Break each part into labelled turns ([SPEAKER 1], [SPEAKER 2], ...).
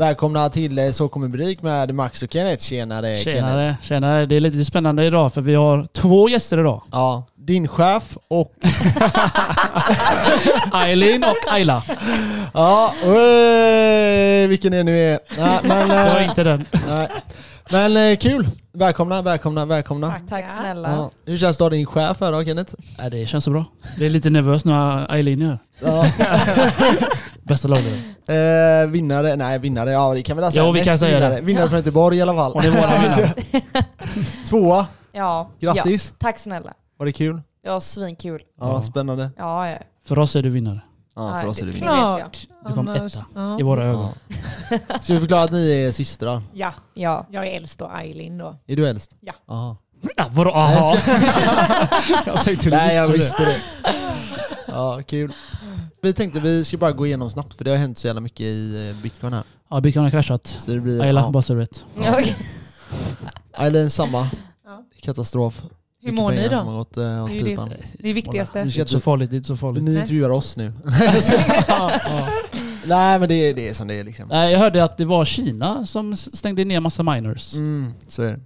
[SPEAKER 1] Välkomna till eh, Så kommer Brik med Max och Kenneth.
[SPEAKER 2] Eh,
[SPEAKER 1] Tjenare, Kenneth.
[SPEAKER 2] Tjenare, tjenare. Det är lite spännande idag för vi har två gäster idag.
[SPEAKER 1] Ja, din chef och...
[SPEAKER 2] Eileen och Ayla.
[SPEAKER 1] Ja, oj, vilken det nu är. Nej, men,
[SPEAKER 2] Det var
[SPEAKER 1] eh,
[SPEAKER 2] inte den.
[SPEAKER 1] nej. men eh, kul! Välkomna, välkomna, välkomna.
[SPEAKER 3] Tack snälla.
[SPEAKER 1] Ja. Hur känns det att ha din chef här då Kenneth?
[SPEAKER 2] Nej, det känns så bra. Det är lite nervöst nu Eileen gör.
[SPEAKER 1] Ja.
[SPEAKER 2] Bästa lagledaren.
[SPEAKER 1] eh, vinnare, nej vinnare, ja det kan vi väl säga.
[SPEAKER 2] Jo, vi
[SPEAKER 1] Mest
[SPEAKER 2] kan säga
[SPEAKER 1] vinnare. Vinnare från Göteborg i alla fall.
[SPEAKER 2] Hon är våran vinnare.
[SPEAKER 1] Tvåa,
[SPEAKER 3] Ja. Ja.
[SPEAKER 1] grattis!
[SPEAKER 3] Tack snälla.
[SPEAKER 1] Var det kul?
[SPEAKER 3] Ja, svinkul.
[SPEAKER 1] Ja,
[SPEAKER 2] Ja.
[SPEAKER 1] spännande.
[SPEAKER 3] Ja, ja.
[SPEAKER 2] För oss är du vinnare.
[SPEAKER 1] Ja, för oss är det
[SPEAKER 3] det-
[SPEAKER 1] vinnare.
[SPEAKER 3] Klart.
[SPEAKER 4] Klart.
[SPEAKER 2] Du kom etta. I våra ögon.
[SPEAKER 1] Ja. Ska vi förklara att ni är systrar?
[SPEAKER 4] Ja,
[SPEAKER 3] ja.
[SPEAKER 4] jag är äldst och Eileen då.
[SPEAKER 1] Är du äldst?
[SPEAKER 4] Ja.
[SPEAKER 1] Aha.
[SPEAKER 2] Ja, vadå aha? Jag tänkte du
[SPEAKER 1] Nej, jag visste
[SPEAKER 2] visste
[SPEAKER 1] det. Ja, kul. Vi tänkte vi ska bara gå igenom snabbt för det har hänt så jävla mycket i eh, bitcoin här.
[SPEAKER 2] det. Ja, bitcoin har kraschat.
[SPEAKER 1] Så det blir...
[SPEAKER 2] Ayla,
[SPEAKER 1] ja.
[SPEAKER 2] bara så du vet.
[SPEAKER 3] Okej.
[SPEAKER 1] Eileen, samma.
[SPEAKER 4] Ja.
[SPEAKER 1] Katastrof.
[SPEAKER 4] Hur
[SPEAKER 1] Mycket
[SPEAKER 4] mår ni
[SPEAKER 1] pengar som
[SPEAKER 4] då?
[SPEAKER 1] har gått eh, åt
[SPEAKER 4] Det är ju det-
[SPEAKER 1] pipan.
[SPEAKER 4] Det
[SPEAKER 2] Det
[SPEAKER 4] viktigaste.
[SPEAKER 2] är inte så farligt. Det är inte så farligt.
[SPEAKER 1] Ni
[SPEAKER 4] Nej.
[SPEAKER 1] intervjuar oss nu.
[SPEAKER 2] Ja.
[SPEAKER 1] Nej men det är, det är som det är liksom.
[SPEAKER 2] Nej, Jag hörde att det var Kina som stängde ner massa miners.
[SPEAKER 1] Mm, så är det.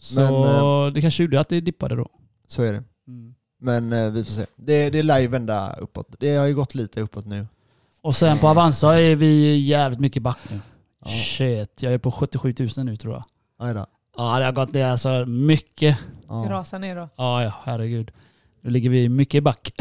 [SPEAKER 2] Så
[SPEAKER 1] Men,
[SPEAKER 2] det kanske gjorde att det dippade då.
[SPEAKER 1] Så är det.
[SPEAKER 2] mm.
[SPEAKER 1] Men eh, vi får se. Det, det lär ju vända uppåt. Det har ju gått lite uppåt nu.
[SPEAKER 2] Och sen på Avanza är vi jävligt mycket back nu.
[SPEAKER 1] Ja.
[SPEAKER 2] Shit, jag är på 77 000 nu tror jag.
[SPEAKER 1] Aj då.
[SPEAKER 2] Ja, det har gått ner alltså mycket.
[SPEAKER 4] Det
[SPEAKER 1] Ja.
[SPEAKER 4] rasar ner då.
[SPEAKER 2] Ja, ja, herregud. Nu ligger vi mycket back.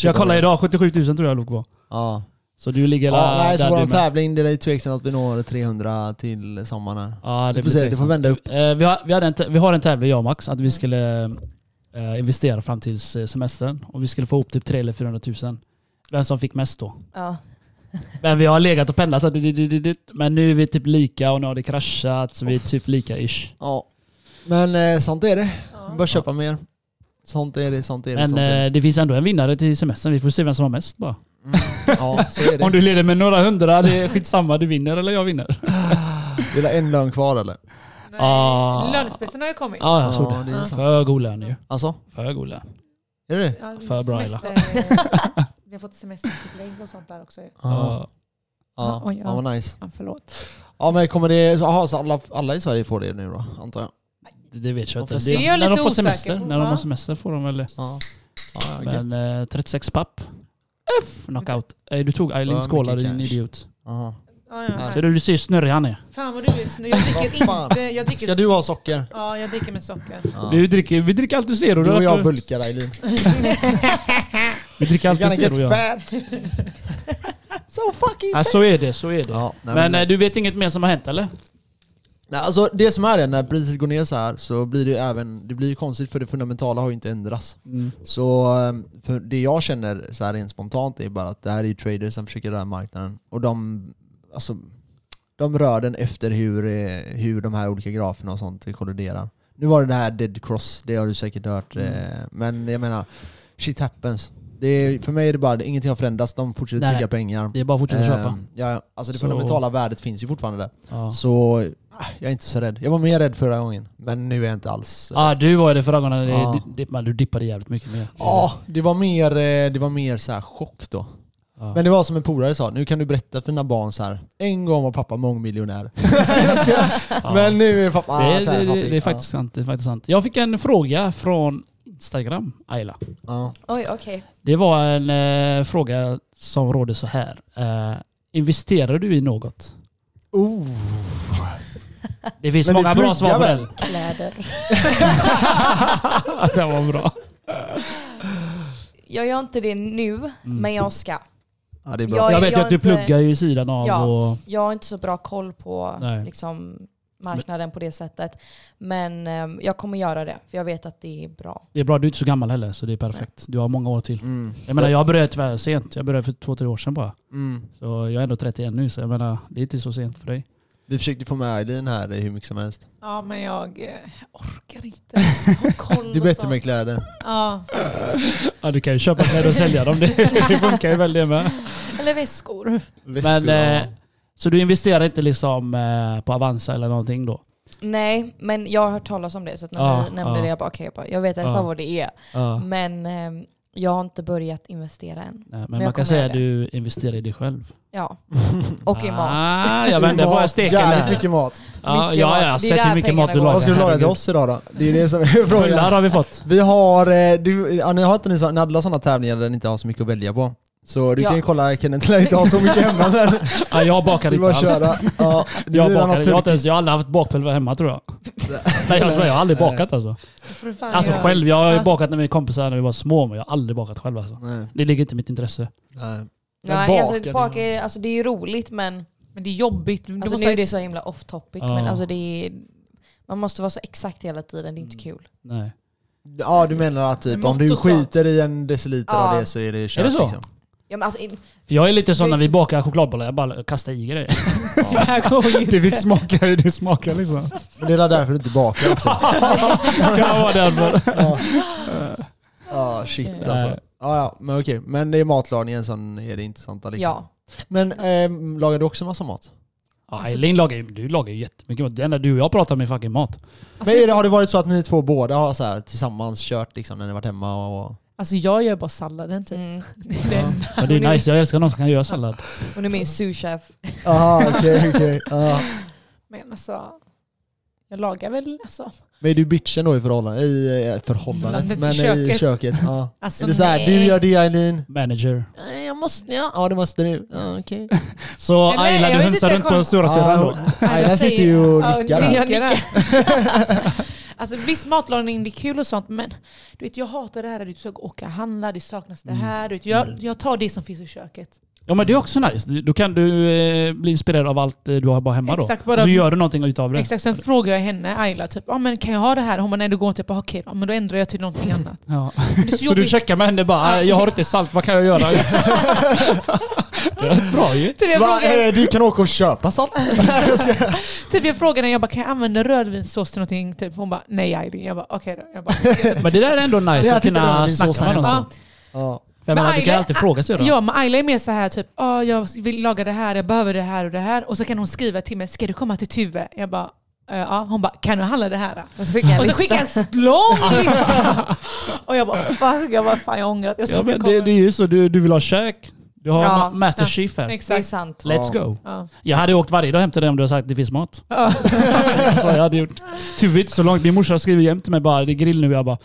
[SPEAKER 2] jag kollade idag, 77 000 tror jag låg på.
[SPEAKER 1] Ja.
[SPEAKER 2] Så du ligger
[SPEAKER 1] Ja,
[SPEAKER 2] där
[SPEAKER 1] nej, så
[SPEAKER 2] du
[SPEAKER 1] våran
[SPEAKER 2] med.
[SPEAKER 1] tävling, det är tveksamt att vi når 300 till sommaren här.
[SPEAKER 2] Ja,
[SPEAKER 1] Vi
[SPEAKER 2] det
[SPEAKER 1] får
[SPEAKER 2] blir
[SPEAKER 1] se, det får
[SPEAKER 2] tveksamt.
[SPEAKER 1] vända upp.
[SPEAKER 2] Eh, vi, har, vi, hade en tä- vi har en tävling jag och Max, att vi skulle eh, investera fram till semestern. Och vi skulle få ihop typ 300 eller 400 000. Vem som fick mest då.
[SPEAKER 3] Ja.
[SPEAKER 2] Men vi har legat och pendlat. så dit, dit, dit, dit, dit. Men nu är vi typ lika och nu har det kraschat. Så vi är typ lika-ish.
[SPEAKER 1] Ja. Men eh, sånt är det.
[SPEAKER 4] Ja.
[SPEAKER 1] Bara köpa mer. Sånt är det, sånt är det,
[SPEAKER 2] Men
[SPEAKER 1] sånt är det.
[SPEAKER 2] eh, det finns ändå en vinnare till semestern. Vi får se vem som har mest bara.
[SPEAKER 1] Ja, så är det.
[SPEAKER 2] Om du leder med några hundra, det är skitsamma. Du vinner eller jag vinner.
[SPEAKER 1] Vill ha en lön kvar eller?
[SPEAKER 4] Nej.
[SPEAKER 2] Ah.
[SPEAKER 4] Lönespecen har ju kommit.
[SPEAKER 2] Ja, jag såg
[SPEAKER 1] Ja,
[SPEAKER 2] det.
[SPEAKER 1] det är sant.
[SPEAKER 2] För god lön ju.
[SPEAKER 1] Alltså,
[SPEAKER 2] För god lön.
[SPEAKER 1] är det det?
[SPEAKER 4] Ja,
[SPEAKER 2] För bra, Ella.
[SPEAKER 4] semester- Vi har fått semestertillägg och sånt där också. ju.
[SPEAKER 1] Ja.
[SPEAKER 2] Ja.
[SPEAKER 1] Ja,
[SPEAKER 4] Oj,
[SPEAKER 1] ja.
[SPEAKER 4] ja.
[SPEAKER 1] vad nice.
[SPEAKER 4] Ja, förlåt.
[SPEAKER 1] Ja men kommer det, så- aha, så alla, alla i Sverige får det nu då, antar jag?
[SPEAKER 2] Det, det vet jag
[SPEAKER 1] Man får
[SPEAKER 2] inte.
[SPEAKER 1] se.
[SPEAKER 2] Det,
[SPEAKER 4] Det är jag
[SPEAKER 2] när de
[SPEAKER 4] lite
[SPEAKER 2] får
[SPEAKER 4] osäker
[SPEAKER 2] semester.
[SPEAKER 4] på,
[SPEAKER 2] När de
[SPEAKER 4] va?
[SPEAKER 2] har semester får de väl det.
[SPEAKER 1] Ja. Ja, ja,
[SPEAKER 2] Men
[SPEAKER 1] gött.
[SPEAKER 2] eh, 36 papp. F knockout. Eh, du tog
[SPEAKER 1] Ja,
[SPEAKER 2] Eileen
[SPEAKER 1] mycket
[SPEAKER 2] skålar din
[SPEAKER 1] cash.
[SPEAKER 2] idiot.
[SPEAKER 1] Aha.
[SPEAKER 4] Ja, ja,
[SPEAKER 2] Ser
[SPEAKER 4] här.
[SPEAKER 2] du, du ser hur snurrig han är.
[SPEAKER 4] Fan vad du är snö. Jag
[SPEAKER 1] Vad
[SPEAKER 4] dricker
[SPEAKER 1] fan.
[SPEAKER 4] inte. Jag dricker,
[SPEAKER 1] Ska du ha socker?
[SPEAKER 4] Ja, jag dricker med socker.
[SPEAKER 1] Ja.
[SPEAKER 2] Du dricker, vi dricker alltid zero. det
[SPEAKER 1] Du
[SPEAKER 2] är
[SPEAKER 1] och jag
[SPEAKER 2] därför-
[SPEAKER 1] bulkar Eileen.
[SPEAKER 2] Vi dricker
[SPEAKER 1] You're
[SPEAKER 2] alltid
[SPEAKER 1] gonna get
[SPEAKER 2] zero. Ja.
[SPEAKER 1] fat! so fucking
[SPEAKER 2] Ja, så är det. Så är det.
[SPEAKER 1] Ja, nej,
[SPEAKER 2] men
[SPEAKER 1] men-
[SPEAKER 2] eh, du vet inget mer som har hänt eller?
[SPEAKER 1] Nej, alltså det som är det, när priset går ner så här så blir det ju även, det blir ju konstigt för det fundamentala har ju inte ändrats. Så eh, för det jag känner så här rent spontant är bara att det här är ju traders som försöker röra marknaden och de, alltså, de rör den efter hur, eh, hur de här olika graferna och sånt kolliderar. Nu var det det här dead cross, det har du säkert hört,
[SPEAKER 2] Mm.
[SPEAKER 1] eh, men jag menar, shit happens. Det är, för mig är det bara, ingenting har förändrats, de fortsätter
[SPEAKER 2] Nej,
[SPEAKER 1] trycka
[SPEAKER 2] nej.
[SPEAKER 1] pengar.
[SPEAKER 2] Det är bara att fortsätta
[SPEAKER 1] Eh,
[SPEAKER 2] köpa.
[SPEAKER 1] Ja, alltså det
[SPEAKER 2] Så-
[SPEAKER 1] fundamentala värdet finns ju fortfarande där.
[SPEAKER 2] Ja.
[SPEAKER 1] Så ah, jag är inte så rädd. Jag var mer rädd förra gången, men nu är jag inte alls. Ja,
[SPEAKER 2] Ja, du var ju det förra gången. när det-
[SPEAKER 1] Ja.
[SPEAKER 2] di- dipp- men Du dippade jävligt mycket mer.
[SPEAKER 1] det var mer, eh, det var mer så här chock då.
[SPEAKER 2] Ja.
[SPEAKER 1] Men det var som en polare sa, nu kan du berätta för dina barn så här. en gång var pappa mångmiljonär.
[SPEAKER 2] Ja.
[SPEAKER 1] Men nu är pappa...
[SPEAKER 2] det,
[SPEAKER 1] ah,
[SPEAKER 2] är-
[SPEAKER 1] så här
[SPEAKER 2] det, det,
[SPEAKER 1] fattig.
[SPEAKER 2] det är faktiskt sant. Det är faktiskt sant. Jag fick en fråga från Instagram, Ayla.
[SPEAKER 1] Ja.
[SPEAKER 3] Oj, okej.
[SPEAKER 2] Det var en eh, fråga som rådde så här. Eh, investerar du i något?
[SPEAKER 1] Ja. Oh.
[SPEAKER 2] Det finns
[SPEAKER 1] Men du
[SPEAKER 2] många
[SPEAKER 1] pluggar
[SPEAKER 2] bra svar på
[SPEAKER 1] väl?
[SPEAKER 2] den.
[SPEAKER 3] Kläder.
[SPEAKER 2] den var bra.
[SPEAKER 3] Jag gör inte det nu,
[SPEAKER 1] Mm.
[SPEAKER 3] men jag ska.
[SPEAKER 1] Ja, det är bra.
[SPEAKER 3] Ja,
[SPEAKER 2] Mm. Jag vet ju
[SPEAKER 3] jag
[SPEAKER 2] att du
[SPEAKER 3] inte-
[SPEAKER 2] pluggar ju i sidan av
[SPEAKER 3] Ja.
[SPEAKER 2] och...
[SPEAKER 3] Jag har inte så bra koll på
[SPEAKER 2] Nej.
[SPEAKER 3] liksom, marknaden på det sättet. Men ehm, jag kommer göra det, för jag vet att det är bra.
[SPEAKER 2] Det är bra, du är inte så gammal heller så det är perfekt. Du har många år till.
[SPEAKER 1] Mm.
[SPEAKER 2] Jag menar jag började tyvärr sent. Jag började för två, tre år sedan bara.
[SPEAKER 1] Mm.
[SPEAKER 2] Så jag är ändå 31 nu så jag menar det är inte så sent för dig.
[SPEAKER 1] Vi försökte få med Eileen här eh, hur mycket som helst.
[SPEAKER 4] Ja, men jag eh, orkar inte. Ha koll
[SPEAKER 1] Du är
[SPEAKER 4] och
[SPEAKER 1] bättre
[SPEAKER 4] sånt.
[SPEAKER 1] med kläder.
[SPEAKER 4] Ja.
[SPEAKER 2] Ja du kan ju köpa kläder och sälja dem. Det, det funkar ju väl det med.
[SPEAKER 4] Eller väskor.
[SPEAKER 1] Väskor,
[SPEAKER 2] Men, eh,
[SPEAKER 1] ja.
[SPEAKER 2] så du investerar inte liksom eh, på Avanza eller någonting då?
[SPEAKER 3] Nej, men jag har hört talas om det, så att när
[SPEAKER 2] Ja,
[SPEAKER 3] ni nämnde
[SPEAKER 2] ja.
[SPEAKER 3] det, jag bara okej, jag, bara, jag vet i alla
[SPEAKER 2] Ja.
[SPEAKER 3] fall vad det är.
[SPEAKER 2] Ja.
[SPEAKER 3] Men ehm, Jag har inte börjat investera än.
[SPEAKER 2] Nej, men,
[SPEAKER 3] Men jag
[SPEAKER 2] man kan
[SPEAKER 3] kommer
[SPEAKER 2] säga
[SPEAKER 3] göra
[SPEAKER 2] att du investerar i dig själv.
[SPEAKER 3] Ja. Och i mat.
[SPEAKER 2] Ah, jag vände bara steken
[SPEAKER 1] Jävligt
[SPEAKER 2] där.
[SPEAKER 1] mycket mat.
[SPEAKER 2] Ja, ja,
[SPEAKER 3] Mycket
[SPEAKER 2] jag
[SPEAKER 3] mat.
[SPEAKER 2] har
[SPEAKER 3] Det är
[SPEAKER 2] sett hur
[SPEAKER 3] där
[SPEAKER 2] mycket mat du
[SPEAKER 3] pengarna
[SPEAKER 1] Vad
[SPEAKER 3] går.
[SPEAKER 2] lagar.
[SPEAKER 1] ska du laga till
[SPEAKER 2] Herregud.
[SPEAKER 1] oss idag då? Det är det som är
[SPEAKER 2] Bullar
[SPEAKER 1] frågan.
[SPEAKER 2] har vi fått.
[SPEAKER 1] Vi har, eh, du, ja, ni har inte ni så- ni hade alla sådana tävlingar där ni inte har så mycket att välja på. Så du
[SPEAKER 3] Ja.
[SPEAKER 1] kan ju kolla, Kenneth lär inte ha så mycket hemma men
[SPEAKER 2] Ja, jag bakar
[SPEAKER 1] du
[SPEAKER 2] inte
[SPEAKER 1] bara
[SPEAKER 2] alls.
[SPEAKER 1] köra. Ja, det
[SPEAKER 2] Jag,
[SPEAKER 1] blir typ-
[SPEAKER 2] bakar,
[SPEAKER 1] något
[SPEAKER 2] jag, har inte ens, jag har aldrig haft bakpulver hemma tror jag. Nej jag svär, jag har aldrig bakat alltså. Alltså själv, jag har ju bakat med mina kompisar när vi var små men jag har aldrig bakat själv alltså.
[SPEAKER 1] Nej.
[SPEAKER 2] Det ligger inte i mitt intresse.
[SPEAKER 1] Nej.
[SPEAKER 3] Nej,
[SPEAKER 1] Men
[SPEAKER 3] alltså,
[SPEAKER 1] bakar-
[SPEAKER 3] bak är, alltså, det är ju roligt men
[SPEAKER 4] Men det är jobbigt. Du
[SPEAKER 3] alltså,
[SPEAKER 4] måste
[SPEAKER 3] nu är
[SPEAKER 4] ha
[SPEAKER 3] det
[SPEAKER 4] ett-
[SPEAKER 3] så himla off topic.
[SPEAKER 2] Ja.
[SPEAKER 3] Men alltså, det är, man måste vara så exakt hela tiden, det är inte kul.
[SPEAKER 2] Nej.
[SPEAKER 1] Ja du menar att typ,
[SPEAKER 4] Mått
[SPEAKER 1] om du
[SPEAKER 4] och sånt.
[SPEAKER 1] skiter i en deciliter av
[SPEAKER 3] Ja.
[SPEAKER 1] det så är det kört
[SPEAKER 2] Är det så?
[SPEAKER 1] Liksom.
[SPEAKER 3] Ja, men alltså, in-
[SPEAKER 2] För jag är lite sån
[SPEAKER 3] Det är
[SPEAKER 2] när vi
[SPEAKER 3] ex-
[SPEAKER 2] bakar chokladbollar, jag bara kastar i grejer.
[SPEAKER 4] Det här går ju inte.
[SPEAKER 2] Du fick smaka hur det smakar liksom.
[SPEAKER 1] Men det är därför du inte bakar också.
[SPEAKER 2] kan vara därför.
[SPEAKER 1] Ja, Ja, shit alltså.
[SPEAKER 2] Nej.
[SPEAKER 1] Ja, ja, men okej. Men det är matlagningen som är det intressanta liksom.
[SPEAKER 3] ja.
[SPEAKER 1] Men ehm, lagar du också massa mat?
[SPEAKER 2] Ja, Eileen lagar ju, du lagar ju jättemycket mat. Det enda du och jag pratar om är fucking mat.
[SPEAKER 4] Alltså,
[SPEAKER 1] men är det, har det varit så att ni två båda har så här, tillsammans kört liksom, när ni varit hemma? Och,
[SPEAKER 4] Alltså jag gör bara salladen typ.
[SPEAKER 3] Mm.
[SPEAKER 4] Den.
[SPEAKER 2] Men det är nice, jag älskar någon som kan göra sallad.
[SPEAKER 3] Hon är min souschef.
[SPEAKER 1] Aha, okej, okej.
[SPEAKER 4] Men alltså, jag lagar väl alltså.
[SPEAKER 1] Men är du bitchen då i förhållandet? I eh, förhållandet?
[SPEAKER 4] I
[SPEAKER 1] Men i
[SPEAKER 4] köket.
[SPEAKER 1] köket? Ja.
[SPEAKER 4] alltså
[SPEAKER 1] Är det så här,
[SPEAKER 4] nej.
[SPEAKER 1] du gör det Eileen?
[SPEAKER 2] Manager.
[SPEAKER 1] "Eh, Jag måste, ja. ja det måste du. Ja, okej.
[SPEAKER 2] Så
[SPEAKER 4] Nej, nej,
[SPEAKER 2] Ayla,
[SPEAKER 4] jag
[SPEAKER 2] du
[SPEAKER 4] vet
[SPEAKER 2] hönsar
[SPEAKER 4] inte,
[SPEAKER 2] runt
[SPEAKER 4] jag
[SPEAKER 2] på
[SPEAKER 4] kom-
[SPEAKER 2] stora
[SPEAKER 1] Ja,
[SPEAKER 2] syrran.
[SPEAKER 1] hon- Aida sitter ju och nickar
[SPEAKER 4] Ja,
[SPEAKER 1] här.
[SPEAKER 4] jag nickar. alltså visst matlagning det är kul och sånt men du vet jag hatar det här att du ska åka och handla, det saknas
[SPEAKER 1] Mm.
[SPEAKER 4] det här. Du vet, jag, jag tar det som finns i köket.
[SPEAKER 2] Ja men det är också nice. Du- Då kan du eh, bli inspirerad av allt eh, du har bara hemma
[SPEAKER 4] Exakt,
[SPEAKER 2] då.
[SPEAKER 4] bara-
[SPEAKER 2] Så gör du någonting utav det.
[SPEAKER 4] Exakt, sen frågar jag henne, Ayla, typ, ah, men kan jag ha det här? Hon bara nej det går inte. Jag bara okej då, men då ändrar jag till någonting annat.
[SPEAKER 2] Ja.
[SPEAKER 4] Men Det är så,
[SPEAKER 2] Så du
[SPEAKER 4] jobbigt.
[SPEAKER 2] checkar med henne bara, "Ah, jag har inte salt, vad kan jag göra? det är rätt bra ju.
[SPEAKER 4] Typ jag,
[SPEAKER 1] Va,
[SPEAKER 4] frågar,
[SPEAKER 1] eh, du kan åka och köpa salt.
[SPEAKER 4] typ jag frågar henne, jag bara, kan jag använda rödvinssås till någonting? Typ, hon bara nej Aylin. Jag bara okej då. Jag bara,
[SPEAKER 2] Men det där är ändå
[SPEAKER 1] Det
[SPEAKER 2] nice
[SPEAKER 1] är
[SPEAKER 2] att
[SPEAKER 1] titta där,
[SPEAKER 2] kunna
[SPEAKER 1] din sås
[SPEAKER 2] snacka
[SPEAKER 1] här
[SPEAKER 2] med någon.
[SPEAKER 1] hemma.
[SPEAKER 2] så.
[SPEAKER 4] ja.
[SPEAKER 1] Ja.
[SPEAKER 2] För jag
[SPEAKER 4] Men
[SPEAKER 2] menar, du kan
[SPEAKER 4] Ayla-
[SPEAKER 2] alltid fråga syrran.
[SPEAKER 4] Ja, men Ayla är mer så här typ, ah, jag vill laga det här, jag behöver det här och det här. Och så kan hon skriva till mig, ska du komma till Tuve? Jag bara, eh, ja. Hon bara, kan du handla det här?
[SPEAKER 3] Och så skickar jag en
[SPEAKER 4] Och så
[SPEAKER 3] lista.
[SPEAKER 4] skickar jag en lång lista. och jag bara, fuck, jag bara, fan jag ångrar att jag sa
[SPEAKER 2] Ja,
[SPEAKER 4] att jag
[SPEAKER 2] men det,
[SPEAKER 4] kommer.
[SPEAKER 2] det är ju så, du, du vill ha kök. Du har
[SPEAKER 3] Ja.
[SPEAKER 2] ma- Master Chief här.
[SPEAKER 3] Det är
[SPEAKER 4] Exakt.
[SPEAKER 3] sant.
[SPEAKER 2] Let's
[SPEAKER 1] Ja.
[SPEAKER 2] go.
[SPEAKER 4] Ja.
[SPEAKER 2] Jag hade åkt varje dag hem till dig om du hade sagt att det finns mat.
[SPEAKER 4] Ja.
[SPEAKER 2] så jag hade gjort. Tyvärr inte så långt. Min morsa skriver jämt till mig bara, det är grill nu. Jag bara,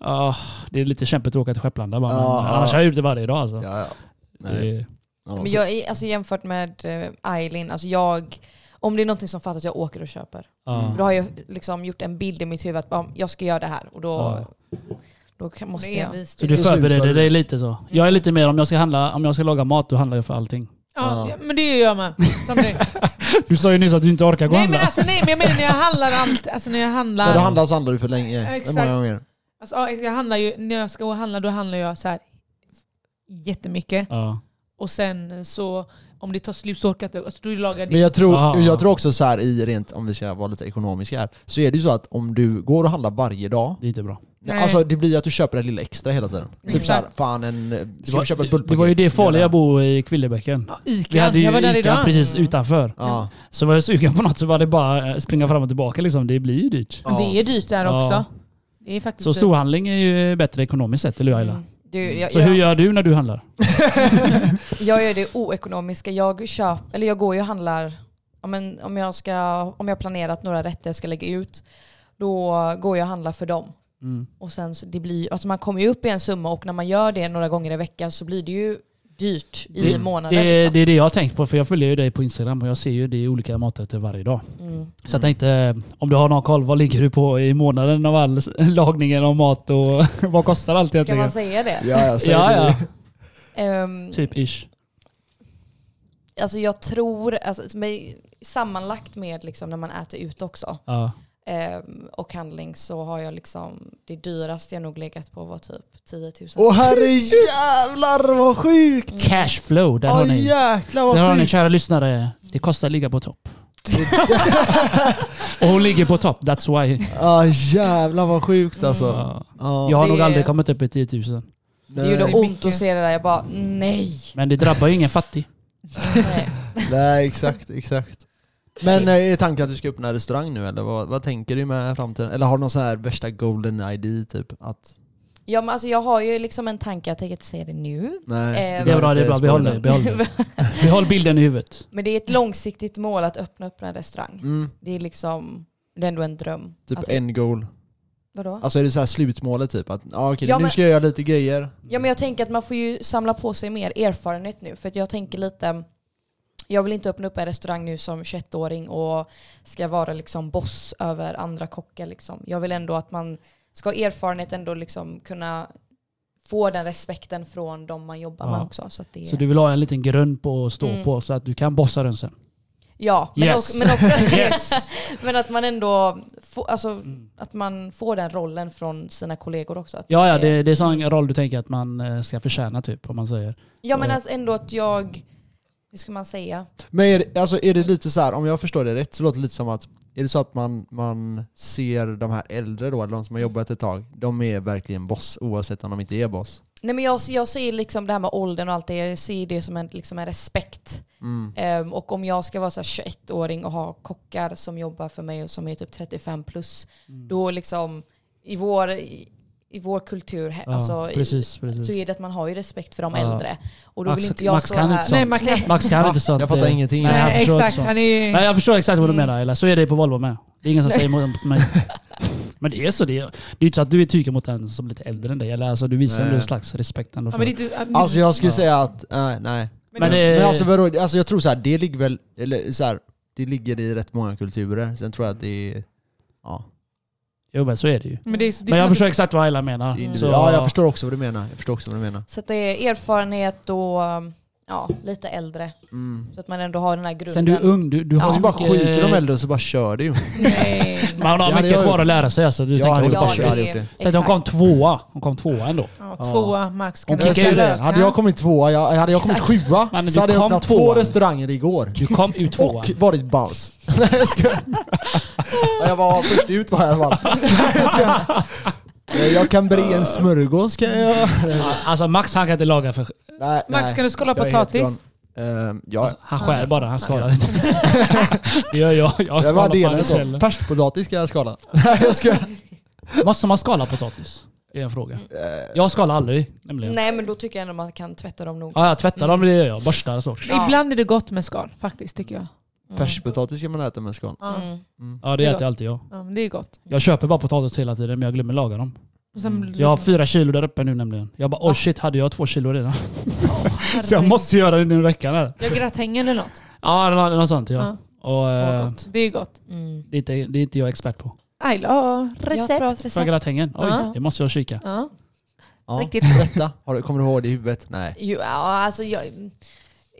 [SPEAKER 2] ah, det är lite kämpigt att åka till Skepplanda. Bara,
[SPEAKER 1] Ja,
[SPEAKER 2] men
[SPEAKER 1] ja.
[SPEAKER 2] Annars hade jag gjort det varje dag alltså.
[SPEAKER 1] Ja, ja. Nej.
[SPEAKER 2] Det-
[SPEAKER 1] Ja,
[SPEAKER 3] Men jag, är- alltså, jämfört med eh, Eileen, alltså jag, om det är någonting som fattas jag åker och köper.
[SPEAKER 2] ja.
[SPEAKER 4] Mm.
[SPEAKER 3] För Då har jag liksom gjort en bild i mitt huvud att ah, jag ska göra det här och då, då kan, måste
[SPEAKER 4] Det är
[SPEAKER 3] jag.
[SPEAKER 4] vist.
[SPEAKER 2] Så du
[SPEAKER 1] Det är slut
[SPEAKER 2] förbereder
[SPEAKER 1] för-
[SPEAKER 2] dig lite så. Jag är lite mer om jag ska handla, om jag ska laga mat, då handlar jag för allting.
[SPEAKER 4] Ja, ja, men det gör jag med. Som dig.
[SPEAKER 2] Du sa ju nyss att du inte orkar gå och
[SPEAKER 4] nej men
[SPEAKER 2] handla.
[SPEAKER 4] alltså nej, men jag menar när jag handlar allt. Alltså när jag
[SPEAKER 1] När
[SPEAKER 4] handlar.
[SPEAKER 1] du handlar så handlar du för länge.
[SPEAKER 4] Ja, exakt.
[SPEAKER 1] Många gånger.
[SPEAKER 4] Alltså, ja, jag handlar ju, när jag ska gå och handla då handlar jag så här jättemycket.
[SPEAKER 2] Ja.
[SPEAKER 4] Och sen så om det tar slut så orkar jag inte. Alltså, då lagar jag det.
[SPEAKER 1] Men jag tror,
[SPEAKER 2] Ah.
[SPEAKER 1] jag tror också så här i rent, om vi ska vara lite ekonomiska här, så är det ju så att om du går och handlar varje dag,
[SPEAKER 2] Det är inte bra.
[SPEAKER 4] Nej.
[SPEAKER 1] alltså det blir ju att du köper det lilla extra hela tiden. Typ
[SPEAKER 3] Exakt.
[SPEAKER 1] såhär, fan en, eh,
[SPEAKER 2] Det
[SPEAKER 1] ska vi köpa ett
[SPEAKER 2] var,
[SPEAKER 1] bullpaket?
[SPEAKER 2] det var ju det farliga att
[SPEAKER 1] Ja.
[SPEAKER 2] bo i Kvillebäcken.
[SPEAKER 4] Ja,
[SPEAKER 2] Vi
[SPEAKER 4] Ica.
[SPEAKER 2] hade ju
[SPEAKER 4] Jag var där
[SPEAKER 2] Ica
[SPEAKER 4] idag.
[SPEAKER 2] precis utanför.
[SPEAKER 1] Ja.
[SPEAKER 2] Så var jag sugen på något så var det bara eh, springa fram och tillbaka liksom. Det blir ju dyrt.
[SPEAKER 1] Ja.
[SPEAKER 4] Det är dyrt där
[SPEAKER 2] Ja.
[SPEAKER 4] också. Det är faktiskt
[SPEAKER 2] Så
[SPEAKER 4] dyrt.
[SPEAKER 2] storhandling är ju bättre ekonomiskt sett, eller hur Ayla?
[SPEAKER 3] Mm. Du, jag,
[SPEAKER 2] Så hur
[SPEAKER 3] jag,
[SPEAKER 2] gör du när du handlar?
[SPEAKER 3] jag gör det oekonomiska. Jag, köp, eller jag går ju och handlar, ja, men om jag har om jag planerat några rätter jag ska lägga ut, då går jag och handlar för dem.
[SPEAKER 2] Mm.
[SPEAKER 3] Och sen så det blir, alltså man kommer ju upp i en summa och när man gör det några gånger i veckan så blir det ju dyrt i månaden.
[SPEAKER 2] Det,
[SPEAKER 3] liksom.
[SPEAKER 2] det är det jag har tänkt på, för jag följer ju dig på Instagram och jag ser ju det i olika maträtter varje dag.
[SPEAKER 3] Mm.
[SPEAKER 2] Så jag tänkte, eh, om du har någon koll, vad ligger du på i månaden av all s- lagningen av mat och vad kostar allt
[SPEAKER 3] Ska
[SPEAKER 2] egentligen?
[SPEAKER 3] man säga det?
[SPEAKER 1] Ja, jag säger
[SPEAKER 2] Ja,
[SPEAKER 1] det.
[SPEAKER 2] ja.
[SPEAKER 3] Ehm,
[SPEAKER 2] Typ ish.
[SPEAKER 3] Alltså jag tror, alltså, med, sammanlagt med liksom när man äter ut också
[SPEAKER 2] Ja.
[SPEAKER 3] ehm, och handling så har jag liksom, det dyraste jag nog legat på var typ 10 000.
[SPEAKER 1] Åh herrejävlar vad sjukt!
[SPEAKER 2] Cash flow, där har
[SPEAKER 1] Åh
[SPEAKER 2] ni.
[SPEAKER 1] jäklar
[SPEAKER 2] Där har
[SPEAKER 1] vad
[SPEAKER 2] ni
[SPEAKER 1] sjukt!
[SPEAKER 2] kära lyssnare. Det kostar att ligga på topp. och hon ligger på topp, that's why.
[SPEAKER 1] Ja jävlar vad sjukt alltså.
[SPEAKER 2] Mm. Ja.
[SPEAKER 1] Ja.
[SPEAKER 2] Jag har
[SPEAKER 3] Det-
[SPEAKER 2] nog aldrig kommit upp i 10 000.
[SPEAKER 3] det
[SPEAKER 1] nej,
[SPEAKER 3] gjorde
[SPEAKER 4] är
[SPEAKER 3] ont
[SPEAKER 4] mycket.
[SPEAKER 3] att se det där, jag bara nej.
[SPEAKER 2] Men det drabbar ju ingen fattig.
[SPEAKER 3] nej.
[SPEAKER 1] nej exakt, exakt. Men eh, är tanken att du ska öppna en restaurang nu eller vad, vad tänker du med framtiden? Eller har du någon sån här värsta golden ID typ? Att
[SPEAKER 3] Ja, men alltså, jag har ju liksom en tanke, jag tänker inte säga det nu.
[SPEAKER 1] Nej,
[SPEAKER 3] Eh,
[SPEAKER 2] Det är bra, det är bra. Behåll det.
[SPEAKER 1] det.
[SPEAKER 2] Behåll, det. behåll bilden i huvudet.
[SPEAKER 3] Men det är ett långsiktigt mål att öppna upp en restaurang.
[SPEAKER 1] Mm,
[SPEAKER 3] Det är liksom, det är ändå en dröm.
[SPEAKER 1] typ
[SPEAKER 3] att,
[SPEAKER 1] end goal.
[SPEAKER 3] vadå?
[SPEAKER 1] Alltså är det så här slutmålet typ? Att ah, okej,
[SPEAKER 3] Ja,
[SPEAKER 1] nu
[SPEAKER 3] men-
[SPEAKER 1] ska jag göra lite grejer.
[SPEAKER 3] Ja men jag tänker att man får ju samla på sig mer erfarenhet nu för att jag tänker lite jag vill inte öppna upp en restaurang nu som 21-åring och ska vara liksom boss över andra kockar. Liksom. Jag vill ändå att man ska ha erfarenhet ändå liksom kunna få den respekten från de man jobbar med
[SPEAKER 2] Ja.
[SPEAKER 3] också. Så att det är,
[SPEAKER 2] Så du vill ha en liten grund på att stå
[SPEAKER 3] Mm.
[SPEAKER 2] på så att du kan bossa den sen.
[SPEAKER 3] Ja, men,
[SPEAKER 2] Yes.
[SPEAKER 3] också, men, också,
[SPEAKER 2] Yes!
[SPEAKER 3] men att man ändå får, alltså,
[SPEAKER 2] Mm.
[SPEAKER 3] att man får den rollen från sina kollegor också. Att
[SPEAKER 2] Ja, ja, det, det är sån roll du tänker att man eh, ska förtjäna typ, om man säger.
[SPEAKER 3] ja men
[SPEAKER 2] ja.
[SPEAKER 3] att ändå att jag, hur ska man säga?
[SPEAKER 1] Men är det, alltså, är det lite så här, om jag förstår det rätt så låter det lite som att är det så att man, man ser de här äldre då, eller de som har jobbat ett tag, de är verkligen boss oavsett om de inte är boss.
[SPEAKER 3] Nej men jag, jag ser liksom det här med åldern och allt det, jag ser det som en, liksom en respekt.
[SPEAKER 1] Mm.
[SPEAKER 3] Ehm, och om jag ska vara så här 21-åring och ha kockar som jobbar för mig och som är typ 35 plus,
[SPEAKER 2] Mm.
[SPEAKER 3] då liksom i vår, i, i vår kultur, he-
[SPEAKER 2] Ja,
[SPEAKER 3] alltså, i-
[SPEAKER 2] precis,
[SPEAKER 3] så
[SPEAKER 2] precis.
[SPEAKER 3] är det att man har ju respekt för de
[SPEAKER 2] Ja.
[SPEAKER 3] äldre. Och då
[SPEAKER 2] Max-
[SPEAKER 3] vill inte jag
[SPEAKER 2] Max
[SPEAKER 3] stå
[SPEAKER 2] kan
[SPEAKER 3] här.
[SPEAKER 2] inte sånt. Nej,
[SPEAKER 4] man kan-
[SPEAKER 2] Max kan inte sånt.
[SPEAKER 1] Jag fattar
[SPEAKER 2] eh,
[SPEAKER 1] ingenting.
[SPEAKER 2] Nej, jag förstår
[SPEAKER 4] exakt.
[SPEAKER 2] också.
[SPEAKER 4] Han är ju...
[SPEAKER 2] Nej, jag förstår exakt vad du
[SPEAKER 3] Mm.
[SPEAKER 2] menar eller Så är det på Volvo med. Det är ingen som säger emot mig. Men det är så. Det är, det är ju inte så att du är tyken mot en som är lite äldre än dig. Eller alltså, du visar
[SPEAKER 1] Nej.
[SPEAKER 2] ändå en slags respekt ändå.
[SPEAKER 4] Ja,
[SPEAKER 2] För.
[SPEAKER 4] men det är inte- ja, men-
[SPEAKER 1] Alltså jag skulle
[SPEAKER 2] Ja.
[SPEAKER 1] säga att, nej, nej.
[SPEAKER 2] Men
[SPEAKER 4] men-
[SPEAKER 2] det-
[SPEAKER 1] Men alltså, vadå, alltså jag tror så här, det ligger väl, eller så här, det ligger i rätt många kulturer. Sen tror jag att det är, ja.
[SPEAKER 2] Jo men så är det ju.
[SPEAKER 4] men det är så- det är
[SPEAKER 2] Men
[SPEAKER 4] som
[SPEAKER 2] jag
[SPEAKER 4] att-
[SPEAKER 2] förstår exakt vad Ayla menar.
[SPEAKER 3] Mm.
[SPEAKER 2] Så,
[SPEAKER 1] ja, jag förstår också vad du menar. Jag förstår också vad du menar.
[SPEAKER 3] Så att det är erfarenhet och um, ja, lite äldre.
[SPEAKER 1] Mm.
[SPEAKER 3] Så att man ändå har den här grunden.
[SPEAKER 2] Sen du är ung, du, du
[SPEAKER 3] Ja.
[SPEAKER 2] har
[SPEAKER 1] Och
[SPEAKER 2] ju
[SPEAKER 1] så bara skiter
[SPEAKER 2] eh,
[SPEAKER 1] de äldre och så bara kör det ju.
[SPEAKER 3] Nej.
[SPEAKER 2] Man
[SPEAKER 1] Det
[SPEAKER 2] har
[SPEAKER 1] hade
[SPEAKER 2] mycket
[SPEAKER 1] jag
[SPEAKER 2] kvar
[SPEAKER 1] gjort.
[SPEAKER 2] att lära sig alltså. Du
[SPEAKER 1] Jag
[SPEAKER 2] tänker
[SPEAKER 1] hade
[SPEAKER 2] hade bara
[SPEAKER 1] gjort det.
[SPEAKER 2] kör.
[SPEAKER 1] hade gjort det.
[SPEAKER 2] Tänk, Hon kom tvåa. Hon kom tvåa ändå.
[SPEAKER 4] Ja, tvåa max.
[SPEAKER 2] Hon
[SPEAKER 4] kan man
[SPEAKER 2] kickar
[SPEAKER 4] säga.
[SPEAKER 2] ut det.
[SPEAKER 1] Hade jag kommit tvåa, jag, hade jag kommit sjua,
[SPEAKER 2] Men
[SPEAKER 1] så
[SPEAKER 2] du
[SPEAKER 1] hade jag
[SPEAKER 2] kom
[SPEAKER 1] öppnat två
[SPEAKER 2] tvåan.
[SPEAKER 1] restauranger igår.
[SPEAKER 2] Du kom ut tvåa.
[SPEAKER 1] Och varit bounce. Nej jag skojar. Ja, Jag var först ut var jag i alla fall. Nej, jag skojar. Eh, Jag kan bre en smörgås kan jag.
[SPEAKER 2] Alltså Max han kan inte laga för...
[SPEAKER 1] Nej,
[SPEAKER 4] Max,
[SPEAKER 1] nej.
[SPEAKER 4] kan du skala
[SPEAKER 1] Jag är helt
[SPEAKER 4] potatis?
[SPEAKER 1] grön. Ehm, ja,
[SPEAKER 2] Han skär bara, han skalar inte. Det gör jag. Jag
[SPEAKER 1] jag
[SPEAKER 2] skalar
[SPEAKER 1] var
[SPEAKER 2] på
[SPEAKER 1] delad
[SPEAKER 2] andra
[SPEAKER 1] så.
[SPEAKER 2] ställen.
[SPEAKER 1] Färskpotatis ska jag skala.
[SPEAKER 4] Mm.
[SPEAKER 1] Nej jag skojar.
[SPEAKER 2] Måste man skala potatis? Det är en fråga. Jag skalar aldrig nämligen.
[SPEAKER 3] Nej men då tycker jag ändå man kan tvätta dem nog.
[SPEAKER 2] Ja, jag tvättar dem, det gör jag. Borstar och så.
[SPEAKER 4] Men
[SPEAKER 3] Ja.
[SPEAKER 4] Ibland är det gott med skal faktiskt tycker jag.
[SPEAKER 1] Färskpotatis ska man äta med skal.
[SPEAKER 4] Ja,
[SPEAKER 3] Mm.
[SPEAKER 2] Ja, det äter alltid jag.
[SPEAKER 4] ja, men det är gott.
[SPEAKER 2] Jag köper bara potatis hela tiden, men jag glömmer laga dem.
[SPEAKER 4] Och sen,
[SPEAKER 2] Jag har fyra kilo där uppe nu nämligen. Jag bara, oh shit, hade jag två kilo redan? Så jag måste göra det nu i veckan här.
[SPEAKER 4] Jag gratänger eller något.
[SPEAKER 2] Ja, det var- det var sånt ja.
[SPEAKER 4] Ja.
[SPEAKER 2] Och,
[SPEAKER 4] Åh,
[SPEAKER 2] eh,
[SPEAKER 4] gott. Det är gott.
[SPEAKER 3] Mm.
[SPEAKER 2] det, är inte, det är inte jag expert på.
[SPEAKER 4] Ayla har
[SPEAKER 3] Jag har ett
[SPEAKER 4] recept.
[SPEAKER 3] bra
[SPEAKER 2] Från
[SPEAKER 3] recept.
[SPEAKER 2] gratängen? Oj,
[SPEAKER 4] Ja.
[SPEAKER 2] det måste jag kika.
[SPEAKER 4] Ja.
[SPEAKER 1] Ja.
[SPEAKER 4] Riktigt.
[SPEAKER 1] Detta, har du, kommer du ihåg det i huvudet? Nej.
[SPEAKER 3] Jo, ja, alltså jag,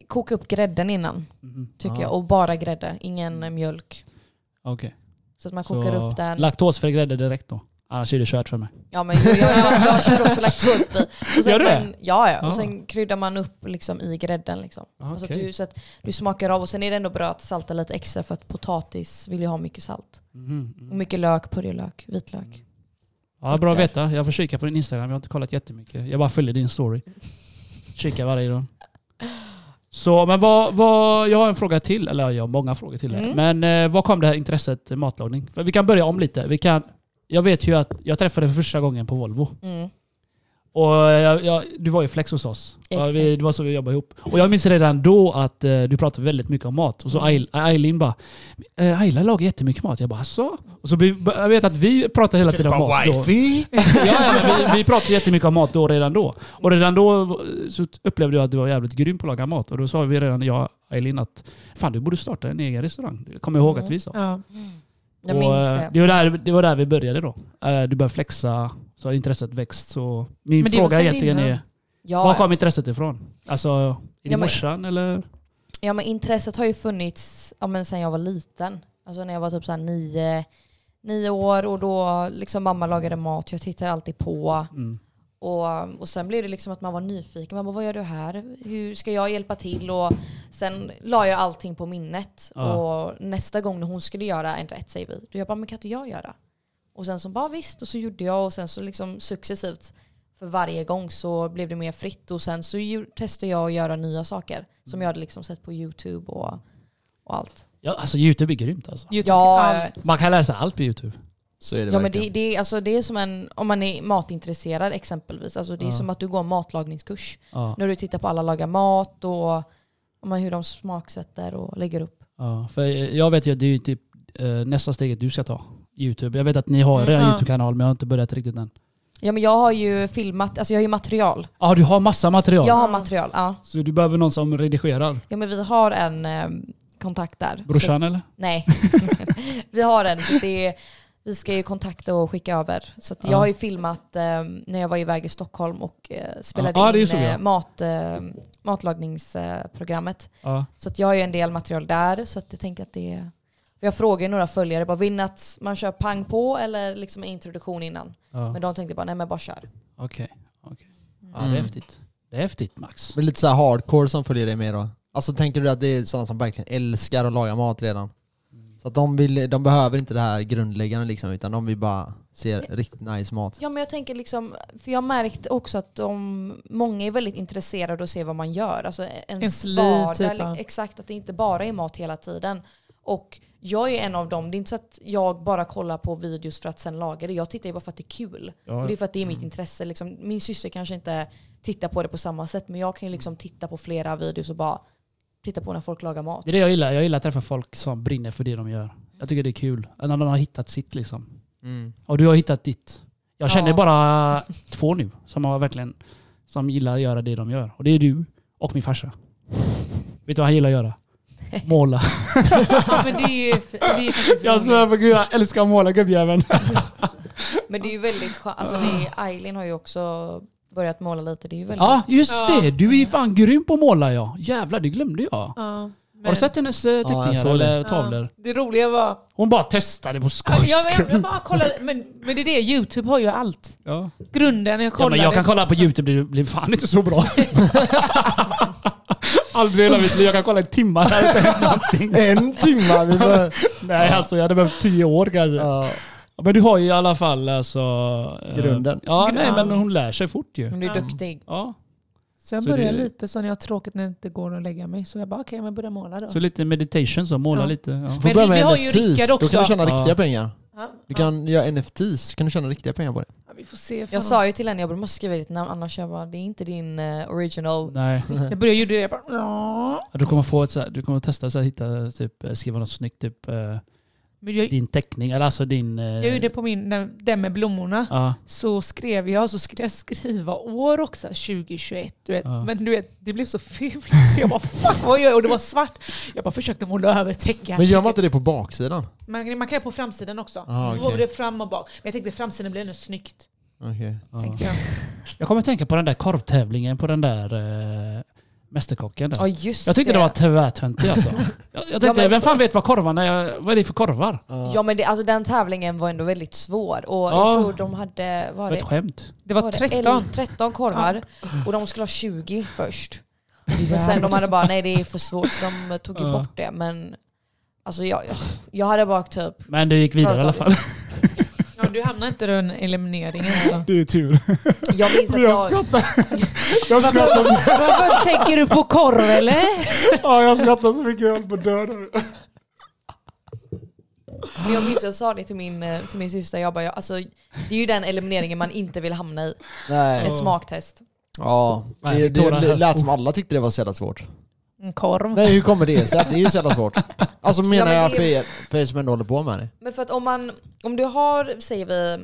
[SPEAKER 3] koka upp grädden innan
[SPEAKER 2] Mhm.
[SPEAKER 3] tycker
[SPEAKER 1] Ja.
[SPEAKER 3] jag. Och bara grädde, ingen eh, mjölk.
[SPEAKER 2] Okej.
[SPEAKER 3] Så att man
[SPEAKER 2] Så,
[SPEAKER 3] kokar upp den.
[SPEAKER 2] Laktosfri grädde direkt då. Annars är det kört för mig.
[SPEAKER 3] Ja men jag, jag, jag, jag kör också laktosfri. Och sen-
[SPEAKER 2] Gör du det?
[SPEAKER 3] men- Ja ja,
[SPEAKER 2] Ah.
[SPEAKER 3] och sen kryddar man upp liksom i grädden. Liksom. Så, att
[SPEAKER 2] Okej.
[SPEAKER 3] du, så att du smakar av och sen är det ändå bra att salta lite extra för att potatis vill ju ha mycket salt.
[SPEAKER 2] Mhm,
[SPEAKER 3] Och
[SPEAKER 2] mm.
[SPEAKER 3] mycket lök, purjolök, vitlök.
[SPEAKER 2] Ja, bra att veta. Jag får kika på din Instagram. Jag har inte kollat jättemycket. Jag bara följer din story. Kika varje dag. Så, men vad, vad, jag har en fråga till, eller jag har många frågor till. Här.
[SPEAKER 3] Mm.
[SPEAKER 2] Men eh, var kom det här intresset eh, matlagning? För Vi kan börja om lite. Vi kan, jag vet ju att jag träffade för första gången på Volvo.
[SPEAKER 3] Mm.
[SPEAKER 2] Och eh, jag, jag, du var ju flex hos oss. Ja,
[SPEAKER 3] Exakt.
[SPEAKER 2] vi, det var så vi jobbade ihop. Och jag minns redan då att eh, du pratade väldigt mycket om mat. Och
[SPEAKER 3] Mm.
[SPEAKER 2] så Ail- Ailin bara, eh, Aila lagar jättemycket mat. Jag bara, så. Och så vi, jag vet att vi pratade hela tiden om mat. Då. Ja, ja, men vi, vi pratade jättemycket om mat då redan då. Och redan då så upplevde jag att du var jävligt grym på att laga mat. Och då sa vi redan, jag och Ailin, att fan du borde starta en egen restaurang. Det kommer jag ihåg
[SPEAKER 3] Mm.
[SPEAKER 2] att vi sa.
[SPEAKER 4] Ja.
[SPEAKER 3] Jag
[SPEAKER 2] Och,
[SPEAKER 3] minns
[SPEAKER 2] eh,
[SPEAKER 3] det.
[SPEAKER 2] det, var där, det var där vi började då. Eh, Du började flexa, så har intresset växt. Så min
[SPEAKER 4] Men det var
[SPEAKER 2] fråga
[SPEAKER 4] sen
[SPEAKER 2] egentligen
[SPEAKER 4] innan.
[SPEAKER 2] är, var
[SPEAKER 3] Ja,
[SPEAKER 2] kom intresset ifrån? Alltså, är det
[SPEAKER 3] men-
[SPEAKER 2] morsan eller?
[SPEAKER 3] ja men intresset har ju funnits ja, men sen jag var liten. Alltså när jag var typ så här nio, nio år och då liksom mamma lagade mat. Jag tittade alltid på.
[SPEAKER 2] Mm.
[SPEAKER 3] Och, och sen blev det liksom att man var nyfiken. Man bara, vad gör du här? Hur ska jag hjälpa till? Och sen la jag allting på minnet.
[SPEAKER 2] Ja.
[SPEAKER 3] Och nästa gång när hon skulle göra en rätt säger vi, då jag bara, men kan inte jag göra? Och sen så bara visst, och så gjorde jag och sen så liksom successivt för varje gång så blev det mer fritt och sen så ju- testade jag att göra nya saker som jag hade liksom sett på YouTube och, och allt.
[SPEAKER 2] Ja, alltså Youtube är grymt alltså.
[SPEAKER 4] YouTube,
[SPEAKER 3] Ja.
[SPEAKER 4] allt.
[SPEAKER 2] Man kan läsa allt på Youtube.
[SPEAKER 1] Så är det
[SPEAKER 3] Ja men
[SPEAKER 1] verkligen.
[SPEAKER 3] det, det, är- alltså, det är som en, om man är matintresserad exempelvis, alltså, det är
[SPEAKER 2] Ja.
[SPEAKER 3] som att du går en matlagningskurs.
[SPEAKER 2] Ja,
[SPEAKER 3] När du tittar på alla lagar mat och om man, hur de smaksätter och lägger upp.
[SPEAKER 2] ja. För eh, jag vet ju att det är ju typ eh, nästa steget du ska ta. Youtube. Jag vet att ni har
[SPEAKER 4] Mm,
[SPEAKER 2] redan
[SPEAKER 4] ja.
[SPEAKER 2] Youtube-kanal men jag har inte börjat riktigt än.
[SPEAKER 3] Ja men jag har ju filmat, alltså jag har ju material.
[SPEAKER 2] Ja, ah, du har massa material.
[SPEAKER 3] Jag har material, ja.
[SPEAKER 2] Så du behöver någon som redigerar.
[SPEAKER 3] Ja men vi har en eh, kontakt där. Så,
[SPEAKER 2] Brorsan eller?
[SPEAKER 3] nej. vi har en. Så det är, vi ska ju kontakta och skicka över. Så att
[SPEAKER 2] Ja.
[SPEAKER 3] jag har ju filmat eh, när jag var iväg i Stockholm och eh, spelade
[SPEAKER 2] Ja, det
[SPEAKER 3] in
[SPEAKER 2] såg
[SPEAKER 3] eh,
[SPEAKER 2] jag.
[SPEAKER 3] mat, eh, matlagningsprogrammet.
[SPEAKER 2] Ja.
[SPEAKER 3] Så att jag har ju en del material där. Så att jag tänker att det är... För jag frågade ju några följare, bara, vill ni att man kör pang på eller liksom en introduktion innan?
[SPEAKER 2] ja.
[SPEAKER 3] Men de tänkte bara, nej men bara kör.
[SPEAKER 2] Okej. okej. Ja, det är
[SPEAKER 1] Mm.
[SPEAKER 2] häftigt. Det är häftigt Max.
[SPEAKER 1] Men lite så här hardcore som följer dig med då? Alltså tänker du att det är sådana som verkligen älskar att laga mat redan? Så att de, vill, de behöver inte det här grundläggande liksom, utan de vill bara se riktigt nice mat.
[SPEAKER 3] Ja men jag tänker liksom, för jag har märkt också att de, många är väldigt intresserade av att se vad man gör. Alltså ens,
[SPEAKER 4] Ens liv,
[SPEAKER 3] vardag,
[SPEAKER 4] typ,
[SPEAKER 3] li-
[SPEAKER 4] ja.
[SPEAKER 3] exakt att det inte bara är mat hela tiden. Och jag är en av dem, det är inte så att jag bara kollar på videos för att sen laga det. Jag tittar ju bara för att det är kul. Och det är för att det är
[SPEAKER 2] Mm.
[SPEAKER 3] mitt intresse. Liksom, min syster kanske inte tittar på det på samma sätt men jag kan ju liksom titta på flera videos och bara titta på när folk lagar mat.
[SPEAKER 2] Det är det jag gillar. Jag gillar att träffa folk som brinner för det de gör. Jag tycker det är kul. När de har hittat sitt liksom.
[SPEAKER 1] Mm.
[SPEAKER 2] Och du har hittat ditt. Jag känner
[SPEAKER 3] Ja.
[SPEAKER 2] bara två nu som har verkligen som gillar att göra det de gör. Och det är du och min farsa. Vet du vad han gillar att göra? Måla.
[SPEAKER 4] Ja, men det är, det är faktiskt
[SPEAKER 2] Jag svär på gud, jag älskar att måla gubbjäveln.
[SPEAKER 3] Men det är ju väldigt skönt. Alltså, det är- Eileen har ju också börjat måla lite. Det är ju väldigt...
[SPEAKER 2] Ja, just
[SPEAKER 4] Ja.
[SPEAKER 2] det. Du är ju fan grym på att måla ja. Jävlar, det glömde jag.
[SPEAKER 4] Ja, men-
[SPEAKER 2] Har du sett hennes eh,
[SPEAKER 1] jag
[SPEAKER 2] teckningar
[SPEAKER 1] såg det.
[SPEAKER 2] eller tavlor?
[SPEAKER 4] Ja, det roliga var...
[SPEAKER 2] Hon bara testade på
[SPEAKER 4] Jag,
[SPEAKER 2] skoj.
[SPEAKER 4] jag, jag bara kollade, men, men det är det, Youtube har ju allt.
[SPEAKER 2] Ja.
[SPEAKER 4] Grunden, jag
[SPEAKER 2] Ja,
[SPEAKER 4] kollade.
[SPEAKER 2] men jag kan kolla på Youtube, det blir fan inte så bra. Aldrig i hela mitt liv. Jag kan kolla i timmar. här utan att någonting.
[SPEAKER 1] En timme! Vi bör...
[SPEAKER 2] Nej, alltså jag hade behövt tio år kanske.
[SPEAKER 1] Ja.
[SPEAKER 2] Men du har ju i alla fall alltså... eh,
[SPEAKER 1] Grunden.
[SPEAKER 2] Ja, nej,
[SPEAKER 4] Grunden.
[SPEAKER 2] men hon lär sig fort ju.
[SPEAKER 3] Hon blir duktig.
[SPEAKER 2] Ja.
[SPEAKER 4] så jag
[SPEAKER 2] så
[SPEAKER 4] börjar
[SPEAKER 2] det-
[SPEAKER 4] lite så när jag har tråkigt när det inte går att lägga mig. Så jag bara okej, men börja måla då.
[SPEAKER 2] Så lite meditation, så måla
[SPEAKER 4] Ja.
[SPEAKER 2] lite. Ja.
[SPEAKER 1] Får
[SPEAKER 4] Men
[SPEAKER 1] börja
[SPEAKER 4] vi
[SPEAKER 1] med
[SPEAKER 4] har ju
[SPEAKER 1] NFTs,
[SPEAKER 4] Rickard
[SPEAKER 1] då
[SPEAKER 4] också.
[SPEAKER 1] kan du tjäna
[SPEAKER 2] Ja.
[SPEAKER 1] riktiga pengar.
[SPEAKER 4] Ja,
[SPEAKER 1] Du kan göra NFTs, kan du tjäna riktiga pengar på det.
[SPEAKER 4] ja, vi får se. fan.
[SPEAKER 3] Jag sa ju till henne, jag bara, måste skriva ditt namn annars jag bara, det är inte din eh, original.
[SPEAKER 2] Nej,
[SPEAKER 4] jag började ju det, jag bara ja.
[SPEAKER 2] du kommer få ett, så här- du kommer testa så här, hitta, typ, eh, skriva något snyggt, typ eh,
[SPEAKER 4] Men jag,
[SPEAKER 2] din teckning, eller alltså din... eh,
[SPEAKER 4] jag gjorde på min, den, den med blommorna.
[SPEAKER 2] Ja,
[SPEAKER 4] Så skrev jag, så skulle jag skriva år också, 2021. Du vet.
[SPEAKER 2] Ja.
[SPEAKER 4] Men du vet, det blev så fult. Så jag bara fuck vad gör jag? Och det var svart. Jag bara försökte måla över täcka.
[SPEAKER 1] Men gör man inte det på baksidan?
[SPEAKER 4] Man, man kan göra på framsidan också.
[SPEAKER 1] Ah, okej.
[SPEAKER 4] Både fram och bak. Men jag tänkte framsidan blir ännu snyggt.
[SPEAKER 1] Okej.
[SPEAKER 2] ja.
[SPEAKER 4] Tänkte jag.
[SPEAKER 2] Jag kommer att tänka på den där korvtävlingen på den där eh, Mästerkocken. Där.
[SPEAKER 3] Ja just
[SPEAKER 2] jag tyckte det var tvärtöntig alltså. jag, jag
[SPEAKER 3] Ja,
[SPEAKER 2] tänkte,
[SPEAKER 3] men-
[SPEAKER 2] vem fan vet vad korvarna är? Vad är det för korvar?
[SPEAKER 3] Ja men det, alltså, den tävlingen var ändå väldigt svår och
[SPEAKER 2] Ja.
[SPEAKER 3] jag tror de hade,
[SPEAKER 2] Det
[SPEAKER 3] var
[SPEAKER 2] var
[SPEAKER 3] det,
[SPEAKER 2] ett skämt.
[SPEAKER 4] Det
[SPEAKER 3] var
[SPEAKER 4] var
[SPEAKER 3] det
[SPEAKER 4] 13.
[SPEAKER 3] 13 korvar och de skulle ha 20 först. Men sen de hade bara, nej det är för svårt så de tog ju
[SPEAKER 2] Ja.
[SPEAKER 3] bort det. Men alltså jag, jag hade bara typ
[SPEAKER 2] Men du gick vidare i alla fall.
[SPEAKER 4] Ja, du hamnar inte i den elimineringen. Alltså.
[SPEAKER 2] Det är tur.
[SPEAKER 3] Jag minns att jag...
[SPEAKER 2] Jag
[SPEAKER 4] Varför tänker du på korv eller?
[SPEAKER 2] ja, jag skrattar så mycket jag höll på att dö
[SPEAKER 3] Men jag minns att jag sa det till min, eh, till min syster, jag bara, jag, alltså, det är ju den elimineringen man inte vill hamna i.
[SPEAKER 1] Nej.
[SPEAKER 3] Ett smakstest.
[SPEAKER 1] Ja.
[SPEAKER 2] Nej,
[SPEAKER 1] Det,
[SPEAKER 2] jag fick tårar
[SPEAKER 1] det,
[SPEAKER 2] här.
[SPEAKER 1] det lät som alla tyckte det var så jävla svårt.
[SPEAKER 4] En korv.
[SPEAKER 1] Nej hur kommer det sig? Det är ju så jävla svårt. Alltså menar
[SPEAKER 3] men
[SPEAKER 1] jag
[SPEAKER 3] det-
[SPEAKER 1] för er, för er som ändå håller på med det.
[SPEAKER 3] Men för att om man, om du har, säger vi,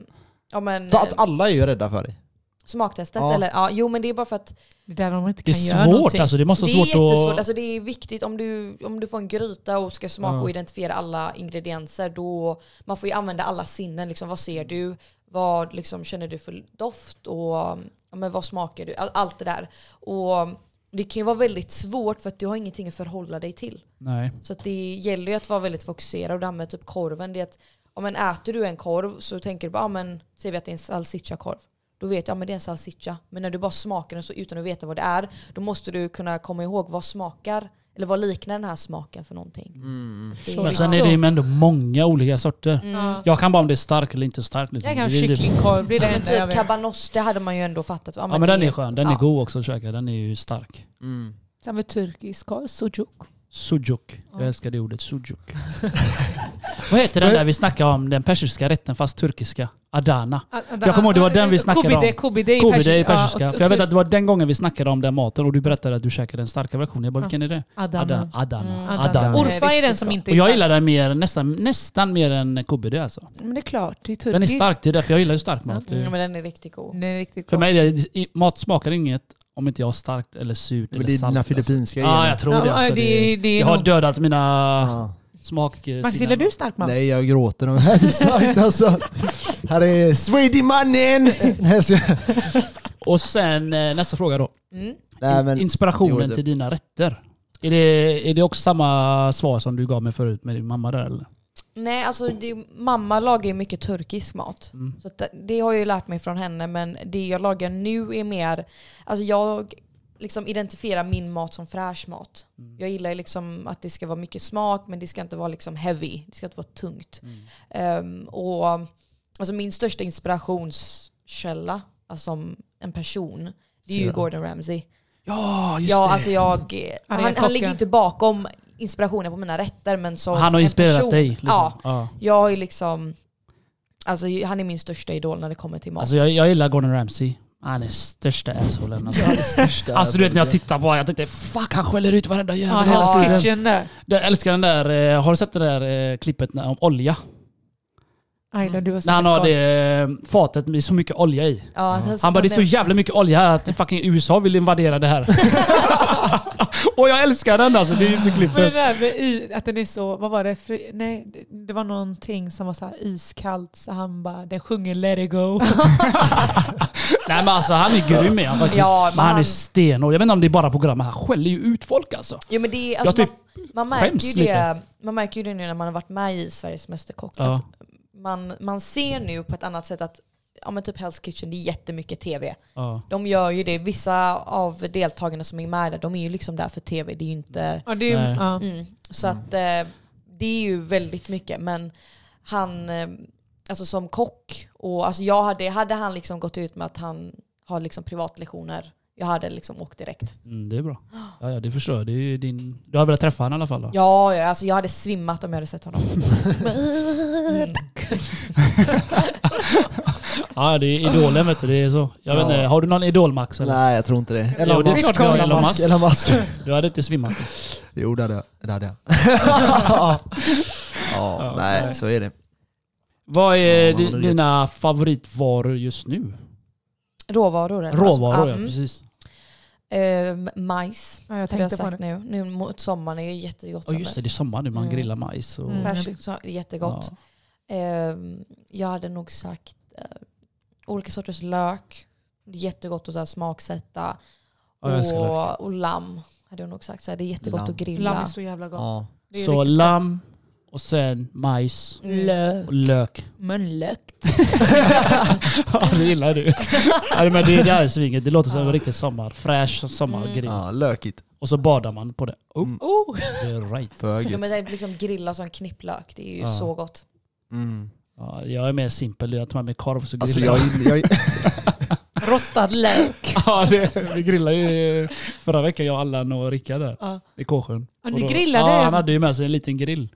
[SPEAKER 3] ja men,
[SPEAKER 1] För att
[SPEAKER 3] eh,
[SPEAKER 1] alla är ju rädda för dig.
[SPEAKER 3] smaktestet
[SPEAKER 1] Ja.
[SPEAKER 3] eller, ja jo men det är bara för att
[SPEAKER 4] Det där de inte
[SPEAKER 2] Det
[SPEAKER 4] kan göra
[SPEAKER 2] är svårt
[SPEAKER 4] någonting.
[SPEAKER 2] alltså. Det måste
[SPEAKER 3] det
[SPEAKER 2] vara
[SPEAKER 3] är
[SPEAKER 2] svårt
[SPEAKER 3] jättesvårt,
[SPEAKER 2] att...
[SPEAKER 3] alltså det är viktigt om du, om du får en gryta och ska smaka
[SPEAKER 2] Ja.
[SPEAKER 3] och identifiera alla ingredienser då, man får ju använda alla sinnen liksom, vad ser du, vad liksom, känner du för doft och ja, men vad smakar du, all, allt det där. Och det kan ju vara väldigt svårt för att du har ingenting att förhålla dig till.
[SPEAKER 2] Nej.
[SPEAKER 3] Så att det gäller ju att vara väldigt fokuserad. Och det här med typ korven, det är att om man äter du en korv så tänker du bara, ah, men säger vi att det är en salsicha-korv. Då vet du, ja men det är en salsicha. Men när du bara smakar den så utan att veta vad det är, då måste du kunna komma ihåg vad smakar, eller vad liknar den här smaken för någonting. Så att det liksom typ
[SPEAKER 2] Men
[SPEAKER 3] ja.
[SPEAKER 2] sen är det ju ändå många olika sorter.
[SPEAKER 4] Ja.
[SPEAKER 2] Jag kan bara om det är stark eller inte stark. Liksom.
[SPEAKER 4] Mm. Jag kan ha
[SPEAKER 2] Mm. Det är typ-
[SPEAKER 4] kycklingkorv, det är det
[SPEAKER 3] men
[SPEAKER 4] enda jag
[SPEAKER 3] typ
[SPEAKER 4] vet.
[SPEAKER 3] cabanos, det hade man ju ändå fattat.
[SPEAKER 2] Ja men den är skön. Den är
[SPEAKER 3] ja.
[SPEAKER 2] god också att käka. Den är ju stark.
[SPEAKER 1] Mm.
[SPEAKER 4] Sen var det turkisk korv, sujuk.
[SPEAKER 2] Sujuk. Jag älskar det ordet. Sujuk. Vad heter den där vi snackade om? Den persiska rätten fast turkiska. Adana. Jag kommer ihåg det var den vi snackade om.
[SPEAKER 4] Kobide i
[SPEAKER 2] KBD i
[SPEAKER 4] persi-
[SPEAKER 2] persiska.
[SPEAKER 4] ja, och- typ-
[SPEAKER 2] För jag vet att det var den gången vi snackade om den maten och du berättade att du käkade den starka versionen. Jag bara,
[SPEAKER 4] Ja.
[SPEAKER 2] vilken är det? Ada-
[SPEAKER 4] Adana.
[SPEAKER 2] Adana.
[SPEAKER 1] Mm,
[SPEAKER 2] Adana.
[SPEAKER 1] Adana.
[SPEAKER 2] Och
[SPEAKER 4] Orfa är den som inte är
[SPEAKER 2] jag
[SPEAKER 4] stark.
[SPEAKER 2] gillar den mer, nästan, nästan mer än KBD alltså.
[SPEAKER 4] Men det är klart, det är turkisk.
[SPEAKER 2] Den är stark, det är därför jag gillar ju stark mat. Det-
[SPEAKER 3] Mm, men den är riktigt god.
[SPEAKER 4] Den är riktigt
[SPEAKER 2] För
[SPEAKER 4] god.
[SPEAKER 2] mig, är det, i- mat smakar inget om inte jag har starkt eller surt
[SPEAKER 1] Men
[SPEAKER 2] eller
[SPEAKER 1] det är
[SPEAKER 2] salt.
[SPEAKER 1] dina
[SPEAKER 2] alltså.
[SPEAKER 1] filippinska
[SPEAKER 2] Ja,
[SPEAKER 1] gener.
[SPEAKER 2] jag tror det.
[SPEAKER 4] Ja,
[SPEAKER 2] Alltså.
[SPEAKER 4] det-
[SPEAKER 2] Det,
[SPEAKER 4] det är
[SPEAKER 2] jag har
[SPEAKER 4] nog-
[SPEAKER 2] dödat mina
[SPEAKER 1] Ja.
[SPEAKER 2] smak...
[SPEAKER 4] Max, gillar du stark mat?
[SPEAKER 1] Nej jag gråter om det här. Det är starkt alltså. Här är Swedimannen! Nej, jag skojar.
[SPEAKER 2] Och sen eh, nästa fråga då.
[SPEAKER 3] Mm.
[SPEAKER 1] Nej, men- Jo,
[SPEAKER 2] Inspirationen
[SPEAKER 1] det-
[SPEAKER 2] till dina rätter. Är det, är det också samma svar som du gav mig förut med din mamma där eller?
[SPEAKER 3] Nej, alltså det, mamma lagar ju mycket turkisk mat.
[SPEAKER 2] Mm.
[SPEAKER 3] Så att det, det har jag ju lärt mig från henne, men det jag lagar nu är mer... Alltså jag liksom identifierar min mat som fräsch mat.
[SPEAKER 2] Mm.
[SPEAKER 3] Jag gillar ju liksom att det ska vara mycket smak, men det ska inte vara liksom heavy. Det ska inte vara tungt.
[SPEAKER 2] Mm.
[SPEAKER 3] Ehm, och alltså min största inspirationskälla, alltså som en person, det är ju
[SPEAKER 2] Ser.
[SPEAKER 3] Gordon Ramsay.
[SPEAKER 2] Ja, just
[SPEAKER 3] Ja,
[SPEAKER 2] det.
[SPEAKER 3] alltså jag,
[SPEAKER 4] Han är
[SPEAKER 3] han, han
[SPEAKER 4] kocken.
[SPEAKER 3] ligger inte bakom inspirationen på mina rätter, men som
[SPEAKER 2] Han har
[SPEAKER 3] en
[SPEAKER 2] inspirerat
[SPEAKER 3] person-
[SPEAKER 2] dig. Liksom.
[SPEAKER 3] Ja,
[SPEAKER 2] Ja. Ja.
[SPEAKER 3] jag är liksom... Alltså han är min största idol när det kommer till mat.
[SPEAKER 2] Alltså, jag, jag gillar Gordon Ramsay. Han är största assholen. Alltså.
[SPEAKER 1] Ja, det största.
[SPEAKER 2] Alltså du vet när jag tittar på honom, jag tänkte fuck han skäller ut varenda
[SPEAKER 4] Ja,
[SPEAKER 2] jävel
[SPEAKER 4] typ.
[SPEAKER 3] hela
[SPEAKER 4] Hell's
[SPEAKER 2] hela tiden.
[SPEAKER 4] Kitchen där.
[SPEAKER 2] Jag älskar den där, eh, har du sett det där eh, klippet när- om olja?
[SPEAKER 4] Ayla, du har
[SPEAKER 2] När han
[SPEAKER 4] snackat
[SPEAKER 2] har det eh, fatet med så mycket olja i.
[SPEAKER 3] ja, han,
[SPEAKER 2] Han bara det är så jävla mycket olja här att fucking USA vill invadera det här. och jag älskar den alltså, det är just det
[SPEAKER 4] Men det
[SPEAKER 2] klippet.
[SPEAKER 4] där med i, att den är så, vad var det? Fri, nej, det- det var någonting som var så här iskallt så han bara, den sjunger let it go.
[SPEAKER 2] Nej men alltså han är grym är han faktiskt.
[SPEAKER 3] Ja,
[SPEAKER 2] men
[SPEAKER 3] men
[SPEAKER 2] han är
[SPEAKER 3] han-
[SPEAKER 2] stenhård. Jag vet inte om det är bara programmet, han skäller ju ut folk alltså.
[SPEAKER 3] Jo, men det är, alltså,
[SPEAKER 2] Jag
[SPEAKER 3] man, man,
[SPEAKER 2] skäms
[SPEAKER 3] märker ju det, man märker ju det nu när man har varit med i Sveriges Mästerkock.
[SPEAKER 2] Ja.
[SPEAKER 3] Att man, man ser nu på ett annat sätt att ja, men typ Hell's Kitchen, det är jättemycket tv.
[SPEAKER 2] Ja.
[SPEAKER 3] De gör ju det. Vissa av deltagarna som är med där, de är ju liksom där för tv. Det är ju inte...
[SPEAKER 4] Ja, det är,
[SPEAKER 2] Nej.
[SPEAKER 4] ja.
[SPEAKER 3] Mm. Så att eh, det är ju väldigt mycket. Men han, eh, alltså som kock, och alltså jag hade, hade han liksom gått ut med att han har liksom privatlektioner, jag hade liksom åkt direkt.
[SPEAKER 2] Mm, det är bra. Ja, ja det förstår jag. Det är ju din... Du har velat träffa honom i alla fall då?
[SPEAKER 3] Ja, ja alltså jag hade svimmat om jag hade sett honom. Mm.
[SPEAKER 2] Ja, det är idolen vet du. Det är så. Jag vet
[SPEAKER 1] Ja.
[SPEAKER 2] inte, har du någon idol Max? Eller?
[SPEAKER 1] Nej jag tror inte det.
[SPEAKER 2] Jo, det är klart vi har Elon Musk.
[SPEAKER 1] Elon Musk.
[SPEAKER 2] Du hade inte svimmat.
[SPEAKER 1] Jo det hade jag. Det hade jag. ja, nej så är det.
[SPEAKER 2] Vad är
[SPEAKER 1] Ja, man
[SPEAKER 2] di-
[SPEAKER 1] hade gett-
[SPEAKER 2] dina favoritvaror just nu?
[SPEAKER 3] Råvaror
[SPEAKER 4] Alltså,
[SPEAKER 3] eller?
[SPEAKER 2] Råvaror ja,
[SPEAKER 3] mm.
[SPEAKER 2] precis.
[SPEAKER 3] Eh, majs.
[SPEAKER 4] Ja, jag
[SPEAKER 3] Det har jag
[SPEAKER 4] tänkte på
[SPEAKER 3] sagt
[SPEAKER 4] det.
[SPEAKER 3] nu. Nu mot sommaren är det jättegott.
[SPEAKER 2] Ja just det, det är sommar nu. Man
[SPEAKER 3] Mm.
[SPEAKER 2] grillar majs. Och,
[SPEAKER 4] Mm.
[SPEAKER 3] Färskt, så- jättegott.
[SPEAKER 2] Ja.
[SPEAKER 3] Eh, jag hade nog sagt eh, olika sorters lök. Det är jättegott att så här smaksätta.
[SPEAKER 2] Ja, jag älskar lök.
[SPEAKER 3] och, och lamm hade jag nog sagt. Så här, det är jättegott
[SPEAKER 1] Lamm.
[SPEAKER 3] att grilla.
[SPEAKER 4] Lamm är så jävla gott.
[SPEAKER 1] Ja.
[SPEAKER 4] Det är
[SPEAKER 2] Så
[SPEAKER 4] riktigt
[SPEAKER 2] lamm och sen majs
[SPEAKER 4] gott. Lök.
[SPEAKER 2] och lök.
[SPEAKER 4] Men lök.
[SPEAKER 2] ja det gillar du. ja, men det, det här är svinget. Det låter som en
[SPEAKER 4] Ja.
[SPEAKER 2] riktig sommar. Fräsch sommargrill.
[SPEAKER 4] Mm.
[SPEAKER 1] Ja, lökigt.
[SPEAKER 2] Och så badar man på det. Oh,
[SPEAKER 1] Mm.
[SPEAKER 4] Oh.
[SPEAKER 2] det är right.
[SPEAKER 1] För
[SPEAKER 3] Ja,
[SPEAKER 1] gött.
[SPEAKER 3] men så här, liksom grilla som knipplök, det är ju
[SPEAKER 2] Ja.
[SPEAKER 3] så gott.
[SPEAKER 1] Mm.
[SPEAKER 2] Ja, jag är mer simpel. Jag tar med mig korv och så
[SPEAKER 1] Alltså
[SPEAKER 2] grillar
[SPEAKER 1] jag, jag,
[SPEAKER 4] Rostad lök.
[SPEAKER 2] Ja, det, vi grillade ju förra veckan, jag, Allan och Rickard där
[SPEAKER 4] Ja.
[SPEAKER 2] i Kåsjön.
[SPEAKER 4] Ja,
[SPEAKER 2] Och
[SPEAKER 4] ni
[SPEAKER 2] då-
[SPEAKER 4] grillade?
[SPEAKER 2] Ja, han hade ju med sig en liten grill.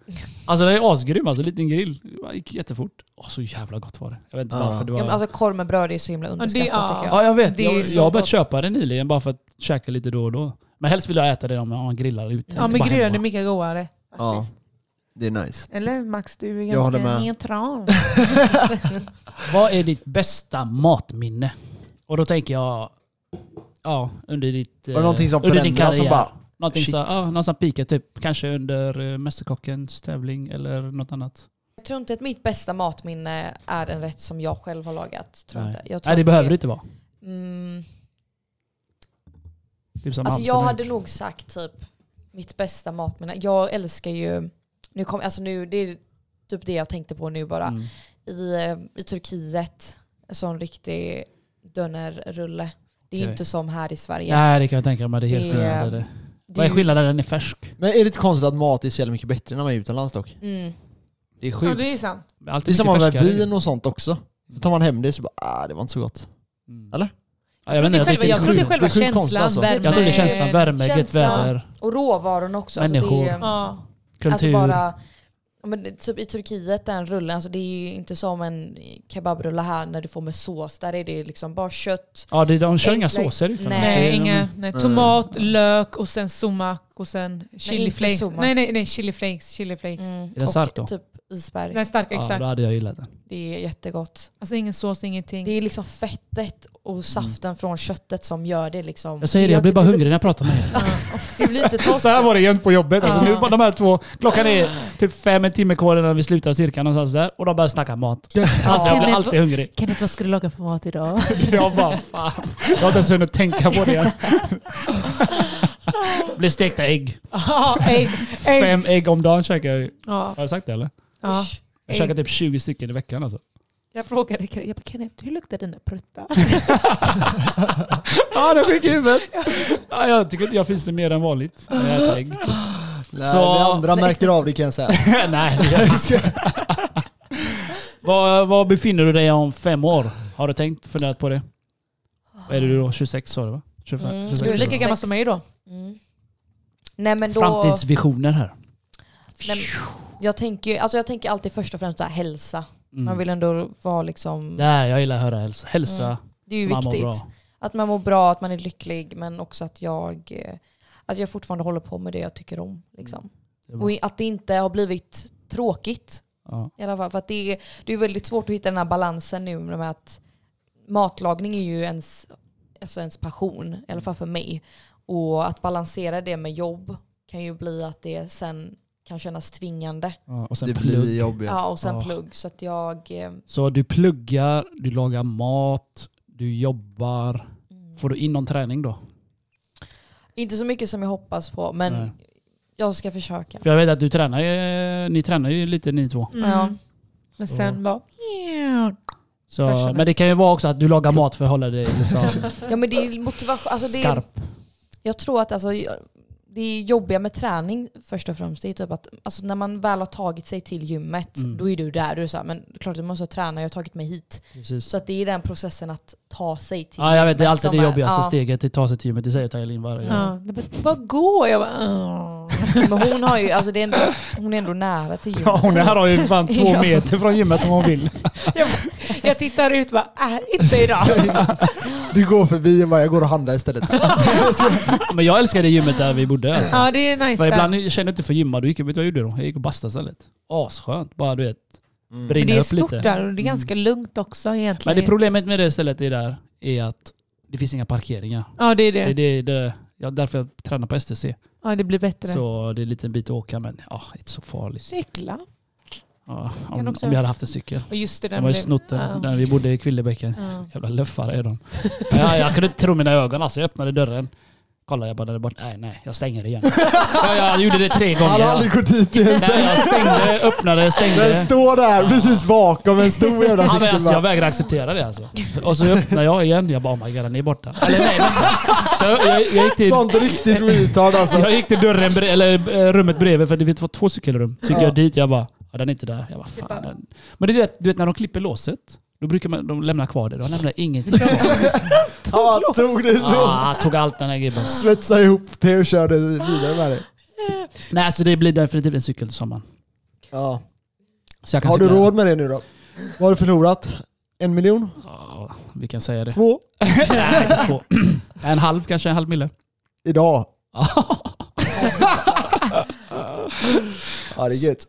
[SPEAKER 2] Alltså den är asgrym, alltså en liten grill. Det gick jättefort. Åh, så jävla gott var det. Jag vet inte
[SPEAKER 1] Ja.
[SPEAKER 2] varför det
[SPEAKER 3] Ja,
[SPEAKER 2] var...
[SPEAKER 3] men alltså korv med bröd är så himla underskattat
[SPEAKER 4] ja.
[SPEAKER 3] tycker jag.
[SPEAKER 2] ja, jag vet.
[SPEAKER 4] det
[SPEAKER 2] Jag,
[SPEAKER 4] är så
[SPEAKER 2] jag har börjat
[SPEAKER 4] gott.
[SPEAKER 2] köpa det nyligen bara för att käka lite då och då. Men helst vill jag äta det om man grillar ute.
[SPEAKER 4] ja,
[SPEAKER 2] inte bara
[SPEAKER 4] men grillade är
[SPEAKER 2] hemma.
[SPEAKER 4] mycket godare.
[SPEAKER 1] ja,
[SPEAKER 4] faktiskt.
[SPEAKER 1] det är nice.
[SPEAKER 4] Eller Max, du är
[SPEAKER 1] Jag håller
[SPEAKER 4] ganska
[SPEAKER 1] med.
[SPEAKER 4] neutral.
[SPEAKER 2] Vad är ditt bästa matminne? Och då tänker jag... Ja, under ditt...
[SPEAKER 5] eh,
[SPEAKER 1] Var det någonting som förändrades som bara...
[SPEAKER 2] Någonting
[SPEAKER 1] Shit.
[SPEAKER 2] så, ja, någon som pikar typ. Kanske under uh, Mästerkockens tävling eller något annat.
[SPEAKER 3] Jag tror inte att mitt bästa matminne är en rätt som jag själv har lagat. Tror jag
[SPEAKER 2] Nej.
[SPEAKER 3] inte. Jag tror
[SPEAKER 2] Nej det
[SPEAKER 3] att
[SPEAKER 2] behöver det inte vara.
[SPEAKER 3] Mm,
[SPEAKER 2] Typ som
[SPEAKER 3] alltså
[SPEAKER 2] Hamsun
[SPEAKER 3] jag
[SPEAKER 2] har
[SPEAKER 3] hade
[SPEAKER 2] gjort.
[SPEAKER 3] nog sagt typ mitt bästa matminne. Jag älskar ju, nu kom, alltså nu, det är typ det jag tänkte på nu bara.
[SPEAKER 2] Mm.
[SPEAKER 3] i, eh, i Turkiet, en sån riktig dönerrulle. Det är ju
[SPEAKER 2] Okej.
[SPEAKER 3] inte som här i Sverige.
[SPEAKER 2] Nej det kan jag tänka mig, det är helt
[SPEAKER 3] Det-
[SPEAKER 2] skillnad. Det.
[SPEAKER 3] Det
[SPEAKER 2] Vad är
[SPEAKER 3] ju-
[SPEAKER 2] skillnaden? Den är färsk.
[SPEAKER 1] Men är det inte konstigt att mat är så jävla mycket bättre när man är utomlands dock?
[SPEAKER 3] Mm.
[SPEAKER 1] Det är sjukt.
[SPEAKER 4] ja, det är sant.
[SPEAKER 2] Allt
[SPEAKER 1] Det är samma
[SPEAKER 2] mycket
[SPEAKER 1] med
[SPEAKER 2] färskare.
[SPEAKER 1] vin och sånt också. Så tar man hem det så bara, ah, det var inte så gott.
[SPEAKER 2] Mm.
[SPEAKER 1] Eller?
[SPEAKER 2] Ja, jag vet inte, jag
[SPEAKER 4] tror
[SPEAKER 2] tycker
[SPEAKER 4] det
[SPEAKER 2] det
[SPEAKER 4] är
[SPEAKER 2] är
[SPEAKER 4] själva, jag tror det är
[SPEAKER 2] sjukt.
[SPEAKER 1] sjukt.
[SPEAKER 4] själva
[SPEAKER 1] Det är sjuk konst,
[SPEAKER 4] känslan.
[SPEAKER 1] alltså.
[SPEAKER 4] värme.
[SPEAKER 2] Jag tror det är känslan, värme, gött
[SPEAKER 3] Känslan.
[SPEAKER 2] väder,
[SPEAKER 3] Och råvarorna också.
[SPEAKER 2] människor,
[SPEAKER 3] Alltså det är,
[SPEAKER 4] Ja.
[SPEAKER 2] kultur.
[SPEAKER 3] alltså bara Ja, Men det- typ i Turkiet den rullen, alltså det är ju inte som en kebabrulle här när du får med sås. Där är det liksom bara kött.
[SPEAKER 2] Ja, det, de kör inga
[SPEAKER 3] Enkla-
[SPEAKER 2] såser utan
[SPEAKER 3] Nej.
[SPEAKER 2] det
[SPEAKER 4] Nej,
[SPEAKER 2] är-
[SPEAKER 4] inga, nej, tomat, lök och sen sumak och sen chili
[SPEAKER 3] inte
[SPEAKER 4] flakes.
[SPEAKER 3] sumak.
[SPEAKER 4] Nej, nej, nej, chili flakes. Chili flakes.
[SPEAKER 3] Mm.
[SPEAKER 2] Är den stark då?
[SPEAKER 3] Och typ isberg.
[SPEAKER 4] Den starka,
[SPEAKER 2] Ja,
[SPEAKER 4] exakt.
[SPEAKER 2] då hade jag gillat den.
[SPEAKER 3] Det är jättegott.
[SPEAKER 4] Alltså ingen sås, ingenting.
[SPEAKER 3] Det är liksom fettet och saften från köttet som gör det liksom.
[SPEAKER 2] Mm. Jag säger det, jag blir bara hungrig när jag pratar med er.
[SPEAKER 3] Det blir inte torrt.
[SPEAKER 2] Så här var det jämt på jobbet. Alltså,
[SPEAKER 4] Ja.
[SPEAKER 2] nu bara de här två. Klockan är typ fem, en timme kvar innan vi slutar cirka någonstans där. Och de börjar snacka mat. Alltså jag blir alltid hungrig.
[SPEAKER 4] Kenneth, vad ska du laga för mat idag?
[SPEAKER 2] Jag bara fan. Jag har inte ens hunnit tänka på det. Det blir stekta ägg.
[SPEAKER 4] Ja, ägg. ägg.
[SPEAKER 2] Fem ägg om dagen käkar jag ju.
[SPEAKER 4] Ja,
[SPEAKER 2] Har jag sagt det eller?
[SPEAKER 4] ja.
[SPEAKER 3] Usch.
[SPEAKER 2] Jag
[SPEAKER 4] Ägg.
[SPEAKER 2] käkar typ 20 stycken i veckan alltså.
[SPEAKER 4] Jag frågade Kenneth, jag bara, Kenneth, hur luktar den där pruttan?
[SPEAKER 2] Ja, det är sjuk i huvudet. Ja, jag tycker inte jag fiser mer än vanligt när jag äter ägg.
[SPEAKER 5] Nej,
[SPEAKER 2] Så-
[SPEAKER 5] vi andra märker av det kan jag säga.
[SPEAKER 2] Nej, det gör jag inte. Var, var befinner du dig om fem år? Har du tänkt, funderat på det? Vad är du då? 26 sa du va? 25,
[SPEAKER 3] Mm,
[SPEAKER 4] Du är
[SPEAKER 2] 26,
[SPEAKER 4] lika gammal som mig då.
[SPEAKER 3] Mm. Nej men då,
[SPEAKER 2] Framtidsvisioner här.
[SPEAKER 3] Nej, jag, tänker, ju- alltså jag tänker alltid först och främst så här, hälsa.
[SPEAKER 2] Mm.
[SPEAKER 3] Man vill ändå vara liksom,
[SPEAKER 2] Där, jag gillar att höra hälsa. Hälsa.
[SPEAKER 3] Mm. det är ju
[SPEAKER 2] så man mår
[SPEAKER 3] viktigt.
[SPEAKER 2] bra.
[SPEAKER 3] Att man mår bra, att man är lycklig men också att jag, eh, att jag fortfarande håller på med det jag tycker om. Liksom.
[SPEAKER 2] Mm. Det är bra.
[SPEAKER 3] Och i- att det inte har blivit tråkigt.
[SPEAKER 2] Ja.
[SPEAKER 3] I alla fall. För att det, är, det är väldigt svårt att hitta den här balansen nu med att matlagning är ju ens, alltså ens passion, i alla fall för mig. Och att balansera det med jobb kan ju bli att det sen kan kännas tvingande.
[SPEAKER 2] Ja, och sen
[SPEAKER 1] Det
[SPEAKER 2] plugg.
[SPEAKER 1] blir jobbigt.
[SPEAKER 3] Ja, och sen
[SPEAKER 2] Ja.
[SPEAKER 3] plugg. Så att jag... eh,
[SPEAKER 2] Så du pluggar, du lagar mat, du jobbar.
[SPEAKER 3] Mm.
[SPEAKER 2] Får du in någon träning då?
[SPEAKER 3] Inte så mycket som jag hoppas på, men
[SPEAKER 2] Nej.
[SPEAKER 3] jag ska försöka.
[SPEAKER 2] För jag vet att du tränar, ju- ni tränar ju lite ni två.
[SPEAKER 4] Mm.
[SPEAKER 3] Ja.
[SPEAKER 4] Men sen bara...
[SPEAKER 2] Så,
[SPEAKER 4] Kanske.
[SPEAKER 2] men det kan ju vara också att du lagar mat för att hålla dig liksom
[SPEAKER 3] Ja men det är motivation. Alltså det är,
[SPEAKER 2] skarp.
[SPEAKER 3] jag tror att alltså, jag- det är jobbiga med träning först och främst. Det är typ att alltså, när man väl har tagit sig till gymmet,
[SPEAKER 2] Mm.
[SPEAKER 3] då är du där. Du är så här, men klart du måste träna, jag har tagit mig hit.
[SPEAKER 2] Precis.
[SPEAKER 3] Så att det är den processen att ta sig till.
[SPEAKER 2] Ja, jag vet, det är alltid
[SPEAKER 3] som
[SPEAKER 2] det
[SPEAKER 3] är-
[SPEAKER 2] jobbigaste
[SPEAKER 3] ja.
[SPEAKER 2] steget, det tar sig till gymmet. Det säger Tajalin varje gång.
[SPEAKER 4] Ja. det bara- Bara gå. Jag bara... "Åh."
[SPEAKER 3] Men hon, har ju, alltså, det är ändå, hon är ändå nära till gymmet.
[SPEAKER 2] Ja, hon här har ju fan två
[SPEAKER 3] Ja.
[SPEAKER 2] meter från gymmet om hon vill.
[SPEAKER 4] Jag tittar ut och bara, äh, inte idag.
[SPEAKER 5] Du går förbi och bara, jag går och handlar istället.
[SPEAKER 2] Men jag älskar det gymmet där vi bodde. Alltså.
[SPEAKER 4] Ja, det är nice.
[SPEAKER 2] För
[SPEAKER 4] där.
[SPEAKER 2] ibland känner jag inte för gymma, då gick jag, vet du vad jag gjorde då? Jag gick och bastade istället. Asskönt, bara du vet,
[SPEAKER 5] Mm.
[SPEAKER 4] Men
[SPEAKER 2] brinna
[SPEAKER 4] det är
[SPEAKER 2] upp
[SPEAKER 4] stort
[SPEAKER 2] lite. Mm.
[SPEAKER 4] där och det är ganska lugnt också
[SPEAKER 2] Men
[SPEAKER 4] egentligen.
[SPEAKER 2] det problemet med det stället är där, är att det finns inga parkeringar.
[SPEAKER 4] ja, det är
[SPEAKER 2] Det är det,
[SPEAKER 4] det.
[SPEAKER 2] det, ja, därför jag tränar på STC.
[SPEAKER 4] Ja, det blir bättre.
[SPEAKER 2] Så det är en liten bit att åka, men ja, inte så farligt.
[SPEAKER 4] Cykla.
[SPEAKER 2] Ja,
[SPEAKER 4] Kan
[SPEAKER 2] om,
[SPEAKER 4] också-
[SPEAKER 2] om vi hade haft en cykel.
[SPEAKER 4] Och just det,
[SPEAKER 2] De
[SPEAKER 4] den
[SPEAKER 2] har ju
[SPEAKER 4] blev-
[SPEAKER 2] snott den
[SPEAKER 4] Ja.
[SPEAKER 2] när vi bodde i Kvillebäcken.
[SPEAKER 4] Ja.
[SPEAKER 2] Jävla löffare är de. Ja, jag kunde inte tro mina ögon alltså. Jag öppnade dörren. Kolla jag bara där borta. Nej, nej. Jag stänger igen. Ja, jag gjorde det tre gånger.
[SPEAKER 5] Han har aldrig gått dit igen.
[SPEAKER 2] nej,
[SPEAKER 1] alltså,
[SPEAKER 2] jag stängde, öppnade,
[SPEAKER 5] Den
[SPEAKER 2] stängde.
[SPEAKER 5] står där precis bakom en stor jävla
[SPEAKER 2] Ja, men
[SPEAKER 5] cykel.
[SPEAKER 2] alltså, jag
[SPEAKER 5] bara.
[SPEAKER 2] vägrar acceptera det alltså. Och så öppnar jag igen. Jag bara oh my god, den är borta. Eller nej. men- Så jag, jag, jag gick till...
[SPEAKER 5] Sånt riktigt retard alltså.
[SPEAKER 2] Jag gick till dörren, bre- eller eh, rummet bredvid, för det var två cykelrum. Så gick
[SPEAKER 5] Ja.
[SPEAKER 2] jag dit, jag bara, ja, den är inte där. Jag bara, fan. Den. Men det är det, att, du vet när de klipper låset, då brukar man, de lämna kvar det. De lämnar ingenting kvar.
[SPEAKER 5] Han tog det så.
[SPEAKER 2] Ah, tog allt den här gibben.
[SPEAKER 5] Svetsade ihop det och körde vidare med det.
[SPEAKER 2] Nej, så det blir definitivt en cykel till sommaren.
[SPEAKER 5] Ja.
[SPEAKER 2] Så jag kan
[SPEAKER 5] Har du
[SPEAKER 2] cykla-
[SPEAKER 5] råd med det nu då? Vad har du förlorat? En miljon?
[SPEAKER 2] Ja, vi kan säga det.
[SPEAKER 5] Två?
[SPEAKER 2] Nej, inte två. en halv kanske, en halv mille.
[SPEAKER 5] Idag? ja det är gött.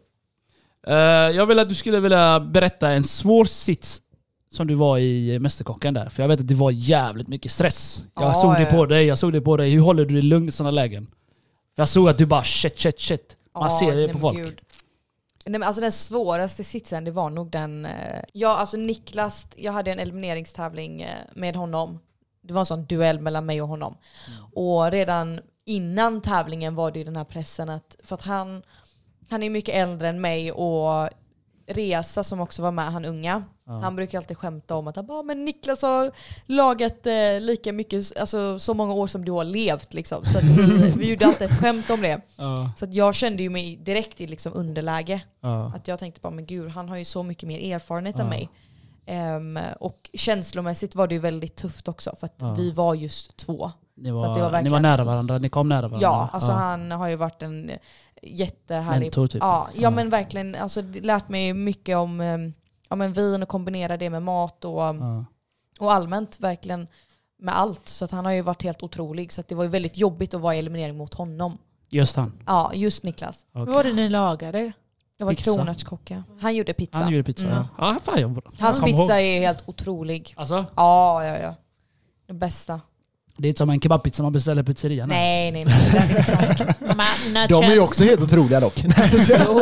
[SPEAKER 2] Eh, jag vill att du skulle vilja berätta en svår sits som du var i Mästerkocken där. För jag vet att det var jävligt mycket stress. Jag
[SPEAKER 3] Ja,
[SPEAKER 2] såg det
[SPEAKER 3] ja.
[SPEAKER 2] på dig, jag såg det på dig. Hur håller du dig lugn i sådana lägen? Jag såg att du bara shit, shit, shit. Man
[SPEAKER 3] Ja,
[SPEAKER 2] ser
[SPEAKER 3] nej,
[SPEAKER 2] det på
[SPEAKER 3] men
[SPEAKER 2] folk.
[SPEAKER 3] gud. Nej, men alltså den svåraste sitsen det var nog den... eh, Ja, alltså Niklas, jag hade en elimineringstävling eh, med honom. Det var en sån duell mellan mig och honom.
[SPEAKER 2] Mm.
[SPEAKER 3] Och redan innan tävlingen var det ju den här pressen att... För att han, han är mycket äldre än mig och Reza som också var med, han unga, han brukar alltid skämta om att han bara, men Niklas har lagat eh, lika mycket, alltså så många år som du har levt liksom. Så att vi, vi gjorde alltid ett skämt om det.
[SPEAKER 2] Ja,
[SPEAKER 3] Så att jag kände ju mig direkt i liksom underläge.
[SPEAKER 2] ja.
[SPEAKER 3] Att jag tänkte bara, men gud han har ju så mycket mer erfarenhet
[SPEAKER 2] Ja.
[SPEAKER 3] än mig. Ehm, och känslomässigt var det ju väldigt tufft också för att
[SPEAKER 2] Ja.
[SPEAKER 3] vi var just två.
[SPEAKER 2] Ni
[SPEAKER 3] Så
[SPEAKER 2] var,
[SPEAKER 3] att det var
[SPEAKER 2] ni var
[SPEAKER 3] verkligen-
[SPEAKER 2] nära varandra, ni kom nära varandra.
[SPEAKER 3] Ja, alltså han har ju varit en jättehärlig...
[SPEAKER 2] Mentor typ.
[SPEAKER 3] Ja,
[SPEAKER 2] Ja.
[SPEAKER 3] ja men verkligen. Alltså, det lärt mig mycket om, eh, ja, men vin och kombinera det med mat och, ehm,
[SPEAKER 2] Ja.
[SPEAKER 3] och allmänt verkligen med allt. Så att han har ju varit helt otrolig. Så att det var ju väldigt jobbigt att vara i eliminering mot honom.
[SPEAKER 2] Just han.
[SPEAKER 3] Ja, just Niklas.
[SPEAKER 2] Okej.
[SPEAKER 4] Vad var det ni lagade?
[SPEAKER 3] Det var
[SPEAKER 2] Pizza.
[SPEAKER 3] kronärtskocka. Han gjorde pizza.
[SPEAKER 2] Han gjorde pizza.
[SPEAKER 3] Mm.
[SPEAKER 2] Ja. Ja, fan, jag,
[SPEAKER 3] Hans
[SPEAKER 2] kom
[SPEAKER 3] pizza
[SPEAKER 2] ihåg.
[SPEAKER 3] är helt otrolig.
[SPEAKER 2] Alltså,
[SPEAKER 3] Ja, ja, ja. Det bästa.
[SPEAKER 2] det är inte som en kebabpizza man beställer på pizzerian.
[SPEAKER 3] Nej, nej, nej. Det är liksom-
[SPEAKER 5] De är ju också helt otroliga dock.
[SPEAKER 3] Jo, jo.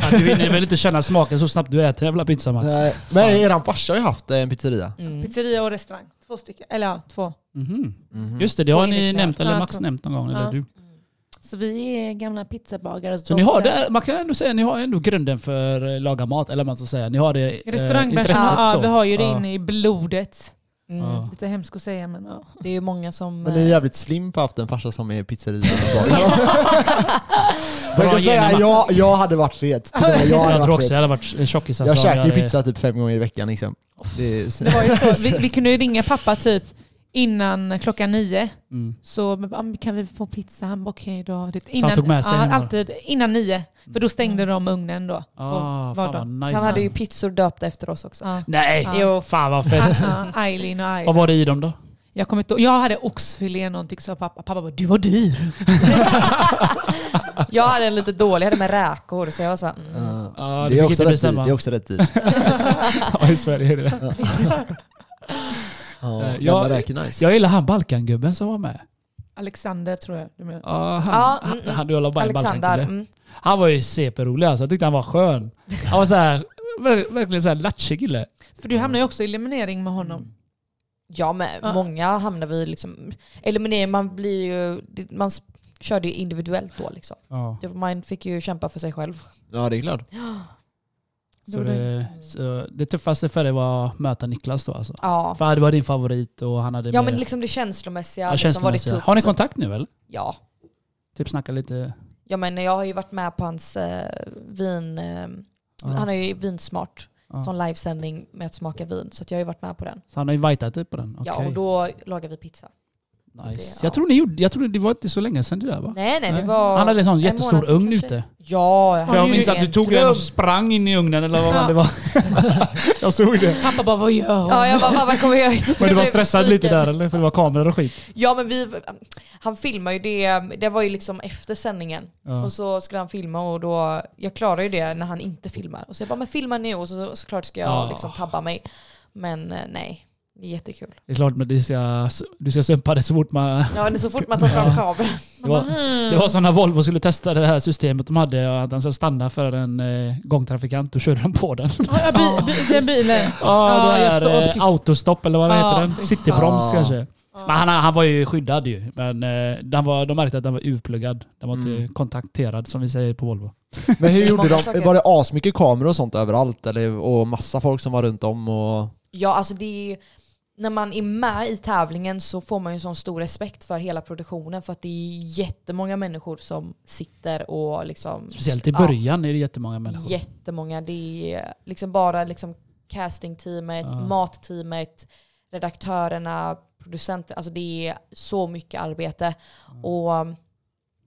[SPEAKER 2] Ja, du vill väl inte känna smaken så snabbt du äter jävla pizza Max?
[SPEAKER 5] Nej,
[SPEAKER 1] Men eran farsa har ju haft en pizzeria.
[SPEAKER 3] Mm.
[SPEAKER 4] Pizzeria och restaurang. Två stycken. Eller ja, två.
[SPEAKER 2] Mhm. Just det, det har
[SPEAKER 3] Två
[SPEAKER 2] ni
[SPEAKER 3] inriktningar.
[SPEAKER 2] nämnt, eller
[SPEAKER 4] Ja,
[SPEAKER 2] Max
[SPEAKER 4] två.
[SPEAKER 2] nämnt någon gång. Eller
[SPEAKER 4] Ja.
[SPEAKER 2] du.
[SPEAKER 4] Så vi är gamla pizzabagare.
[SPEAKER 2] Så ni har det, man kan ändå säga ni har ändå grunden för eh, laga mat, eller vad man ska säga. Ni har det eh,
[SPEAKER 4] Restaurangbranschen,
[SPEAKER 2] intresset
[SPEAKER 4] ja,
[SPEAKER 2] så.
[SPEAKER 4] vi har ju det
[SPEAKER 2] Ja.
[SPEAKER 4] inne i blodet.
[SPEAKER 3] Mm.
[SPEAKER 2] Ja.
[SPEAKER 4] Lite hemskt att säga men ja.
[SPEAKER 3] Det är ju många som...
[SPEAKER 1] Men det är jävligt slim för att ha haft en farsa som är pizzeria.
[SPEAKER 5] Jag
[SPEAKER 2] Bra
[SPEAKER 5] kan säga,
[SPEAKER 2] gener, Mats.
[SPEAKER 5] jag, jag hade varit fet. Till och med Jag, hade
[SPEAKER 2] Jag tror
[SPEAKER 5] varit
[SPEAKER 2] också jag
[SPEAKER 5] fet.
[SPEAKER 2] hade varit tjockis.
[SPEAKER 5] jag
[SPEAKER 2] alltså, om
[SPEAKER 5] käkar ju
[SPEAKER 2] hade-
[SPEAKER 5] pizza typ fem gånger i veckan liksom. Det är
[SPEAKER 4] Det var ju så. Vi, vi kunde ju ringa pappa typ innan klockan nio.
[SPEAKER 2] Mm.
[SPEAKER 4] Så men, ah, men kan vi få pizza? Han bara okej då. Det,
[SPEAKER 2] han tog med sig
[SPEAKER 4] ja,
[SPEAKER 2] hem då?
[SPEAKER 4] alltid innan nio. För då stängde de ugnen då.
[SPEAKER 2] Ah,
[SPEAKER 4] Och
[SPEAKER 2] fan
[SPEAKER 4] vardag.
[SPEAKER 2] vad nice.
[SPEAKER 3] eh, Han hade ju pizzor döpta efter oss också.
[SPEAKER 4] Ja.
[SPEAKER 2] Nej!
[SPEAKER 4] Ja.
[SPEAKER 2] Jo. Fan vad
[SPEAKER 4] Ah,
[SPEAKER 2] fett.
[SPEAKER 4] ah, Eileen och
[SPEAKER 2] Vad
[SPEAKER 4] Eileen.
[SPEAKER 2] var det i dem då?
[SPEAKER 4] Jag, kommer inte, ihåg- jag hade oxfilé någonting sa pappa. Pappa bara du var dyr.
[SPEAKER 3] Jag hade en lite dålig, jag hade med räkor så jag var såhär... Mm.
[SPEAKER 5] Ja.
[SPEAKER 2] Ah,
[SPEAKER 5] det, är också rätt dyrt. det är också rätt dyrt.
[SPEAKER 2] ja, i Sverige är det det.
[SPEAKER 5] Ja,
[SPEAKER 2] Jag-
[SPEAKER 5] jag, räcker nice.
[SPEAKER 2] Jag gillar han Balkangubben som var med.
[SPEAKER 4] Alexander tror jag du menar.
[SPEAKER 2] Ah, han,
[SPEAKER 3] Ja,
[SPEAKER 2] han,
[SPEAKER 3] mm, mm.
[SPEAKER 2] han, du håller bara en
[SPEAKER 3] Alexander.
[SPEAKER 2] Balkankubbe.
[SPEAKER 3] Mm.
[SPEAKER 2] Han var ju superrolig alltså. Jag tyckte han var skön. Han var så här, ver- verkligen såhär lattjig kille.
[SPEAKER 4] För du hamnade ju också i eliminering med honom.
[SPEAKER 3] Ja men
[SPEAKER 4] Ja.
[SPEAKER 3] många hamnar vi liksom... Eller men det, man blir ju... det- Man s- körde ju individuellt då liksom.
[SPEAKER 2] Ja.
[SPEAKER 3] Det- Man fick ju kämpa för sig själv.
[SPEAKER 1] ja det är klart.
[SPEAKER 2] Så det, så det tuffaste för dig var att möta Niklas då alltså.
[SPEAKER 3] Ja.
[SPEAKER 2] För det var din favorit och han hade
[SPEAKER 3] Ja
[SPEAKER 2] med-
[SPEAKER 3] men liksom det känslomässiga,
[SPEAKER 2] ja,
[SPEAKER 3] liksom var det
[SPEAKER 2] känslomässiga.
[SPEAKER 3] tufft.
[SPEAKER 2] Har ni kontakt nu eller?
[SPEAKER 3] Ja.
[SPEAKER 2] Typ snacka lite...
[SPEAKER 3] Ja men jag har ju varit med på hans eh, vin... Eh,
[SPEAKER 2] Ja.
[SPEAKER 3] Han har ju Vinsmart
[SPEAKER 2] Ja.
[SPEAKER 3] som livesändning med att smaka vin. Så att jag har ju varit med på den.
[SPEAKER 2] Så han har invitat dig på den?
[SPEAKER 3] Ja
[SPEAKER 2] Okej.
[SPEAKER 3] och då lagar vi pizza.
[SPEAKER 2] nice.
[SPEAKER 3] det- ja.
[SPEAKER 2] Jag tror ni gjorde... Jag tror det var inte så länge sedan det där va?
[SPEAKER 3] Nej nej det
[SPEAKER 2] Nej.
[SPEAKER 3] var...
[SPEAKER 2] Han hade en sån
[SPEAKER 3] en månad
[SPEAKER 2] jättestor
[SPEAKER 3] sedan
[SPEAKER 2] ugn
[SPEAKER 3] kanske.
[SPEAKER 2] ute.
[SPEAKER 3] Ja,
[SPEAKER 2] För jag minns att du tog den och sprang in i ugnen eller vad fan det var. jag såg det.
[SPEAKER 4] Pappa bara vad gör hon?
[SPEAKER 3] Ja, jag bara, vad kommer jag göra?
[SPEAKER 2] Men du
[SPEAKER 3] Jag
[SPEAKER 2] var
[SPEAKER 3] blev
[SPEAKER 2] stressad lite
[SPEAKER 3] besviken.
[SPEAKER 2] där eller? För det var kameror och skit.
[SPEAKER 3] Ja men vi, han filmade ju det, det var ju liksom efter sändningen.
[SPEAKER 2] Ja.
[SPEAKER 3] Och så skulle han filma och då, jag klarar ju det när han inte filmar. Och så jag bara, men filma nu och så, såklart ska jag
[SPEAKER 2] Ja.
[SPEAKER 3] liksom tabba mig. Men eh, nej, det är jättekul.
[SPEAKER 2] Det är klart men det ska, du ska sumpa det så fort man...
[SPEAKER 3] Ja men så fort man tar fram kameran.
[SPEAKER 2] Det var, det var så när Volvo skulle testa det här systemet de hade, att den ska stanna för en eh, gångtrafikant, och körde de på den.
[SPEAKER 4] Ja, bi, bi, den bilen.
[SPEAKER 2] Ja, det
[SPEAKER 4] Ja, just det.
[SPEAKER 2] är
[SPEAKER 4] Åh,
[SPEAKER 2] eh,
[SPEAKER 4] fy-
[SPEAKER 2] autostopp eller vad
[SPEAKER 4] Ja,
[SPEAKER 2] heter den?
[SPEAKER 4] Ah, fy fan. Ah.
[SPEAKER 2] Citybroms
[SPEAKER 5] Ja.
[SPEAKER 2] kanske. Men han, han var ju skyddad ju. Men eh, den var, de märkte att den var urpluggad. Den var
[SPEAKER 4] Mm.
[SPEAKER 2] inte kontakterad som vi säger på Volvo.
[SPEAKER 5] Men hur
[SPEAKER 3] Det är
[SPEAKER 5] gjorde
[SPEAKER 3] många
[SPEAKER 5] de?
[SPEAKER 3] saker.
[SPEAKER 5] Var det asmycket kameror och sånt överallt? Eller, och massa folk som var runt om? Och...
[SPEAKER 3] Ja alltså det är, när man är med i tävlingen så får man ju en sån stor respekt för hela produktionen för att det är jättemånga människor som sitter och liksom...
[SPEAKER 2] Speciellt i
[SPEAKER 3] Ja.
[SPEAKER 2] början är det jättemånga människor.
[SPEAKER 3] Jättemånga. Det är liksom bara liksom castingteamet,
[SPEAKER 2] Ja.
[SPEAKER 3] matteamet, redaktörerna, producenter. Alltså det är så mycket arbete. Och um,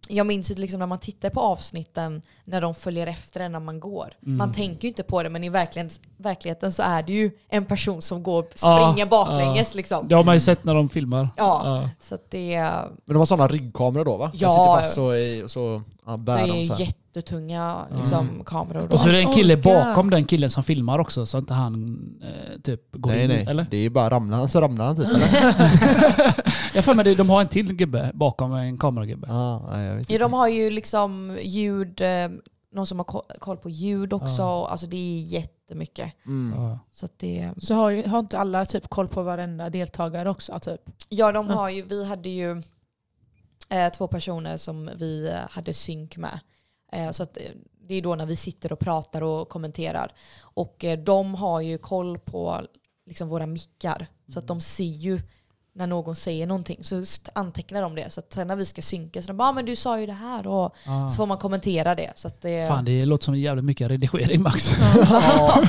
[SPEAKER 3] jag minns ju liksom när man tittar på avsnitten när de följer efter en när man går.
[SPEAKER 2] Mm.
[SPEAKER 3] Man tänker ju inte på det men i verkligen, verkligheten så är det ju en person som går springer
[SPEAKER 2] Ja,
[SPEAKER 3] baklänges liksom.
[SPEAKER 2] Det har man ju sett när de filmar.
[SPEAKER 3] Ja.
[SPEAKER 2] Ja.
[SPEAKER 3] Så att det, är-
[SPEAKER 5] Men de har sådana ryggkameror då va? De
[SPEAKER 3] Ja.
[SPEAKER 5] sitter fast så, i, och så ja,
[SPEAKER 3] det
[SPEAKER 5] bär de så
[SPEAKER 3] är
[SPEAKER 5] här.
[SPEAKER 3] jättetunga liksom, kameror.
[SPEAKER 2] Mm. Och så är det en kille
[SPEAKER 4] Orkar.
[SPEAKER 2] bakom den killen som filmar också så att inte han eh, typ går
[SPEAKER 5] Nej
[SPEAKER 2] in.
[SPEAKER 5] nej,
[SPEAKER 2] Eller?
[SPEAKER 5] det är bara ramlar han så ramlar han typ eller?
[SPEAKER 2] Jag för mig det, de har en till gubbe bakom en kameragubbe.
[SPEAKER 5] Ja, nej, jag vet
[SPEAKER 3] Ja,
[SPEAKER 5] inte.
[SPEAKER 3] de har ju liksom ljud, eh, någon som har ko- koll på ljud också.
[SPEAKER 2] Ja.
[SPEAKER 3] Alltså det är jättemycket.
[SPEAKER 5] Mm.
[SPEAKER 2] Ja.
[SPEAKER 3] Så att det,
[SPEAKER 4] Så har, ju- har inte alla typ koll på varenda deltagare också? Typ.
[SPEAKER 3] ja, de
[SPEAKER 4] Ja.
[SPEAKER 3] har ju, vi hade ju eh, två personer som vi eh, hade synk med. Eh, så att eh, det är då när vi sitter och pratar och kommenterar. Och eh, de har ju koll på liksom, våra mickar. Så att de ser ju när någon säger någonting. Så st- antecknar de det. Så att sen när vi ska synka så de bara ah, men du sa ju det här. Och
[SPEAKER 2] Ah.
[SPEAKER 3] så får man kommentera det. Så att det
[SPEAKER 2] Fan det låter som jävligt mycket redigering Max.
[SPEAKER 3] Ja.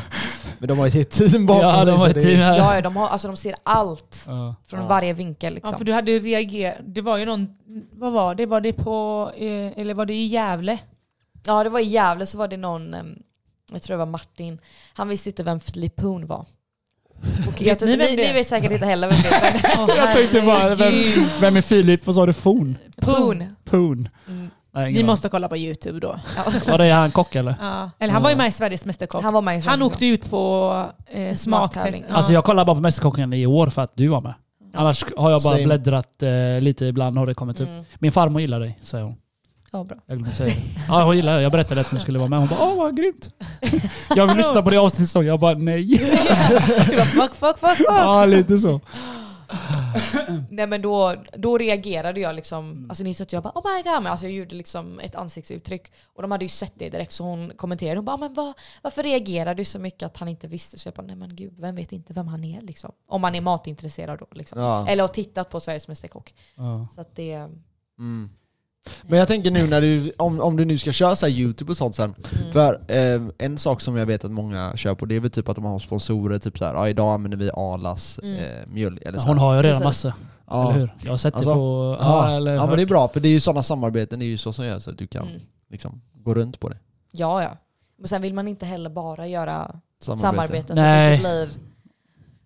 [SPEAKER 1] Men de har ju ett team bakom
[SPEAKER 2] Ja, de
[SPEAKER 1] sig,
[SPEAKER 2] har
[SPEAKER 1] så
[SPEAKER 2] ett
[SPEAKER 1] det är-
[SPEAKER 2] team här.
[SPEAKER 3] Ja, ja, de, har, alltså, de ser allt
[SPEAKER 2] Ja.
[SPEAKER 3] från varje vinkel. Liksom.
[SPEAKER 4] Eh. Ja, för du hade ju reagerat. Det var ju någon, vad var det? Var det på, eh, eller var det i Gävle?
[SPEAKER 3] Ja, det var i Gävle så var det någon, em, jag tror det var Martin, han visste inte vem Filip Hoon var. Och jag tror-
[SPEAKER 4] ni vem
[SPEAKER 3] ni,
[SPEAKER 4] det är?
[SPEAKER 3] ni vet säkert inte heller vem det är.
[SPEAKER 2] Jag tänkte bara, vem, vem är Filip? Vad sa du? Forn?
[SPEAKER 3] men Hoon.
[SPEAKER 2] Poon?
[SPEAKER 3] Mm.
[SPEAKER 2] Nej, ingen
[SPEAKER 4] Ni
[SPEAKER 2] aning.
[SPEAKER 4] måste kolla på YouTube då.
[SPEAKER 3] Ja.
[SPEAKER 2] Var det han kock eller?
[SPEAKER 4] Ja. Eller han var ju med i Sveriges Mästerkock.
[SPEAKER 3] Han var med i
[SPEAKER 4] Han
[SPEAKER 3] Svensson.
[SPEAKER 4] åkte ut på eh, smaktest.
[SPEAKER 3] Smaktävling.
[SPEAKER 4] Ja.
[SPEAKER 2] Alltså jag kollar bara på Mästerkocken i år för att du var med. Annars har jag bara
[SPEAKER 1] Same.
[SPEAKER 2] bläddrat eh, lite, ibland har det kommit upp.
[SPEAKER 4] Typ.
[SPEAKER 3] Mm.
[SPEAKER 2] Min farmor gillar dig, säger hon.
[SPEAKER 3] Ja, bra.
[SPEAKER 2] Jag glömde säga det. Ja, hon gillar det. Jag berättade att hon skulle vara med. Hon bara åh vad grymt. Jag vill lyssna på det avsnittet så. Jag bara nej.
[SPEAKER 4] Det var fuck, fuck, fuck, fuck.
[SPEAKER 2] Ja, lite så.
[SPEAKER 3] Nej men då, då reagerade jag
[SPEAKER 4] Mm.
[SPEAKER 3] liksom, alltså ni så att jag bara oh my god, men alltså jag gjorde liksom ett ansiktsuttryck och de hade ju sett det direkt så hon kommenterade, hon bara men vad, varför reagerar du så mycket att han inte visste? Så jag bara nej men gud, vem vet inte vem han är liksom? Om man är matintresserad då liksom.
[SPEAKER 1] Ja.
[SPEAKER 3] Eller har tittat på Sveriges Mästerkock.
[SPEAKER 2] Ja.
[SPEAKER 3] Så att det...
[SPEAKER 1] Mm. Men jag tänker nu när du, om, om du nu ska köra så här youtube och sånt
[SPEAKER 3] Mm.
[SPEAKER 1] sen. För eh, en sak som jag vet att många kör på det är väl typ att de har sponsorer, typ såhär ja idag använder vi Arlas
[SPEAKER 3] Mm.
[SPEAKER 1] eh, mjölk eller så här.
[SPEAKER 2] Hon har ju redan
[SPEAKER 3] Precis.
[SPEAKER 2] massa,
[SPEAKER 1] ja.
[SPEAKER 2] eller hur? Jag har sett
[SPEAKER 1] Alltså,
[SPEAKER 2] det på...
[SPEAKER 1] Ja,
[SPEAKER 2] Ja,
[SPEAKER 1] ja,
[SPEAKER 2] eller,
[SPEAKER 1] men det är bra för det är ju sådana samarbeten, det är ju så som gör så att du kan
[SPEAKER 3] Mm.
[SPEAKER 1] liksom gå runt på det.
[SPEAKER 3] Ja, ja. Men sen vill man inte heller bara göra
[SPEAKER 1] Samarbete.
[SPEAKER 3] samarbeten
[SPEAKER 2] Nej.
[SPEAKER 3] så att det inte blir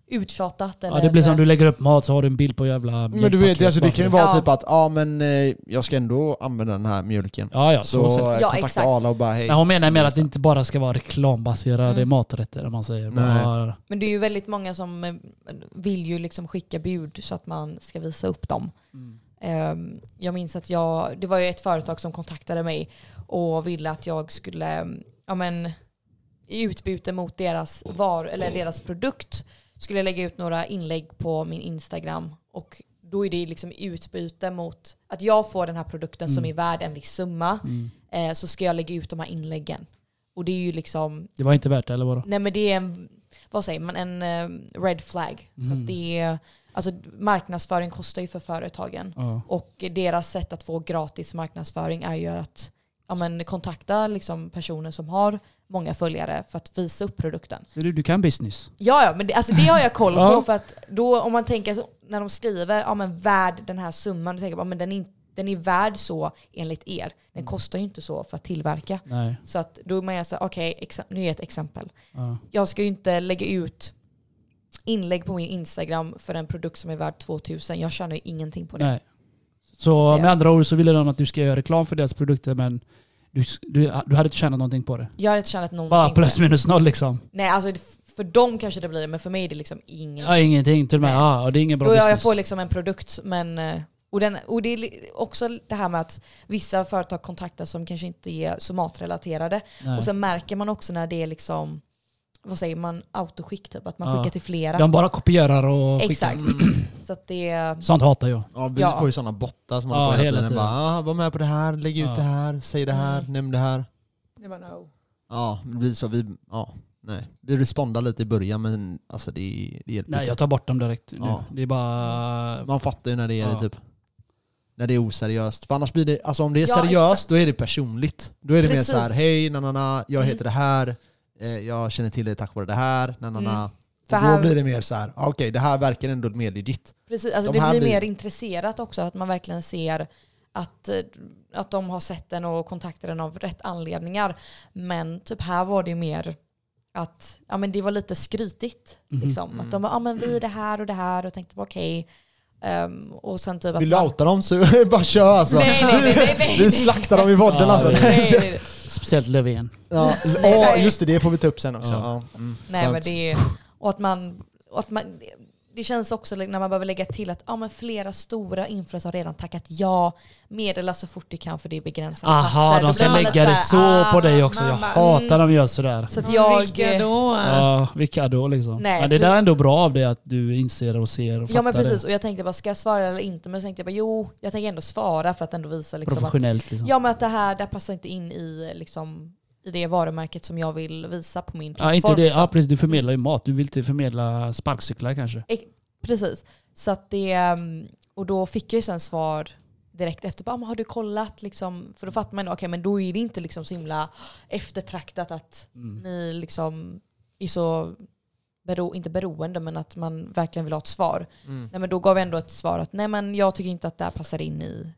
[SPEAKER 3] uttjatat. Eller
[SPEAKER 2] ja, det blir som du lägger upp mat så har du en bild på jävla...
[SPEAKER 1] Men du vet
[SPEAKER 2] mjölkpaket
[SPEAKER 1] ju, alltså, det
[SPEAKER 2] bara
[SPEAKER 1] kan ju
[SPEAKER 2] för
[SPEAKER 1] vara
[SPEAKER 3] Ja.
[SPEAKER 1] typ att ja men eh, jag ska ändå använda den här mjölken.
[SPEAKER 2] Ja, ja. Så,
[SPEAKER 1] så
[SPEAKER 2] sett.
[SPEAKER 1] eh,
[SPEAKER 3] Ja,
[SPEAKER 1] kontakta
[SPEAKER 3] exakt.
[SPEAKER 1] Arla och bara hej.
[SPEAKER 2] Men hon menar mer att det inte bara ska vara reklambaserade
[SPEAKER 3] Mm.
[SPEAKER 2] maträtter om man säger.
[SPEAKER 1] Nej.
[SPEAKER 2] Bara,
[SPEAKER 3] Men det är ju väldigt många som eh, vill ju liksom skicka bud så att man ska visa upp dem. Ehm, Jag minns att jag, det var ju ett företag som kontaktade mig och ville att jag skulle, mm, ja men i utbyte mot deras, var, eller deras produkt skulle jag lägga ut några inlägg på min Instagram och då är det liksom i utbyte mot att jag får den här produkten som är värd en viss summa
[SPEAKER 2] Mm.
[SPEAKER 3] eh, så ska jag lägga ut de här inläggen. Och det är ju liksom
[SPEAKER 2] det var inte värt det eller vadå?
[SPEAKER 3] Nej men det är en, vad säger man, en eh, red flag. För att det är, alltså, marknadsföring kostar ju för företagen.
[SPEAKER 2] Ja.
[SPEAKER 3] Och deras sätt att få gratis marknadsföring är ju att ja, men, kontakta liksom, personer som har många följare för att visa upp produkten.
[SPEAKER 2] Ser du, du kan business.
[SPEAKER 3] Ja, ja men det, alltså, det har jag koll på.
[SPEAKER 2] Ja.
[SPEAKER 3] För att då, om man tänker så, när de skriver ja, men, värd den här summan, då tänker man ja, men den, är, in- den är värd så enligt er. Den kostar ju inte så för att tillverka.
[SPEAKER 2] Nej.
[SPEAKER 3] Så att då är man ju såhär, okej, exa- nu är jag ett exempel
[SPEAKER 2] Ja.
[SPEAKER 3] jag ska ju inte lägga ut inlägg på min Instagram för en produkt som är värd 2000. Jag tjänar ju ingenting på det.
[SPEAKER 2] Nej. Så
[SPEAKER 3] Det-
[SPEAKER 2] med andra ord så ville de att du ska göra reklam för deras produkter men du, du, du hade inte tjänat någonting på det.
[SPEAKER 3] Jag har inte tjänat någonting
[SPEAKER 2] Bara
[SPEAKER 3] på
[SPEAKER 2] plus
[SPEAKER 3] det.
[SPEAKER 2] minus noll liksom.
[SPEAKER 3] Nej, alltså det- för dem kanske det blir det, men för mig är det liksom ingenting.
[SPEAKER 2] Ja, ingenting. Till och med,
[SPEAKER 3] Nej.
[SPEAKER 2] ja, det är ingen bra
[SPEAKER 3] Då jag, jag
[SPEAKER 2] business.
[SPEAKER 3] får liksom en produkt, men... eh, Och, den, och det är li- också det här med att vissa företag kontaktas som kanske inte är så matrelaterade.
[SPEAKER 2] Nej.
[SPEAKER 3] Och sen märker man också när det är liksom, vad säger man, autoskick typ. Att man
[SPEAKER 2] Ja.
[SPEAKER 3] skickar till flera.
[SPEAKER 2] De bara kopierar och skickar.
[SPEAKER 3] Exakt. Så att det är...
[SPEAKER 2] Sånt hatar jag.
[SPEAKER 1] Mm, Ja, vi
[SPEAKER 3] Ja.
[SPEAKER 1] får ju sådana bottar som
[SPEAKER 2] Ja,
[SPEAKER 1] håller på hela,
[SPEAKER 2] hela
[SPEAKER 1] tiden.
[SPEAKER 2] tiden.
[SPEAKER 1] Bara, ah, var med på det här, lägg ut
[SPEAKER 2] Ja.
[SPEAKER 1] det här, säg det här,
[SPEAKER 3] Mm.
[SPEAKER 1] nämn det här.
[SPEAKER 4] Det var no.
[SPEAKER 1] Ja, det blir så. Vi, ja, nej. vi respondar lite i början men alltså det, det hjälper
[SPEAKER 2] Nej,
[SPEAKER 1] inte.
[SPEAKER 2] jag tar bort dem direkt. nu.
[SPEAKER 1] Ja.
[SPEAKER 2] Det är bara...
[SPEAKER 1] Man fattar ju när det är
[SPEAKER 2] Ja.
[SPEAKER 1] det typ. När det är oseriöst. För annars blir det, alltså om det är
[SPEAKER 3] Ja,
[SPEAKER 1] seriöst
[SPEAKER 3] exakt.
[SPEAKER 1] då är det personligt. Då är det
[SPEAKER 3] Precis. Mm.
[SPEAKER 1] mer så här, hej, na, na, na, jag heter det här, eh, jag känner till dig tack vare det här, na, na, na.
[SPEAKER 3] Mm.
[SPEAKER 1] Och
[SPEAKER 3] För
[SPEAKER 1] då
[SPEAKER 3] här-
[SPEAKER 1] blir det mer så här, ah, okej det här verkar ändå mer legit.
[SPEAKER 3] Precis, alltså
[SPEAKER 1] De
[SPEAKER 3] det
[SPEAKER 1] här
[SPEAKER 3] blir
[SPEAKER 1] blir-
[SPEAKER 3] mer intresserat också att man verkligen ser att, eh, att de har sett den och kontaktat den av rätt anledningar. Men typ här var det ju mer att ja, men det var lite skrytigt.
[SPEAKER 2] Mhm.
[SPEAKER 3] Liksom. Att de bara, ja men vi är det här och det här och tänkte bara okej. Ehm, och sen typ att
[SPEAKER 1] Vill du
[SPEAKER 3] man-
[SPEAKER 1] outa dem så bara kör alltså.
[SPEAKER 3] Nej, nej, nej, nej, nej.
[SPEAKER 1] Vi slaktar dem i podden
[SPEAKER 2] Ja,
[SPEAKER 1] alltså.
[SPEAKER 2] det-
[SPEAKER 3] nej, nej, nej.
[SPEAKER 2] Speciellt Löfven.
[SPEAKER 1] Ja,
[SPEAKER 3] Nej.
[SPEAKER 1] åh, just det, det får vi ta upp sen också. Ja.
[SPEAKER 2] Ja.
[SPEAKER 1] Mm.
[SPEAKER 3] Nej, men
[SPEAKER 1] Skönt.
[SPEAKER 3] det är, och att man, och att man det, det känns också när man behöver lägga till att ja, men flera stora influencers har redan tackat ja. Meddela så fort du kan för det är begränsade
[SPEAKER 2] Aha,
[SPEAKER 3] Då
[SPEAKER 2] de ska
[SPEAKER 3] blir man lite
[SPEAKER 2] lägga det
[SPEAKER 3] så
[SPEAKER 2] så
[SPEAKER 3] här, ah, Mm.
[SPEAKER 2] på dig också. Jag
[SPEAKER 4] mamma,
[SPEAKER 2] hatar när de gör sådär.
[SPEAKER 4] Mm,
[SPEAKER 3] Så att jag...
[SPEAKER 4] Vilka då?
[SPEAKER 2] Ja, vilka då liksom?
[SPEAKER 3] Nej,
[SPEAKER 2] Men det
[SPEAKER 3] vi-
[SPEAKER 2] där är ändå bra av dig att du inser och ser och
[SPEAKER 3] Ja men
[SPEAKER 2] fattar
[SPEAKER 3] precis, och jag tänkte bara ska jag svara eller inte? Men så tänkte jag bara jo, jag tänker ändå svara för att ändå visa
[SPEAKER 2] det
[SPEAKER 3] liksom att,
[SPEAKER 2] professionellt. Liksom.
[SPEAKER 3] ja, men att det här det här passar inte in i, liksom, i det varumärket som jag vill visa på min
[SPEAKER 2] Ja,
[SPEAKER 3] plattform.
[SPEAKER 2] inte det.
[SPEAKER 3] liksom.
[SPEAKER 2] Ja, precis. Du förmedlar ju mat. Du vill inte förmedla sparkcyklar kanske.
[SPEAKER 3] Precis. Så att det, ehm, och då fick jag ju sen svar direkt efter. Bara, "Men har du kollat? Liksom, för då
[SPEAKER 2] Mm.
[SPEAKER 3] fattar man, okej men då är det inte liksom så himla eftertraktat att ni liksom är så, bero, inte beroende, men att man verkligen vill ha ett svar.
[SPEAKER 5] Mm.
[SPEAKER 3] Nej, men då gav jag ändå ett svar att nej men jag tycker inte att det här passar in i,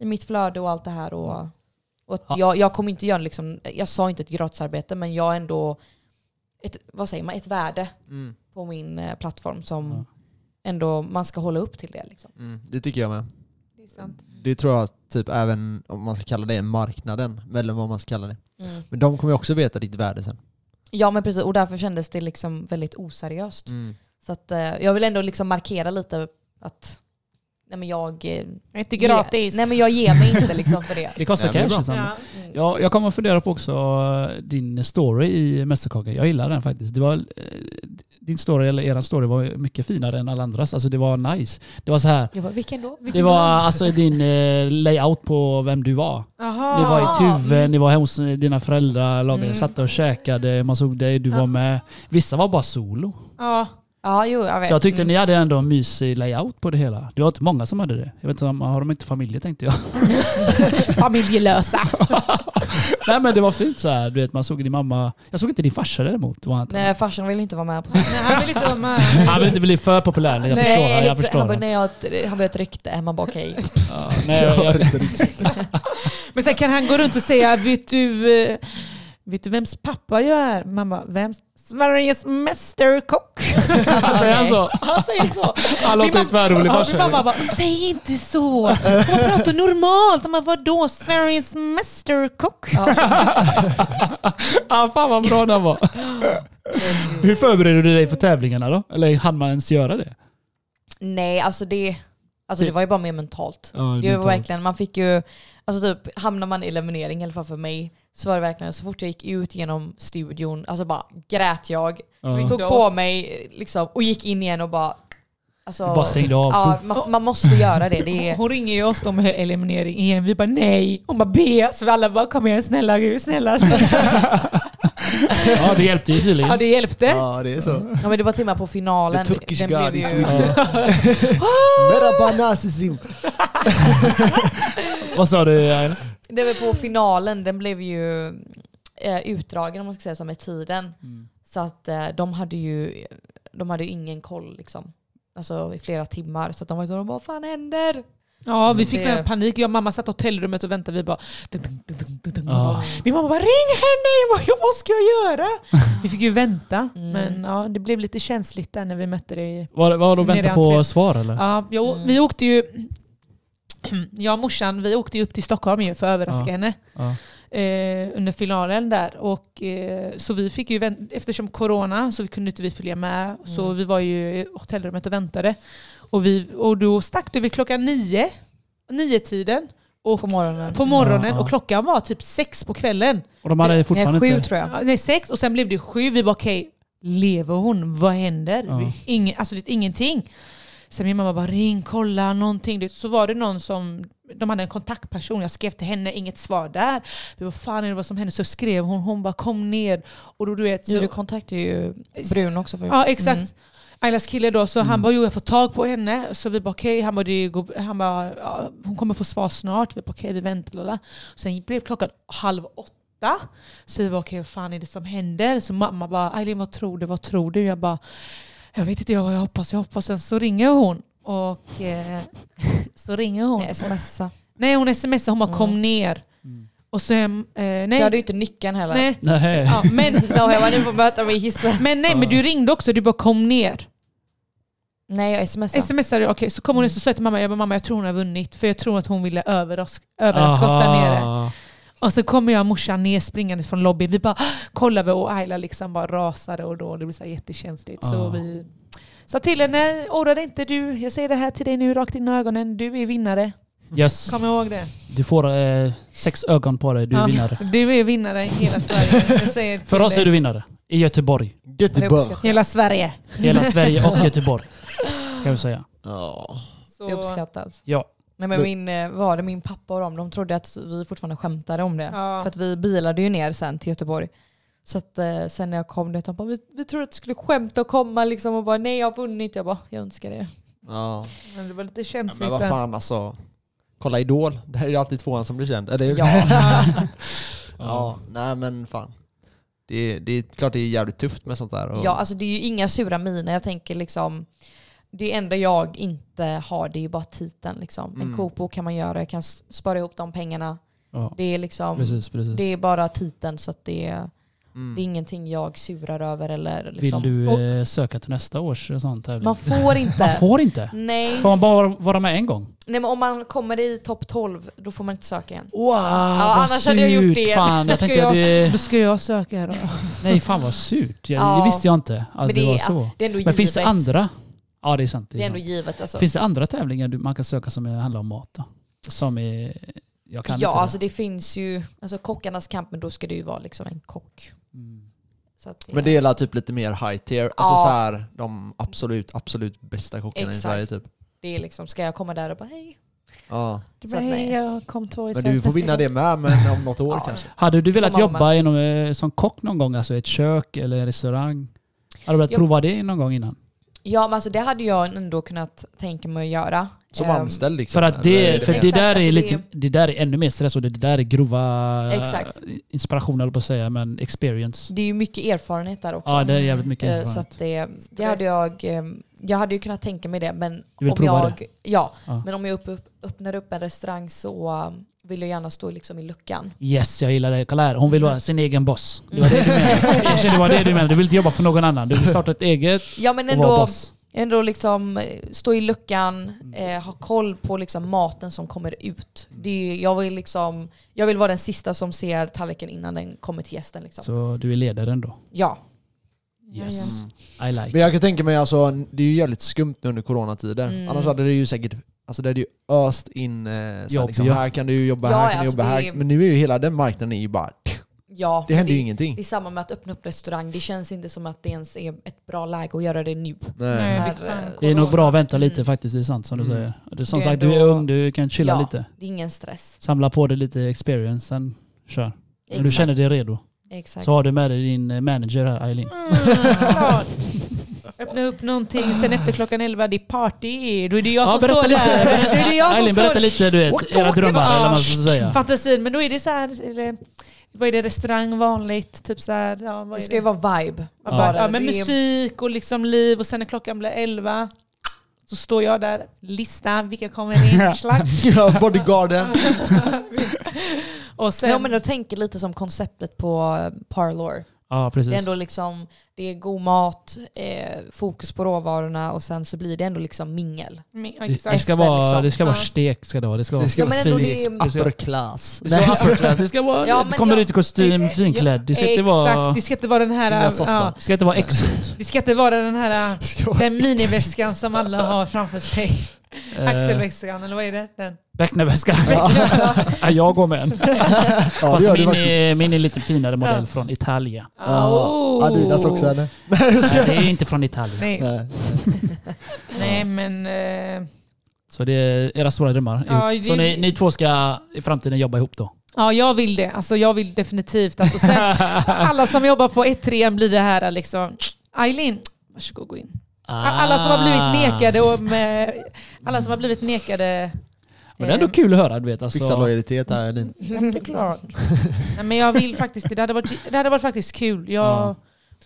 [SPEAKER 3] i mitt flöde och allt det här. Och, och att
[SPEAKER 1] Ja.
[SPEAKER 3] jag, jag kommer inte göra liksom, jag sa inte ett gratisarbete men jag har ändå ett, vad säger man, ett värde
[SPEAKER 5] Mm.
[SPEAKER 3] på min eh, plattform som
[SPEAKER 2] Ja.
[SPEAKER 3] ändå man ska hålla upp till det. Liksom.
[SPEAKER 5] Mm. Det tycker jag med.
[SPEAKER 4] Det är sant.
[SPEAKER 5] Det tror jag typ även, om man ska kalla det marknaden, eller vad man ska kalla det.
[SPEAKER 4] Mm.
[SPEAKER 5] Men de kommer ju också veta ditt värde sen.
[SPEAKER 3] Ja men precis och därför kändes det liksom väldigt oseriöst.
[SPEAKER 2] Mm.
[SPEAKER 3] Så att, eh, jag vill ändå liksom markera lite att nej men jag, eh,
[SPEAKER 4] Det är inte gratis. Liksom.
[SPEAKER 3] Ge, nej men jag ger mig inte liksom för det.
[SPEAKER 2] Det kostar
[SPEAKER 5] Nej, men det är
[SPEAKER 2] cash.
[SPEAKER 5] bra.
[SPEAKER 2] Sandra.
[SPEAKER 4] ja.
[SPEAKER 3] Mm.
[SPEAKER 2] Ja, jag kommer att fundera på också eh, din story i Mästerkocken. Jag gillar den faktiskt. Det var, eh, din story, eller er story, var mycket finare än alla andras. Alltså det var nice. Det var så här.
[SPEAKER 3] Jag bara, vilken då?
[SPEAKER 2] Det var alltså din eh, layout på vem du var.
[SPEAKER 4] Aha.
[SPEAKER 2] Ni var i Tuve, ni var hos eh, dina föräldrar, lagade,
[SPEAKER 4] Ah. Mm.
[SPEAKER 2] satt och käkade, man såg dig, du
[SPEAKER 4] Ja.
[SPEAKER 2] var med. Vissa var bara solo.
[SPEAKER 4] Ja.
[SPEAKER 3] Ja jo jag vet.
[SPEAKER 2] Så jag tyckte
[SPEAKER 3] Mm.
[SPEAKER 2] ni hade ändå en mysig layout på det hela. Det var inte många som hade det. Jag vet inte, om- har de inte familjer tänkte jag.
[SPEAKER 4] Familjelösa.
[SPEAKER 2] Nej men det var fint så här. du vet man såg din mamma. Jag såg inte din farsa däremot. Var han, inte.
[SPEAKER 3] Nej farsan ville inte vara med på sånt.
[SPEAKER 4] Nej, han vill inte vara med.
[SPEAKER 2] han vill inte bli för populär, jag
[SPEAKER 4] Nej,
[SPEAKER 2] förstår det. Jag
[SPEAKER 3] exakt.
[SPEAKER 2] förstår
[SPEAKER 3] han bara,
[SPEAKER 2] det.
[SPEAKER 3] nej, jag, har ett- han bara ett rykte. Man bara okej.
[SPEAKER 2] Ja, nej, jag, jag,
[SPEAKER 4] Men sen kan han gå runt och säga, vet du, eh, vet du vems pappa jag är? Man bara, vems? Sveriges mästerkock.
[SPEAKER 2] säger han så?
[SPEAKER 4] Han säger så.
[SPEAKER 2] Han
[SPEAKER 4] Min
[SPEAKER 2] låter ju
[SPEAKER 4] mamma-
[SPEAKER 2] tvärrolig
[SPEAKER 4] Ja, min mamma
[SPEAKER 2] farsa.
[SPEAKER 4] bara, säg inte så. Man pratar normalt. Man bara, vadå? Sveriges mästerkock.
[SPEAKER 2] Ah, fan vad bra den var. Hur förbereder du dig för tävlingarna då? Eller hann man ens göra det?
[SPEAKER 3] nej alltså det, alltså det var ju bara mer mentalt.
[SPEAKER 2] Ja,
[SPEAKER 3] Det var verkligen, man fick ju, alltså typ hamnar man i eliminering i alla fall för mig så var det verkligen så fort jag gick ut genom studion, alltså bara grät jag.
[SPEAKER 2] Ja.
[SPEAKER 3] Tog
[SPEAKER 4] Ringde
[SPEAKER 3] på
[SPEAKER 4] oss.
[SPEAKER 3] mig liksom, och gick in igen och bara... Alltså,
[SPEAKER 2] Bara stängde av.
[SPEAKER 3] Ja, man, man måste göra det. det är,
[SPEAKER 4] Hon ringer ju oss då med eliminering igen. Vi bara nej. Hon bara be. Så vi alla bara kom igen snälla gud, snälla.
[SPEAKER 2] Ja, det hjälpte ju tydligen.
[SPEAKER 4] Ja det hjälpte.
[SPEAKER 5] Ja, det är så.
[SPEAKER 3] ja, men det var timmar på finalen.
[SPEAKER 5] The Turkish
[SPEAKER 3] Den
[SPEAKER 5] God
[SPEAKER 3] blev
[SPEAKER 5] is
[SPEAKER 3] ju-
[SPEAKER 5] with you. Merabanasism.
[SPEAKER 2] Vad sa du Aina?
[SPEAKER 3] Det var på finalen, den blev ju eh, utdragen om man ska säga så med tiden.
[SPEAKER 4] Mm.
[SPEAKER 3] Så att eh, de hade ju de hade ju ingen koll liksom. Alltså i flera timmar. Så att de var ju så, vad fan händer?
[SPEAKER 4] Ja vi fick
[SPEAKER 3] Det-
[SPEAKER 4] väl panik. Jag och mamma satt i hotellrummet och väntade. Vi bara... dun, dun, dun, dun, dun, dun.
[SPEAKER 2] Ja.
[SPEAKER 4] Min mamma bara ring henne. Jag bara, vad ska jag göra? Vi fick ju vänta.
[SPEAKER 3] Mm.
[SPEAKER 4] Men ja, det blev lite känsligt där när vi mötte dig
[SPEAKER 2] Var, var de
[SPEAKER 4] Nere i
[SPEAKER 2] vänta på
[SPEAKER 4] entrén.
[SPEAKER 2] svar eller?
[SPEAKER 4] Ja, jag,
[SPEAKER 3] Mm.
[SPEAKER 4] vi åkte ju... Jag och morsan, vi åkte ju upp till Stockholm ju för att överraska
[SPEAKER 2] Ja.
[SPEAKER 4] henne
[SPEAKER 2] Ja.
[SPEAKER 4] eh, under finalen där. Och, eh, så vi fick ju, vänt- eftersom corona så kunde inte vi följa med. Så
[SPEAKER 2] Mm.
[SPEAKER 4] vi var ju i hotellrummet och väntade. Och, vi, och då stack det vid klockan nio, nio tiden och
[SPEAKER 3] På morgonen.
[SPEAKER 4] på morgonen
[SPEAKER 2] Ja, ja.
[SPEAKER 4] och klockan var typ sex på kvällen.
[SPEAKER 2] Och de hade fortfarande
[SPEAKER 3] Nej, sju
[SPEAKER 2] inte...
[SPEAKER 3] tror jag.
[SPEAKER 4] Ja, nej, sex och sen blev det sju. Vi bara okej, lever hon? Vad händer?
[SPEAKER 2] Ja.
[SPEAKER 4] Ingen, alltså det är ingenting. Sen min mamma bara ring, kolla någonting. Det- Så var det någon som, de hade en kontaktperson, jag skrev till henne, inget svar där. Vi bara fan är det vad som hände? Så skrev hon, hon bara kom ner. Och då du vet,
[SPEAKER 3] Jo,
[SPEAKER 4] så,
[SPEAKER 3] du kontaktade ju Brun också förut.
[SPEAKER 4] ja exakt.
[SPEAKER 3] Mm.
[SPEAKER 4] Ailas kille då, så han bara jo jag får tag på henne. Så vi bara okej, han bara, det går, han bara ja, hon kommer få svar snart. Vi bara okej vi väntar. Lala. Sen blev klockan halv åtta. Så vi bara okej vad fan är det som händer? Så mamma bara Ailin vad tror du, vad tror du? Jag bara jag vet inte jag, jag hoppas, jag hoppas. Sen så ringer hon. Och eh, så ringer hon.
[SPEAKER 3] Nej, smsa.
[SPEAKER 4] Nej hon smsar, hon bara
[SPEAKER 3] Mm.
[SPEAKER 4] kom ner. Och sen, eh,
[SPEAKER 3] Jag hade ju
[SPEAKER 4] nej.
[SPEAKER 3] inte nyckeln heller.
[SPEAKER 4] nej.
[SPEAKER 2] Nej.
[SPEAKER 4] Ja, men,
[SPEAKER 3] Då jag var nu på möte med hissen.
[SPEAKER 4] men nej men du ringde också, du bara kom ner.
[SPEAKER 3] Nej, jag smsade.
[SPEAKER 4] Smsade, okej, så kom hon och så sa jag till mamma, jag bara, mamma jag tror hon har vunnit för jag tror att hon ville överraska, överraska oss där nere. Och så kommer jag och morsan ner springandes från lobbyn. Vi bara "Ah!" kollade och Ayla liksom bara rasade och då det blev så här jättekänsligt. Så
[SPEAKER 2] Ah.
[SPEAKER 4] vi sa till henne, oroa dig inte du, jag säger det här till dig nu rakt in i ögonen, du är vinnare.
[SPEAKER 2] Yes.
[SPEAKER 4] Kom ihåg det.
[SPEAKER 2] Du får eh, sex ögon på dig, du är
[SPEAKER 4] Ja.
[SPEAKER 2] vinnare.
[SPEAKER 4] Du är vinnare i hela Sverige. Jag säger till
[SPEAKER 2] För oss är
[SPEAKER 4] dig.
[SPEAKER 2] du vinnare. I Göteborg.
[SPEAKER 5] Göteborg.
[SPEAKER 3] uppskattat.
[SPEAKER 4] Hela Sverige.
[SPEAKER 2] Hela Sverige och Göteborg. Kan vi säga.
[SPEAKER 5] Ja.
[SPEAKER 4] Så,
[SPEAKER 3] Det uppskattas.
[SPEAKER 2] Ja.
[SPEAKER 3] Nej,
[SPEAKER 5] Det-
[SPEAKER 3] men min, eh, var det min pappa och dem, de trodde att vi fortfarande skämtade om det.
[SPEAKER 4] Ja.
[SPEAKER 3] För att vi bilade ju ner sen till Göteborg. Så att eh, sen när jag kom dit, de bara, vi, vi trodde att du skulle skämta och komma liksom och bara nej jag har vunnit. Jag bara, jag önskar det.
[SPEAKER 5] ja.
[SPEAKER 4] men det var lite
[SPEAKER 5] Ja,
[SPEAKER 4] känsligt.
[SPEAKER 5] Men vad
[SPEAKER 4] där.
[SPEAKER 5] fan alltså. Kolla Idol. Det här är ju alltid tvåan som blir känd. Eller hur?
[SPEAKER 3] Ja.
[SPEAKER 5] ja. Nej men fan.
[SPEAKER 1] Det är, det är klart det är jävligt tufft med sånt där. Och,
[SPEAKER 3] Ja, alltså det är ju inga sura miner. Jag tänker liksom, det enda jag inte har det är ju bara titeln. Liksom. En
[SPEAKER 1] Mm.
[SPEAKER 3] kopo kan man göra, jag kan s- spara ihop de pengarna.
[SPEAKER 2] Ja,
[SPEAKER 3] Det är, liksom,
[SPEAKER 2] precis, precis.
[SPEAKER 3] det är bara titeln så att det är,
[SPEAKER 1] mm.
[SPEAKER 3] det är ingenting jag surar över. Eller
[SPEAKER 2] Vill
[SPEAKER 3] liksom.
[SPEAKER 2] du
[SPEAKER 3] Och
[SPEAKER 2] eh, söka till nästa års eh, sån tävling?
[SPEAKER 3] man får
[SPEAKER 2] Man
[SPEAKER 3] inte.
[SPEAKER 2] får inte.
[SPEAKER 3] Nej.
[SPEAKER 2] Får man bara vara med en gång?
[SPEAKER 3] Nej men om man kommer i topp 12 då får man inte söka igen.
[SPEAKER 2] Wow, ja,
[SPEAKER 3] annars hade jag gjort det.
[SPEAKER 2] Fan, jag
[SPEAKER 4] Ska
[SPEAKER 2] tänkte att
[SPEAKER 4] Då
[SPEAKER 2] det...
[SPEAKER 4] ska jag söka då.
[SPEAKER 2] Nej, fan vad surt. Jag,
[SPEAKER 3] Ja.
[SPEAKER 2] Det visste jag inte att
[SPEAKER 3] Men
[SPEAKER 2] det,
[SPEAKER 3] det
[SPEAKER 2] var
[SPEAKER 3] är-
[SPEAKER 2] så.
[SPEAKER 3] Det är ändå
[SPEAKER 2] Men
[SPEAKER 3] givet.
[SPEAKER 2] finns det andra? Ja, det är sant. Det är
[SPEAKER 3] Det är ändå
[SPEAKER 2] sant.
[SPEAKER 3] givet alltså.
[SPEAKER 2] Finns det andra tävlingar du, man kan söka som är- handlar om mat? Då? Som är... Jag kan
[SPEAKER 3] ja
[SPEAKER 2] inte det.
[SPEAKER 3] alltså det finns ju, alltså kockarnas kamp men då ska det ju vara liksom en kock.
[SPEAKER 2] Mm.
[SPEAKER 3] Så att
[SPEAKER 1] Men det är väl typ lite mer high tier, alltså
[SPEAKER 3] Ja.
[SPEAKER 1] så här, de absolut, absolut bästa kockarna i
[SPEAKER 3] Exakt.
[SPEAKER 1] Sverige typ.
[SPEAKER 3] det är liksom, ska jag komma där och bara hej?
[SPEAKER 1] Ja.
[SPEAKER 4] Du
[SPEAKER 3] Så
[SPEAKER 4] bara,
[SPEAKER 3] att nej.
[SPEAKER 4] hej jag kom två i
[SPEAKER 1] Men
[SPEAKER 4] svensk
[SPEAKER 1] du får vinna det
[SPEAKER 4] mästerskap."
[SPEAKER 1] med, men om något år
[SPEAKER 3] Ja.
[SPEAKER 1] kanske.
[SPEAKER 2] Hade du velat
[SPEAKER 3] Får man
[SPEAKER 2] jobba inom, eh, som kock någon gång? Alltså ett kök eller en restaurang? Hade du velat
[SPEAKER 3] Jo.
[SPEAKER 2] prova det någon gång innan?
[SPEAKER 3] Ja men alltså det hade jag ändå kunnat tänka mig att göra.
[SPEAKER 1] Som
[SPEAKER 3] Ehm,
[SPEAKER 1] anställd liksom.
[SPEAKER 2] För att det,
[SPEAKER 1] eller-
[SPEAKER 2] för det
[SPEAKER 3] Exakt,
[SPEAKER 2] där är
[SPEAKER 3] alltså
[SPEAKER 2] lite,
[SPEAKER 3] det-
[SPEAKER 2] det där är ännu mer stress och det där är grova
[SPEAKER 3] Exakt.
[SPEAKER 2] inspiration eller på att säga, men experience.
[SPEAKER 3] Det är ju mycket erfarenhet där också.
[SPEAKER 2] Ja, det är jävligt mycket
[SPEAKER 3] Eh, Så
[SPEAKER 2] erfarenhet.
[SPEAKER 3] att det, det hade jag, ehm, jag hade ju kunnat tänka mig det men
[SPEAKER 2] Du vill
[SPEAKER 3] om
[SPEAKER 2] prova
[SPEAKER 3] jag, ja,
[SPEAKER 2] Ja.
[SPEAKER 3] men om jag upp, upp, öppnar upp en restaurang så ehm, vill jag gärna stå liksom i luckan.
[SPEAKER 2] Yes, jag gillar det. Kolla här, hon vill
[SPEAKER 3] Mm.
[SPEAKER 2] vara sin egen boss. Det var det du menade. Jag kände det var det du menade. Du vill inte jobba för någon annan. Du vill starta ett eget
[SPEAKER 3] Ja men
[SPEAKER 2] och vara
[SPEAKER 3] ändå,
[SPEAKER 2] boss.
[SPEAKER 3] ändå liksom eh, stå i luckan,
[SPEAKER 2] Mm.
[SPEAKER 3] eh, ha koll på liksom maten som kommer ut. Det är, jag, vill liksom, jag vill vara den sista som ser tallriken innan den kommer till gästen. Liksom.
[SPEAKER 2] Så du är ledaren då?
[SPEAKER 3] Ja.
[SPEAKER 2] Yes.
[SPEAKER 1] Mm.
[SPEAKER 2] I like.
[SPEAKER 1] Men jag kan tänka mig alltså, det är ju jävligt skumt nu under coronatider.
[SPEAKER 3] Mm.
[SPEAKER 1] Annars hade det ju säkert, alltså det hade ju öst in, eh, så här,
[SPEAKER 2] Jobb,
[SPEAKER 1] liksom,
[SPEAKER 2] ja.
[SPEAKER 1] här kan du jobba,
[SPEAKER 3] Ja,
[SPEAKER 1] här kan du
[SPEAKER 3] alltså
[SPEAKER 1] jobba,
[SPEAKER 3] det
[SPEAKER 1] här.
[SPEAKER 3] är-
[SPEAKER 1] Men nu är ju hela den marknaden är ju bara,
[SPEAKER 3] ja
[SPEAKER 1] det händer ju
[SPEAKER 3] det,
[SPEAKER 1] ingenting.
[SPEAKER 3] det är samma med att öppna upp restaurang. Det känns inte som att det ens är ett bra läge att göra det nu.
[SPEAKER 4] Nej,
[SPEAKER 3] Här,
[SPEAKER 4] vilket fan.
[SPEAKER 3] eh,
[SPEAKER 2] Det är nog bra att vänta lite
[SPEAKER 3] Mm.
[SPEAKER 2] faktiskt, det är sant som du
[SPEAKER 1] Mm.
[SPEAKER 2] säger. Du, som
[SPEAKER 4] Det är
[SPEAKER 2] sagt, du är
[SPEAKER 4] ändå-
[SPEAKER 2] ung, du kan chilla
[SPEAKER 3] Ja.
[SPEAKER 2] lite.
[SPEAKER 3] Det är ingen stress.
[SPEAKER 2] Samla på dig lite experience, sen kör. När du
[SPEAKER 3] Exakt.
[SPEAKER 2] känner dig redo
[SPEAKER 3] Exakt.
[SPEAKER 2] så har du med dig din eh, manager här, Eileen.
[SPEAKER 4] Mm, klart. Öppna upp någonting, sen efter klockan 11, det är party. Då är det jag som står där. Det är det jag som
[SPEAKER 2] Eileen, berätta
[SPEAKER 4] står
[SPEAKER 2] lite du
[SPEAKER 4] Och
[SPEAKER 2] vet,
[SPEAKER 4] då
[SPEAKER 2] era
[SPEAKER 4] åkte
[SPEAKER 2] drömmar
[SPEAKER 4] vi-
[SPEAKER 2] eller vad man
[SPEAKER 4] Ah,
[SPEAKER 2] ska säga.
[SPEAKER 4] Fantasin, men då är det så här, eller, vad är det, restaurang vanligt, typ så här, ja, vad
[SPEAKER 3] Det
[SPEAKER 4] är
[SPEAKER 3] ska ju vara vibe.
[SPEAKER 4] Ja,
[SPEAKER 3] Bara,
[SPEAKER 4] ja, men
[SPEAKER 3] det är-
[SPEAKER 4] musik och liksom liv och sen när klockan blir 11 så står jag där, lista, vilka kommer in, slack.
[SPEAKER 1] Ja, Bodyguarden.
[SPEAKER 4] Och
[SPEAKER 3] Men om
[SPEAKER 4] sen,
[SPEAKER 3] man då tänker lite som konceptet på eh, Parlor.
[SPEAKER 2] Ja,
[SPEAKER 3] Det är
[SPEAKER 2] precis.
[SPEAKER 3] ändå liksom, det är god mat, eh, fokus på råvarorna och sen så blir det ändå liksom mingel.
[SPEAKER 4] min- ja,
[SPEAKER 2] Det, det,
[SPEAKER 4] exakt.
[SPEAKER 2] ska
[SPEAKER 3] Efter,
[SPEAKER 2] vara,
[SPEAKER 3] liksom.
[SPEAKER 2] det ska vara
[SPEAKER 4] Ja.
[SPEAKER 2] stek. Ska det, vara. det ska vara
[SPEAKER 1] Det ska
[SPEAKER 3] Ja,
[SPEAKER 1] vara
[SPEAKER 3] men ändå det
[SPEAKER 1] slick,
[SPEAKER 3] är-
[SPEAKER 1] upper class.
[SPEAKER 2] Det ska vara upperclass, det ska vara...
[SPEAKER 3] Ja, men
[SPEAKER 2] du kommer
[SPEAKER 3] jag-
[SPEAKER 2] ut i kostym, finklädd. Det ska inte vara...
[SPEAKER 4] Exakt, det ska inte vara den
[SPEAKER 1] Inga
[SPEAKER 4] här...
[SPEAKER 1] sossar.
[SPEAKER 4] Ja,
[SPEAKER 2] Det ska inte vara exit.
[SPEAKER 4] det ska inte vara den här
[SPEAKER 1] Ska vara-
[SPEAKER 4] den miniväskan som alla har framför sig.
[SPEAKER 1] Eh.
[SPEAKER 4] Axelväskan, eller vad är det? Den.
[SPEAKER 2] eh, Becknerväskan. Ja, jag går med en.
[SPEAKER 1] Ja, det
[SPEAKER 2] Fast
[SPEAKER 1] gör du
[SPEAKER 2] min
[SPEAKER 1] faktiskt.
[SPEAKER 2] är, min är lite finare modell
[SPEAKER 4] Ja.
[SPEAKER 2] från Italien.
[SPEAKER 1] Ja,
[SPEAKER 4] Oh.
[SPEAKER 1] Adidas också eller?
[SPEAKER 2] Nej, det är inte från Italien.
[SPEAKER 4] Nej,
[SPEAKER 1] Nej.
[SPEAKER 4] nej men... eh,
[SPEAKER 2] Så det är era stora drömmar.
[SPEAKER 4] Ja,
[SPEAKER 2] ihop.
[SPEAKER 4] det-
[SPEAKER 2] Så ni, ni två ska i framtiden jobba ihop då?
[SPEAKER 4] Ja, jag vill det. Alltså, jag vill definitivt. Alltså, sen, alla som jobbar på 1-3 blir det här liksom... Eileen, varsågod gå in. Alla som har
[SPEAKER 1] Ah.
[SPEAKER 4] blivit nekade och med, Alla som har blivit nekade...
[SPEAKER 2] Ah. Men det är ändå
[SPEAKER 4] eh,
[SPEAKER 2] kul att höra. Du vet, alltså.
[SPEAKER 1] Fixa lojalitet här Elin.
[SPEAKER 4] Ja, men det är klart. Nej, men jag vill faktiskt det. Det hade varit, det hade varit faktiskt kul. Jag,
[SPEAKER 2] Ja.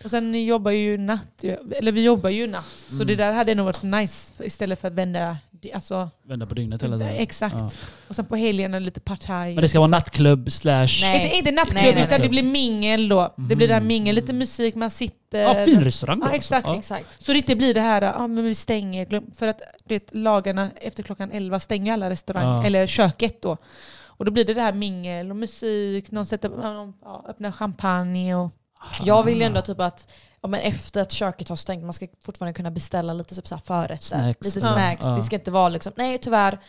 [SPEAKER 4] Och sen jobbar ju natt. Eller vi jobbar ju natt. Så
[SPEAKER 2] Mm.
[SPEAKER 4] det där hade nog varit nice istället för att vända... Alltså,
[SPEAKER 2] Vända på dygnet hela tiden.
[SPEAKER 4] Exakt.
[SPEAKER 2] Ja.
[SPEAKER 4] och sen på helgen lite partaj.
[SPEAKER 2] Men det ska vara nattklubb slash...
[SPEAKER 3] Nej.
[SPEAKER 4] Inte, inte nattklubb
[SPEAKER 3] Nej, nej,
[SPEAKER 4] utan
[SPEAKER 2] nej.
[SPEAKER 4] det blir mingel då. Det blir det här
[SPEAKER 2] Mhm.
[SPEAKER 4] mingel, lite musik, man sitter.
[SPEAKER 2] Ja, fin restaurang då.
[SPEAKER 4] Ja, exakt,
[SPEAKER 2] alltså.
[SPEAKER 3] Exakt.
[SPEAKER 4] Så det inte blir det här, ah, men vi stänger. glöm- För att du vet, lagarna efter klockan 11 stänger alla restauranger,
[SPEAKER 2] Ja.
[SPEAKER 4] eller köket då. Och då blir det det här mingel och musik, någon sätter, ja, någon, ja, öppnar champagne och...
[SPEAKER 2] Ja.
[SPEAKER 3] Jag vill ju ändå typ att ja, men efter att köket har stängt, man ska fortfarande kunna beställa lite typ så här förrätter,
[SPEAKER 2] Snacks.
[SPEAKER 3] lite
[SPEAKER 2] Ja.
[SPEAKER 3] snacks.
[SPEAKER 2] Ja.
[SPEAKER 3] Det ska inte vara liksom, nej tyvärr.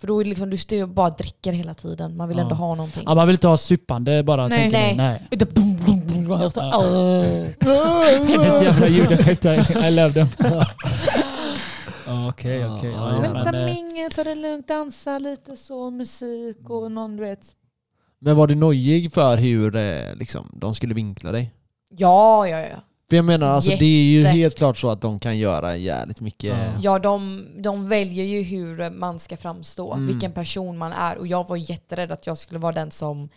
[SPEAKER 3] För då är det liksom, du står ju och bara och dricker hela tiden. Man vill
[SPEAKER 2] Ja.
[SPEAKER 3] ändå ha någonting.
[SPEAKER 2] Ja, man vill inte ha suppande bara.
[SPEAKER 4] Nej.
[SPEAKER 2] tänker ni.
[SPEAKER 3] Nej.
[SPEAKER 2] Nej.
[SPEAKER 3] alltså,
[SPEAKER 4] Ja.
[SPEAKER 2] Hennes jävla ljudeffekter. I love them. Ja, Okej,
[SPEAKER 1] Ja,
[SPEAKER 2] okej.
[SPEAKER 1] ja.
[SPEAKER 2] Ja,
[SPEAKER 4] Men sen
[SPEAKER 2] men, eh,
[SPEAKER 4] mingel, ta det lugnt, dansa lite så, musik
[SPEAKER 2] Mm.
[SPEAKER 4] och någon du vet.
[SPEAKER 1] Men var du nojig för hur eh, liksom, de skulle vinkla dig?
[SPEAKER 3] Ja, ja, ja.
[SPEAKER 1] För jag menar, alltså, det är ju
[SPEAKER 3] Jätte.
[SPEAKER 1] helt klart så att de kan göra jävligt mycket.
[SPEAKER 2] Ja.
[SPEAKER 3] Ja, de, de väljer ju hur man ska framstå,
[SPEAKER 1] Mm.
[SPEAKER 3] vilken person man är. Och jag var jätterädd att jag skulle vara den som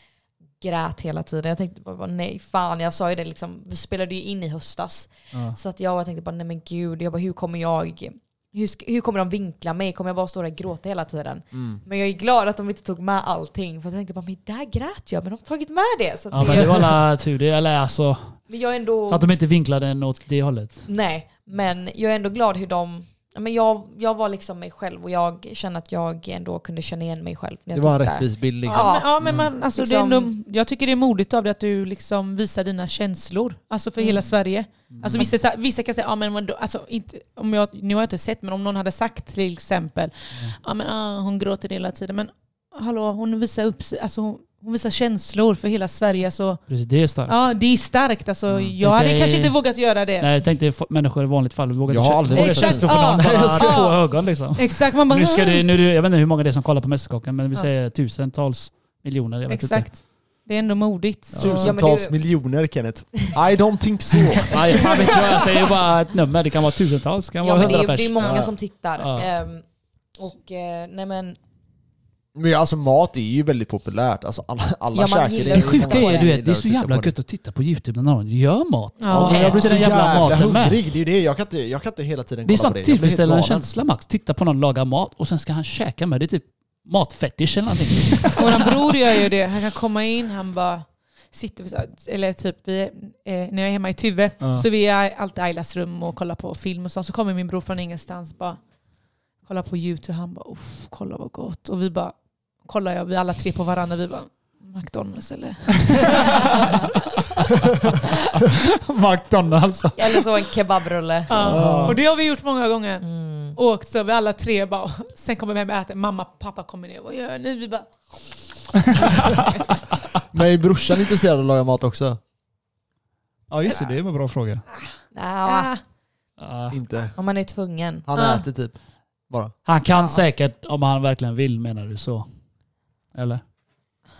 [SPEAKER 3] grät hela tiden. Jag tänkte bara, bara nej fan, jag sa ju det liksom, vi spelade ju in i höstas.
[SPEAKER 2] Ja.
[SPEAKER 3] Så att jag bara tänkte bara nej men gud, jag bara, hur kommer jag, hur, sk- hur kommer de vinkla mig? Kommer jag bara stå där och gråta hela tiden?
[SPEAKER 5] Mm.
[SPEAKER 3] Men jag är glad att de inte tog med allting för jag tänkte bara men där grät jag men de har tagit med det. Så att
[SPEAKER 2] Ja, men det var alla tur det. Eller alltså,
[SPEAKER 3] men jag är ändå...
[SPEAKER 2] så att de inte vinklade den åt det hållet.
[SPEAKER 3] Nej, men jag är ändå glad hur de... ja, Men jag, jag var liksom mig själv och jag kände att jag ändå kunde känna igen mig själv. När
[SPEAKER 5] Det
[SPEAKER 3] jag
[SPEAKER 5] var en
[SPEAKER 3] tittar.
[SPEAKER 5] rättvis bild liksom.
[SPEAKER 3] Ja.
[SPEAKER 4] Ja, men, ja, men
[SPEAKER 2] Mm.
[SPEAKER 4] man, alltså, det är
[SPEAKER 3] Liksom-
[SPEAKER 4] ändå, jag tycker det är modigt av dig att du liksom visar dina känslor. Alltså för
[SPEAKER 3] Mm.
[SPEAKER 4] hela Sverige. Alltså, vissa, sa- vissa kan säga, ja, men, vadå, alltså, inte, om jag, nu har jag inte sett, men om någon hade sagt till exempel,
[SPEAKER 2] Mm.
[SPEAKER 4] ja, men, ah, hon gråter hela tiden. Men hallå, hon visar, upp, sig- alltså, hon, hon visar känslor för hela Sverige. Så,
[SPEAKER 2] Precis, det är starkt.
[SPEAKER 4] ja, det är starkt. Alltså,
[SPEAKER 2] Mm.
[SPEAKER 4] Jag hade
[SPEAKER 2] Det är-
[SPEAKER 4] kanske inte vågat göra det.
[SPEAKER 2] Nej, jag tänkte f- människor i vanligt fall. Vi vågar
[SPEAKER 5] Jag
[SPEAKER 2] inte
[SPEAKER 5] har
[SPEAKER 2] kö-
[SPEAKER 5] aldrig
[SPEAKER 2] vågar
[SPEAKER 4] varit
[SPEAKER 2] inte
[SPEAKER 4] så-
[SPEAKER 2] stå för
[SPEAKER 4] Ja.
[SPEAKER 2] någon. Bara
[SPEAKER 4] Ja.
[SPEAKER 2] två
[SPEAKER 4] Ja.
[SPEAKER 2] ögon liksom.
[SPEAKER 4] Exakt, man bara...
[SPEAKER 2] Nu ska det, nu, är det- jag vet inte hur många det är som kollar på Mästerkocken, men vi
[SPEAKER 4] Ja.
[SPEAKER 2] säger tusentals miljoner. Jag vet inte.
[SPEAKER 4] Exakt. Det är ändå modigt. Så.
[SPEAKER 3] Tusen. Ja, men
[SPEAKER 5] Tusentals
[SPEAKER 3] det-
[SPEAKER 5] miljoner Kenneth. I don't think so.
[SPEAKER 2] Nej, fan vet jag. Jag säger bara ett nummer. Det kan vara tusentals, det kan
[SPEAKER 3] Ja,
[SPEAKER 2] vara
[SPEAKER 3] men det,
[SPEAKER 2] hundra
[SPEAKER 3] är,
[SPEAKER 2] pers.
[SPEAKER 3] det är många
[SPEAKER 5] Ja.
[SPEAKER 3] som tittar.
[SPEAKER 2] Ja.
[SPEAKER 3] Ehm, och eh, nej men...
[SPEAKER 5] Men alltså mat är ju väldigt populärt. Alltså alla, alla
[SPEAKER 3] Ja, man
[SPEAKER 5] käkar
[SPEAKER 3] gillar
[SPEAKER 2] Det
[SPEAKER 3] ju
[SPEAKER 5] ju
[SPEAKER 2] sjuka
[SPEAKER 5] många som
[SPEAKER 2] är du
[SPEAKER 5] gillar
[SPEAKER 2] vet, det
[SPEAKER 5] att
[SPEAKER 2] är så
[SPEAKER 5] titta
[SPEAKER 2] jävla
[SPEAKER 5] på det.
[SPEAKER 2] gött att titta på YouTube när någon gör mat.
[SPEAKER 5] Ja,
[SPEAKER 4] Ja.
[SPEAKER 5] men jag blir
[SPEAKER 2] Äter
[SPEAKER 5] så
[SPEAKER 2] den jävla
[SPEAKER 5] jävla,
[SPEAKER 2] maten med.
[SPEAKER 5] hungrig. Det är ju det. Jag kan inte, jag kan inte hela tiden
[SPEAKER 2] Det är
[SPEAKER 5] kolla på
[SPEAKER 2] sån
[SPEAKER 5] det. Jag blir helt
[SPEAKER 2] tillfredsställande
[SPEAKER 5] galen.
[SPEAKER 2] känsla Max. Titta på någon laga mat och sen ska han käka med. Det är typ matfetisch eller någonting.
[SPEAKER 4] Våran bror gör ju det. Han kan komma in, han bara sitter, så- eller typ vi, eh, när jag är hemma i Tuve
[SPEAKER 2] Ja.
[SPEAKER 4] så vi är alltid i Ailas rum och kollar på film och sånt. Så kommer min bror från ingenstans bara kollar på YouTube. Han bara "Uff, kolla vad gott. Och vi bara kollar jag, vi alla tre på varandra. Vi bara McDonalds eller?
[SPEAKER 2] McDonalds.
[SPEAKER 3] Eller så en kebabrulle.
[SPEAKER 4] Ja. Ah. Och det har vi gjort många gånger.
[SPEAKER 3] Mm.
[SPEAKER 4] Åkt så vi alla tre bara. Sen kommer vi hem och äter. Mamma pappa kommer ner. Vad gör ni? Vi bara
[SPEAKER 5] Men är brorsan intresserad av att laga mat också?
[SPEAKER 2] Ja just det, det är en bra fråga.
[SPEAKER 3] Nja,
[SPEAKER 4] ah.
[SPEAKER 5] Inte.
[SPEAKER 3] om man är tvungen.
[SPEAKER 5] Han
[SPEAKER 4] Ah.
[SPEAKER 5] äter typ. Bara.
[SPEAKER 2] Han kan
[SPEAKER 3] Ja.
[SPEAKER 2] säkert om han verkligen vill menar du så? Eller?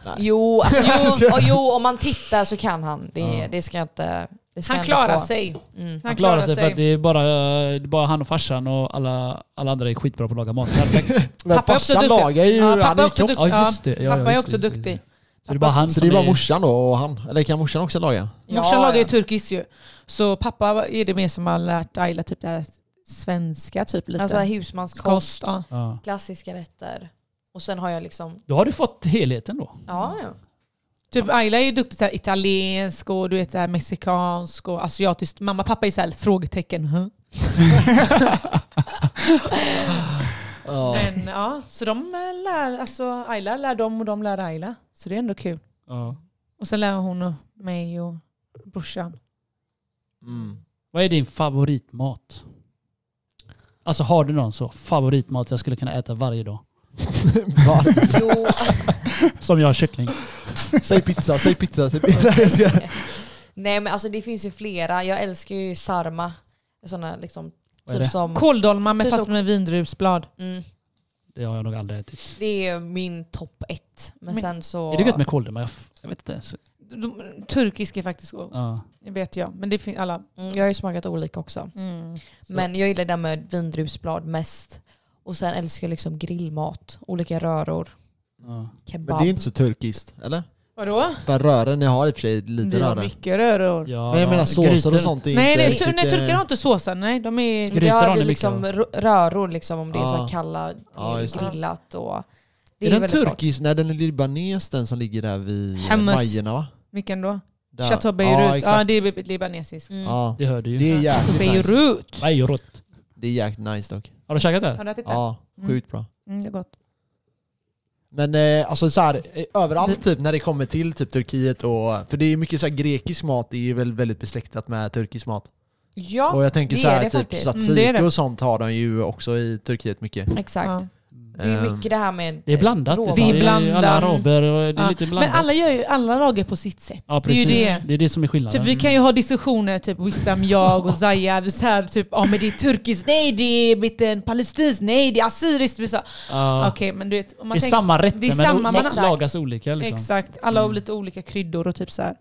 [SPEAKER 5] Nej.
[SPEAKER 3] Jo, alltså, jo, och, jo, om man tittar så kan han. Det,
[SPEAKER 2] Ja.
[SPEAKER 3] det ska jag inte... Det ska
[SPEAKER 4] Han
[SPEAKER 3] jag ändå
[SPEAKER 4] klarar
[SPEAKER 3] få.
[SPEAKER 4] sig.
[SPEAKER 3] Mm.
[SPEAKER 2] Han klarar sig för att det är bara, eh, det är bara han och farsan och alla, alla andra är skitbra på att laga mat. Perfekt.
[SPEAKER 5] Men
[SPEAKER 4] Pappa är också
[SPEAKER 5] farsan
[SPEAKER 4] duktig.
[SPEAKER 5] lagar ju...
[SPEAKER 4] Ja, pappa
[SPEAKER 5] han
[SPEAKER 4] är
[SPEAKER 5] är ju
[SPEAKER 4] också
[SPEAKER 5] kock.
[SPEAKER 4] duktig.
[SPEAKER 2] Ja just det. Ja,
[SPEAKER 4] Pappa
[SPEAKER 2] ja,
[SPEAKER 4] är
[SPEAKER 2] just
[SPEAKER 4] också
[SPEAKER 2] det, just det.
[SPEAKER 4] duktig.
[SPEAKER 2] Så det är bara han
[SPEAKER 5] Så
[SPEAKER 2] som
[SPEAKER 5] det är bara
[SPEAKER 2] är-
[SPEAKER 5] morsan då och han? Eller kan morsan också laga?
[SPEAKER 4] Morsan
[SPEAKER 3] Ja,
[SPEAKER 4] lagar ju
[SPEAKER 3] ja.
[SPEAKER 4] turkiskt ju. Så pappa är det mer som har lärt Ayla typ det här svenska typ lite.
[SPEAKER 3] Alltså husmanskost,
[SPEAKER 4] Kost, ja.
[SPEAKER 2] Ja.
[SPEAKER 3] klassiska rätter. Och sen har jag liksom...
[SPEAKER 2] Då har du fått helheten då.
[SPEAKER 3] Ja,
[SPEAKER 4] Mm.
[SPEAKER 3] ja.
[SPEAKER 4] Typ Ayla är ju duktig så här italiensk och du vet så här mexikansk och asiatiskt. Mamma och pappa är så här frågetecken. Huh?
[SPEAKER 5] Ja.
[SPEAKER 4] Men ja, så de eh, lär, alltså Ayla lär dem och de lär Ayla. Så det är ändå kul. Och sen lär hon och mig och brorsan.
[SPEAKER 5] Mm.
[SPEAKER 2] Vad är din favoritmat? Alltså har du någon så favoritmat jag skulle kunna äta varje dag?
[SPEAKER 5] Va?
[SPEAKER 3] Jo,
[SPEAKER 2] Som jag har kyckling.
[SPEAKER 5] Säg pizza, säg pizza, säg pizza. Nej, jag ska...
[SPEAKER 3] nej men alltså det finns ju flera. Jag älskar ju sarma. Sådana liksom,
[SPEAKER 2] Vad är
[SPEAKER 3] typ
[SPEAKER 2] det?
[SPEAKER 3] som...
[SPEAKER 4] Kåldolmar med
[SPEAKER 3] Typ
[SPEAKER 4] fast
[SPEAKER 3] som-
[SPEAKER 4] med vindruvsblad.
[SPEAKER 3] Mm,
[SPEAKER 2] Det har jag nog aldrig ätit.
[SPEAKER 3] det är min topp ett. Men,
[SPEAKER 4] Men-
[SPEAKER 3] sen så...
[SPEAKER 2] Är det gött med kåldolmar? Jag, f- jag vet inte ens.
[SPEAKER 4] De- Turkisk är faktiskt god,
[SPEAKER 2] Ja.
[SPEAKER 4] det vet jag. Men det finns alla.
[SPEAKER 3] Mm, jag har ju smakat olika också.
[SPEAKER 4] Mm.
[SPEAKER 3] Men jag gillar det där med vindruvsblad mest. Och sen älskar jag liksom grillmat. Olika röror,
[SPEAKER 2] Ja.
[SPEAKER 5] Men
[SPEAKER 3] kebab.
[SPEAKER 5] det är inte så turkiskt, eller?
[SPEAKER 4] Vadå?
[SPEAKER 5] För rören, ni har i och för sig lite
[SPEAKER 4] Vi har
[SPEAKER 5] röror.
[SPEAKER 4] mycket röror.
[SPEAKER 2] Ja,
[SPEAKER 5] Men jag menar såser
[SPEAKER 2] grytor.
[SPEAKER 5] och sånt är
[SPEAKER 4] Nej,
[SPEAKER 5] inte
[SPEAKER 4] nej,
[SPEAKER 5] riktigt,
[SPEAKER 4] tur- nej
[SPEAKER 5] eh,
[SPEAKER 4] turkar har inte såsen. Nej, de är...
[SPEAKER 2] Gry-
[SPEAKER 3] det
[SPEAKER 2] Grytor har
[SPEAKER 3] har
[SPEAKER 2] ni
[SPEAKER 3] vi
[SPEAKER 2] mycket
[SPEAKER 3] liksom rö- röror liksom om det är så här
[SPEAKER 5] Ja.
[SPEAKER 3] kalla,
[SPEAKER 5] Ja, just det.
[SPEAKER 3] grillat och... Det
[SPEAKER 5] Är
[SPEAKER 3] är,
[SPEAKER 5] den
[SPEAKER 3] väldigt gott.
[SPEAKER 5] turkisk? Nej den är libanes den som ligger där vid
[SPEAKER 4] Hummus.
[SPEAKER 5] Majerna va?
[SPEAKER 4] Vilken då?
[SPEAKER 5] Där.
[SPEAKER 4] Chateau Beirut. Ja,
[SPEAKER 5] exakt.
[SPEAKER 4] det är bi- libanesiskt.
[SPEAKER 3] Mm.
[SPEAKER 5] Ja.
[SPEAKER 2] Det hör du ju.
[SPEAKER 5] Det är jäkligt nice.
[SPEAKER 4] Beirut!
[SPEAKER 2] Nej, rott.
[SPEAKER 5] Det är jäkligt nice dock.
[SPEAKER 2] Har du käkat det?
[SPEAKER 4] Har du ätit det?
[SPEAKER 5] Ja, sjukt bra.
[SPEAKER 4] Mm, det är gott.
[SPEAKER 5] Men eh, alltså så här, eh, överallt typ när det kommer till typ Turkiet och... För det är mycket så här grekisk mat, det är väl väldigt besläktat med turkisk mat.
[SPEAKER 3] Ja,
[SPEAKER 5] och jag tänker
[SPEAKER 3] det
[SPEAKER 5] så
[SPEAKER 3] är
[SPEAKER 5] här,
[SPEAKER 3] det
[SPEAKER 5] typ
[SPEAKER 3] faktiskt.
[SPEAKER 5] tzatziki
[SPEAKER 4] Mm, det är det.
[SPEAKER 5] och sånt har de ju också i Turkiet mycket.
[SPEAKER 3] exakt.
[SPEAKER 4] Ja.
[SPEAKER 3] Det är ju
[SPEAKER 5] Ehm,
[SPEAKER 3] mycket det här med
[SPEAKER 2] Det är blandat.
[SPEAKER 3] råvaror.
[SPEAKER 4] Mm. Det är
[SPEAKER 2] Alla
[SPEAKER 4] blandat.
[SPEAKER 2] araber och det är
[SPEAKER 4] Ja.
[SPEAKER 2] lite blandat.
[SPEAKER 4] Men alla gör ju alla lager på sitt sätt.
[SPEAKER 2] ja,
[SPEAKER 4] det är ju
[SPEAKER 2] precis.
[SPEAKER 4] det.
[SPEAKER 2] det är det som är
[SPEAKER 4] Typ,
[SPEAKER 2] skillnaden.
[SPEAKER 4] vi kan ju ha diskussioner, typ Wissam, jag och Zaya. Vi så här, typ, ja men det är turkiskt, nej det är biten palestinskt, nej det är assyriskt. Vi så här,
[SPEAKER 2] Ja.
[SPEAKER 4] Okej, men du vet. Om
[SPEAKER 2] det
[SPEAKER 4] man
[SPEAKER 2] är
[SPEAKER 4] tänker,
[SPEAKER 2] samma rätter
[SPEAKER 4] det är samma,
[SPEAKER 2] men
[SPEAKER 4] man-
[SPEAKER 2] mat
[SPEAKER 3] Exakt.
[SPEAKER 2] lagas olika. Liksom.
[SPEAKER 4] Exakt, alla har lite olika kryddor och typ så här.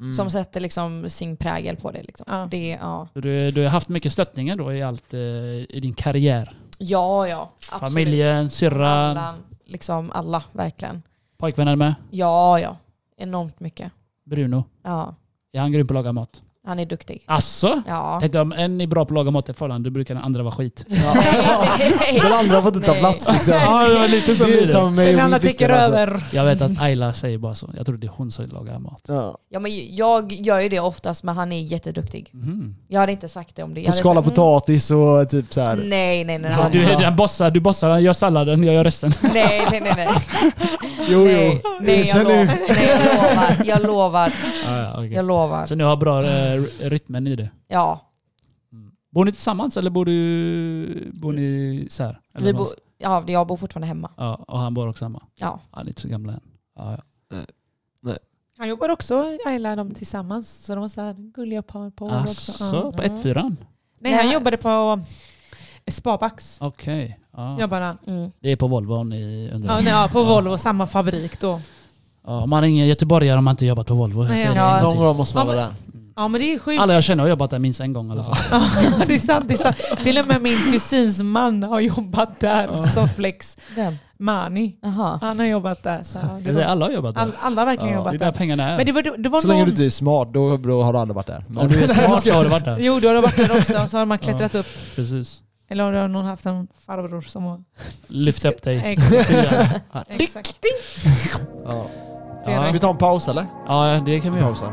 [SPEAKER 5] mm.
[SPEAKER 3] som sätter liksom sin prägel på det. Liksom.
[SPEAKER 4] Ja.
[SPEAKER 3] det ja.
[SPEAKER 2] Så Du, du har haft mycket stöttningar då i, allt, eh, i din karriär.
[SPEAKER 3] ja, ja. Absolut.
[SPEAKER 2] Familjen, syrran,
[SPEAKER 3] Alla, liksom alla, verkligen.
[SPEAKER 2] pojkvännen med.
[SPEAKER 3] Ja, ja. Enormt mycket.
[SPEAKER 2] Bruno.
[SPEAKER 3] Ja,
[SPEAKER 2] Är han grym på att laga mat?
[SPEAKER 3] han är duktig.
[SPEAKER 2] Asså?
[SPEAKER 3] Ja.
[SPEAKER 2] Tänkte om en är bra på att laga mat i förhållande, då brukar den andra vara skit.
[SPEAKER 1] Den andra får inte ta
[SPEAKER 3] Nej.
[SPEAKER 1] plats liksom.
[SPEAKER 2] Ja, det var lite som
[SPEAKER 1] Det är
[SPEAKER 2] det.
[SPEAKER 1] som
[SPEAKER 4] Den
[SPEAKER 1] eh,
[SPEAKER 4] andra
[SPEAKER 1] Wicked,
[SPEAKER 4] täcker
[SPEAKER 1] alltså.
[SPEAKER 4] över.
[SPEAKER 2] Jag vet att Ayla säger bara så. Jag tror det är hon som lagar mat.
[SPEAKER 1] Ja.
[SPEAKER 3] Ja, men jag gör ju det oftast men han är jätteduktig.
[SPEAKER 2] Mhm.
[SPEAKER 3] Jag hade inte sagt det om det. Jag
[SPEAKER 1] Får
[SPEAKER 3] hade
[SPEAKER 1] skala
[SPEAKER 3] sagt,
[SPEAKER 1] potatis och typ så här.
[SPEAKER 3] "Mm, Nej, nej, nej.
[SPEAKER 2] Ja,
[SPEAKER 3] Han,
[SPEAKER 2] Du,
[SPEAKER 1] Ja.
[SPEAKER 2] den bossar, du bossar, jag gör salladen, jag gör resten.
[SPEAKER 3] nej, nej, nej, nej.
[SPEAKER 1] Jo,
[SPEAKER 3] nej,
[SPEAKER 1] jo.
[SPEAKER 3] nej, jag
[SPEAKER 1] Erkänn
[SPEAKER 3] lovar.
[SPEAKER 1] nu.
[SPEAKER 3] nej, jag lovar. Jag lovar.
[SPEAKER 2] Ja, ja, okej.
[SPEAKER 3] Jag lovar.
[SPEAKER 2] Så ni har bra eh, rytmen i det.
[SPEAKER 3] Ja,
[SPEAKER 2] Bor ni tillsammans eller bor, du, bor ni så här? Eller
[SPEAKER 3] vi
[SPEAKER 2] vad?
[SPEAKER 3] bo, ja, jag bor fortfarande hemma.
[SPEAKER 2] ja, och han bor också hemma?
[SPEAKER 3] Ja.
[SPEAKER 2] Han är inte så gamla än. Ja, ja.
[SPEAKER 4] Han jobbar också, Ayla och de tillsammans. Så de var så här gulliga par på år också.
[SPEAKER 2] Asså,
[SPEAKER 4] Ja. Mm.
[SPEAKER 2] på 1-4?
[SPEAKER 4] Nej, han
[SPEAKER 3] Nej.
[SPEAKER 4] jobbade på Spabax.
[SPEAKER 2] Okej. Ja.
[SPEAKER 4] Jobbade han.
[SPEAKER 3] Mm.
[SPEAKER 2] Det är på Volvo om ni undrar.
[SPEAKER 4] Ja, nej, ja, på Volvo, samma fabrik då.
[SPEAKER 2] Ja, man är ingen göteborgare om man inte jobbat på Volvo. Jag
[SPEAKER 4] Nej,
[SPEAKER 2] säger
[SPEAKER 3] ja.
[SPEAKER 2] det en gång
[SPEAKER 1] Någon
[SPEAKER 2] till.
[SPEAKER 1] gång måste man
[SPEAKER 4] Ja,
[SPEAKER 1] vara där.
[SPEAKER 4] Ja men det är sjukt.
[SPEAKER 2] Alla jag känner har jobbat där minst en gång i alla fall.
[SPEAKER 4] Ja, det är sant, det är sant. Till och med min kusins man har jobbat där som flex.
[SPEAKER 3] Den.
[SPEAKER 4] Mani.
[SPEAKER 3] Aha.
[SPEAKER 4] Han har jobbat där. Så det
[SPEAKER 2] Jag säger,
[SPEAKER 4] var,
[SPEAKER 2] Alla har jobbat där.
[SPEAKER 4] all, alla har verkligen
[SPEAKER 2] Ja,
[SPEAKER 4] jobbat
[SPEAKER 2] det är
[SPEAKER 4] där.
[SPEAKER 2] där pengarna är.
[SPEAKER 4] Men det var, det var
[SPEAKER 1] Så länge
[SPEAKER 4] någon...
[SPEAKER 1] du
[SPEAKER 2] typ-
[SPEAKER 1] inte är smart, då, då har du aldrig varit där.
[SPEAKER 2] Om du är smart så har du varit där.
[SPEAKER 4] Jo, då har du varit där också. Så har man klättrat upp.
[SPEAKER 2] Precis.
[SPEAKER 4] Eller har du någon haft en farbror som har...
[SPEAKER 2] Lyft upp dig.
[SPEAKER 4] Exakt.
[SPEAKER 2] Ja.
[SPEAKER 4] Exakt.
[SPEAKER 1] Ja. Ska
[SPEAKER 2] Ja.
[SPEAKER 1] vi ta en paus eller?
[SPEAKER 2] ja, det kan vi göra.
[SPEAKER 1] Pausa.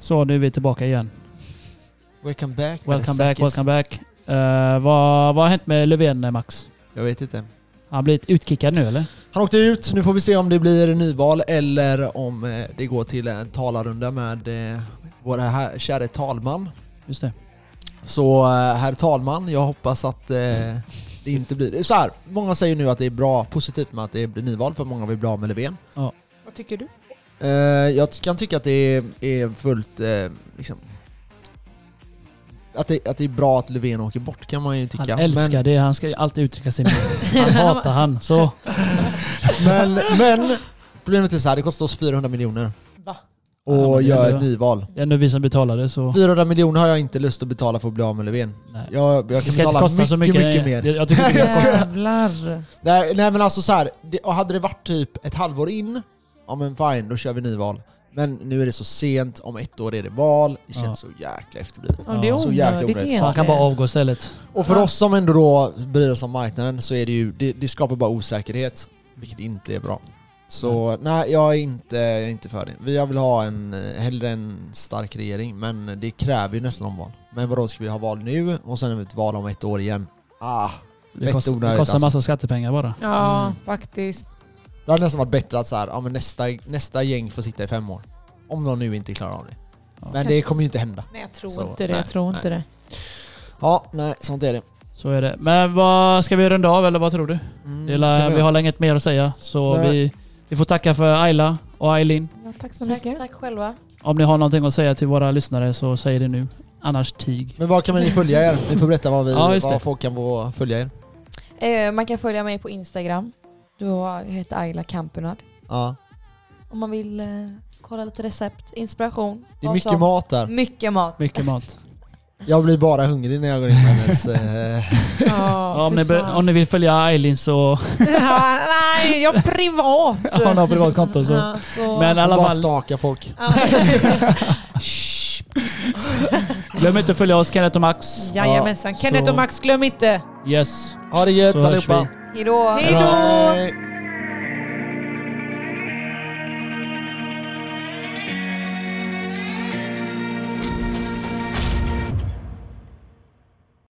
[SPEAKER 2] Så, nu är vi tillbaka igen.
[SPEAKER 1] Welcome back.
[SPEAKER 2] Welcome back, welcome back. Eh, vad, vad har hänt med Löfven, eh, Max?
[SPEAKER 1] Jag vet inte.
[SPEAKER 2] Har han blivit utkickad nu eller?
[SPEAKER 1] Han åkte ut, nu får vi se om det blir nyval eller om eh, det går till en talarrunda med eh, vår här, käre talman.
[SPEAKER 2] Just det.
[SPEAKER 1] Så eh, herr talman, jag hoppas att eh, det inte blir... Så här, många säger nu att det är bra, positivt med att det blir nyval för många vill bli av med Löfven.
[SPEAKER 4] Vad tycker du?
[SPEAKER 1] Eh, jag ty- kan tycka att det är, är fullt... Eh, liksom, att, det, att det är bra att Löfven åker bort kan man ju tycka.
[SPEAKER 2] Han älskar det, han ska ju alltid uttrycka sig emot. Han hatar han. Så,
[SPEAKER 1] Men, men, men problemet är så här, det kostar oss 400 miljoner
[SPEAKER 4] Va?
[SPEAKER 2] Ja, men det
[SPEAKER 1] och
[SPEAKER 2] är
[SPEAKER 1] göra ett
[SPEAKER 2] bra.
[SPEAKER 1] nyval.
[SPEAKER 2] det är ändå vi som betalade så...
[SPEAKER 1] 400 miljoner har jag inte lust att betala för att bli av med Löfven.
[SPEAKER 2] Nej.
[SPEAKER 1] Jag, jag
[SPEAKER 2] Det
[SPEAKER 1] kan
[SPEAKER 2] ska inte
[SPEAKER 1] betala
[SPEAKER 2] kosta
[SPEAKER 1] mycket,
[SPEAKER 2] så mycket.
[SPEAKER 1] mycket, mer.
[SPEAKER 2] Jag, jag tycker det ska kosta...
[SPEAKER 4] Jävlar.
[SPEAKER 1] Nej, nej men alltså så här, det, och hade det varit typ ett halvår in, ja men fine, då kör vi nyval. Men nu är det så sent, om ett år är det val, det känns
[SPEAKER 2] Ja.
[SPEAKER 1] så jäkla efterblivet.
[SPEAKER 4] Ja, det är
[SPEAKER 2] Så
[SPEAKER 1] jäkla
[SPEAKER 4] onödigt
[SPEAKER 1] orättvist.
[SPEAKER 4] egentligen.
[SPEAKER 2] Han kan bara avgå istället.
[SPEAKER 1] Och för
[SPEAKER 4] Ja.
[SPEAKER 1] oss som ändå då bryr oss om marknaden så är det ju, det, det skapar bara osäkerhet, vilket inte är bra. Så nej, jag är, inte, jag är inte för det. Vi- Jag vill ha en, eh, hellre en stark regering, men det kräver ju nästan omval. Men vadå, ska vi ha val nu och sen är det ett val om ett år igen? Ah,
[SPEAKER 2] Det
[SPEAKER 1] Fett
[SPEAKER 2] kostar, det
[SPEAKER 1] onödigt,
[SPEAKER 2] kostar
[SPEAKER 1] alltså.
[SPEAKER 2] massa skattepengar bara.
[SPEAKER 4] Ja,
[SPEAKER 1] Mm.
[SPEAKER 4] faktiskt.
[SPEAKER 1] det hade nästan varit bättre att så här, ja, men nästa, nästa gäng får sitta i fem år. Om de nu inte klarar av det.
[SPEAKER 2] Ja.
[SPEAKER 1] Men det
[SPEAKER 4] Kanske.
[SPEAKER 1] kommer ju inte hända.
[SPEAKER 4] Nej jag tror
[SPEAKER 1] Så,
[SPEAKER 4] inte det.
[SPEAKER 1] nej,
[SPEAKER 4] jag tror inte det.
[SPEAKER 1] Ja, nej, sånt är det.
[SPEAKER 2] Så är det. Men vad, ska vi runda av eller vad tror du?
[SPEAKER 1] Mm,
[SPEAKER 2] Det lär,
[SPEAKER 1] kan
[SPEAKER 2] vi har länge inget mer att säga. Så
[SPEAKER 1] Nej.
[SPEAKER 2] vi, vi får tacka för Ayla och Aylin.
[SPEAKER 4] Ja, tack så
[SPEAKER 3] Tack,
[SPEAKER 4] mycket.
[SPEAKER 3] tack själva.
[SPEAKER 2] Om ni har någonting att säga till våra lyssnare så säg det nu. Annars tig.
[SPEAKER 1] Men var kan ni följa er? Ni får berätta vad, vi,
[SPEAKER 2] Ja, just det.
[SPEAKER 1] vad folk kan få följa er.
[SPEAKER 3] Eh, man kan följa mig på Instagram. Då heter Ayla Kampunad.
[SPEAKER 1] Ja.
[SPEAKER 3] Om man vill eh, kolla lite recept, inspiration.
[SPEAKER 1] Det är
[SPEAKER 3] vad
[SPEAKER 1] mycket
[SPEAKER 3] som-
[SPEAKER 1] mat där.
[SPEAKER 3] Mycket mat.
[SPEAKER 2] Mycket mat.
[SPEAKER 1] Jag blir bara hungrig när jag går in på hennes... Eh,
[SPEAKER 2] Ja,
[SPEAKER 4] Ja,
[SPEAKER 2] om, ni,
[SPEAKER 4] fy
[SPEAKER 2] be-
[SPEAKER 4] fan.
[SPEAKER 2] om ni vill följa Aylin så
[SPEAKER 4] Ja, Nej, jag är privat.
[SPEAKER 2] har hon privat konto. Så.
[SPEAKER 4] Ja, så.
[SPEAKER 2] Men i alla
[SPEAKER 1] bara
[SPEAKER 2] fall,
[SPEAKER 1] stakar folk.
[SPEAKER 4] Ja.
[SPEAKER 2] glöm inte att följa oss Kenneth och Max.
[SPEAKER 4] Jajamensan.
[SPEAKER 2] Ja,
[SPEAKER 4] Kenneth
[SPEAKER 2] så-
[SPEAKER 4] och Max, glöm inte.
[SPEAKER 2] Yes.
[SPEAKER 1] Ha det gött
[SPEAKER 2] Så hörs
[SPEAKER 1] allihopa!
[SPEAKER 3] Hejdå!
[SPEAKER 4] Hej då!
[SPEAKER 1] Hej.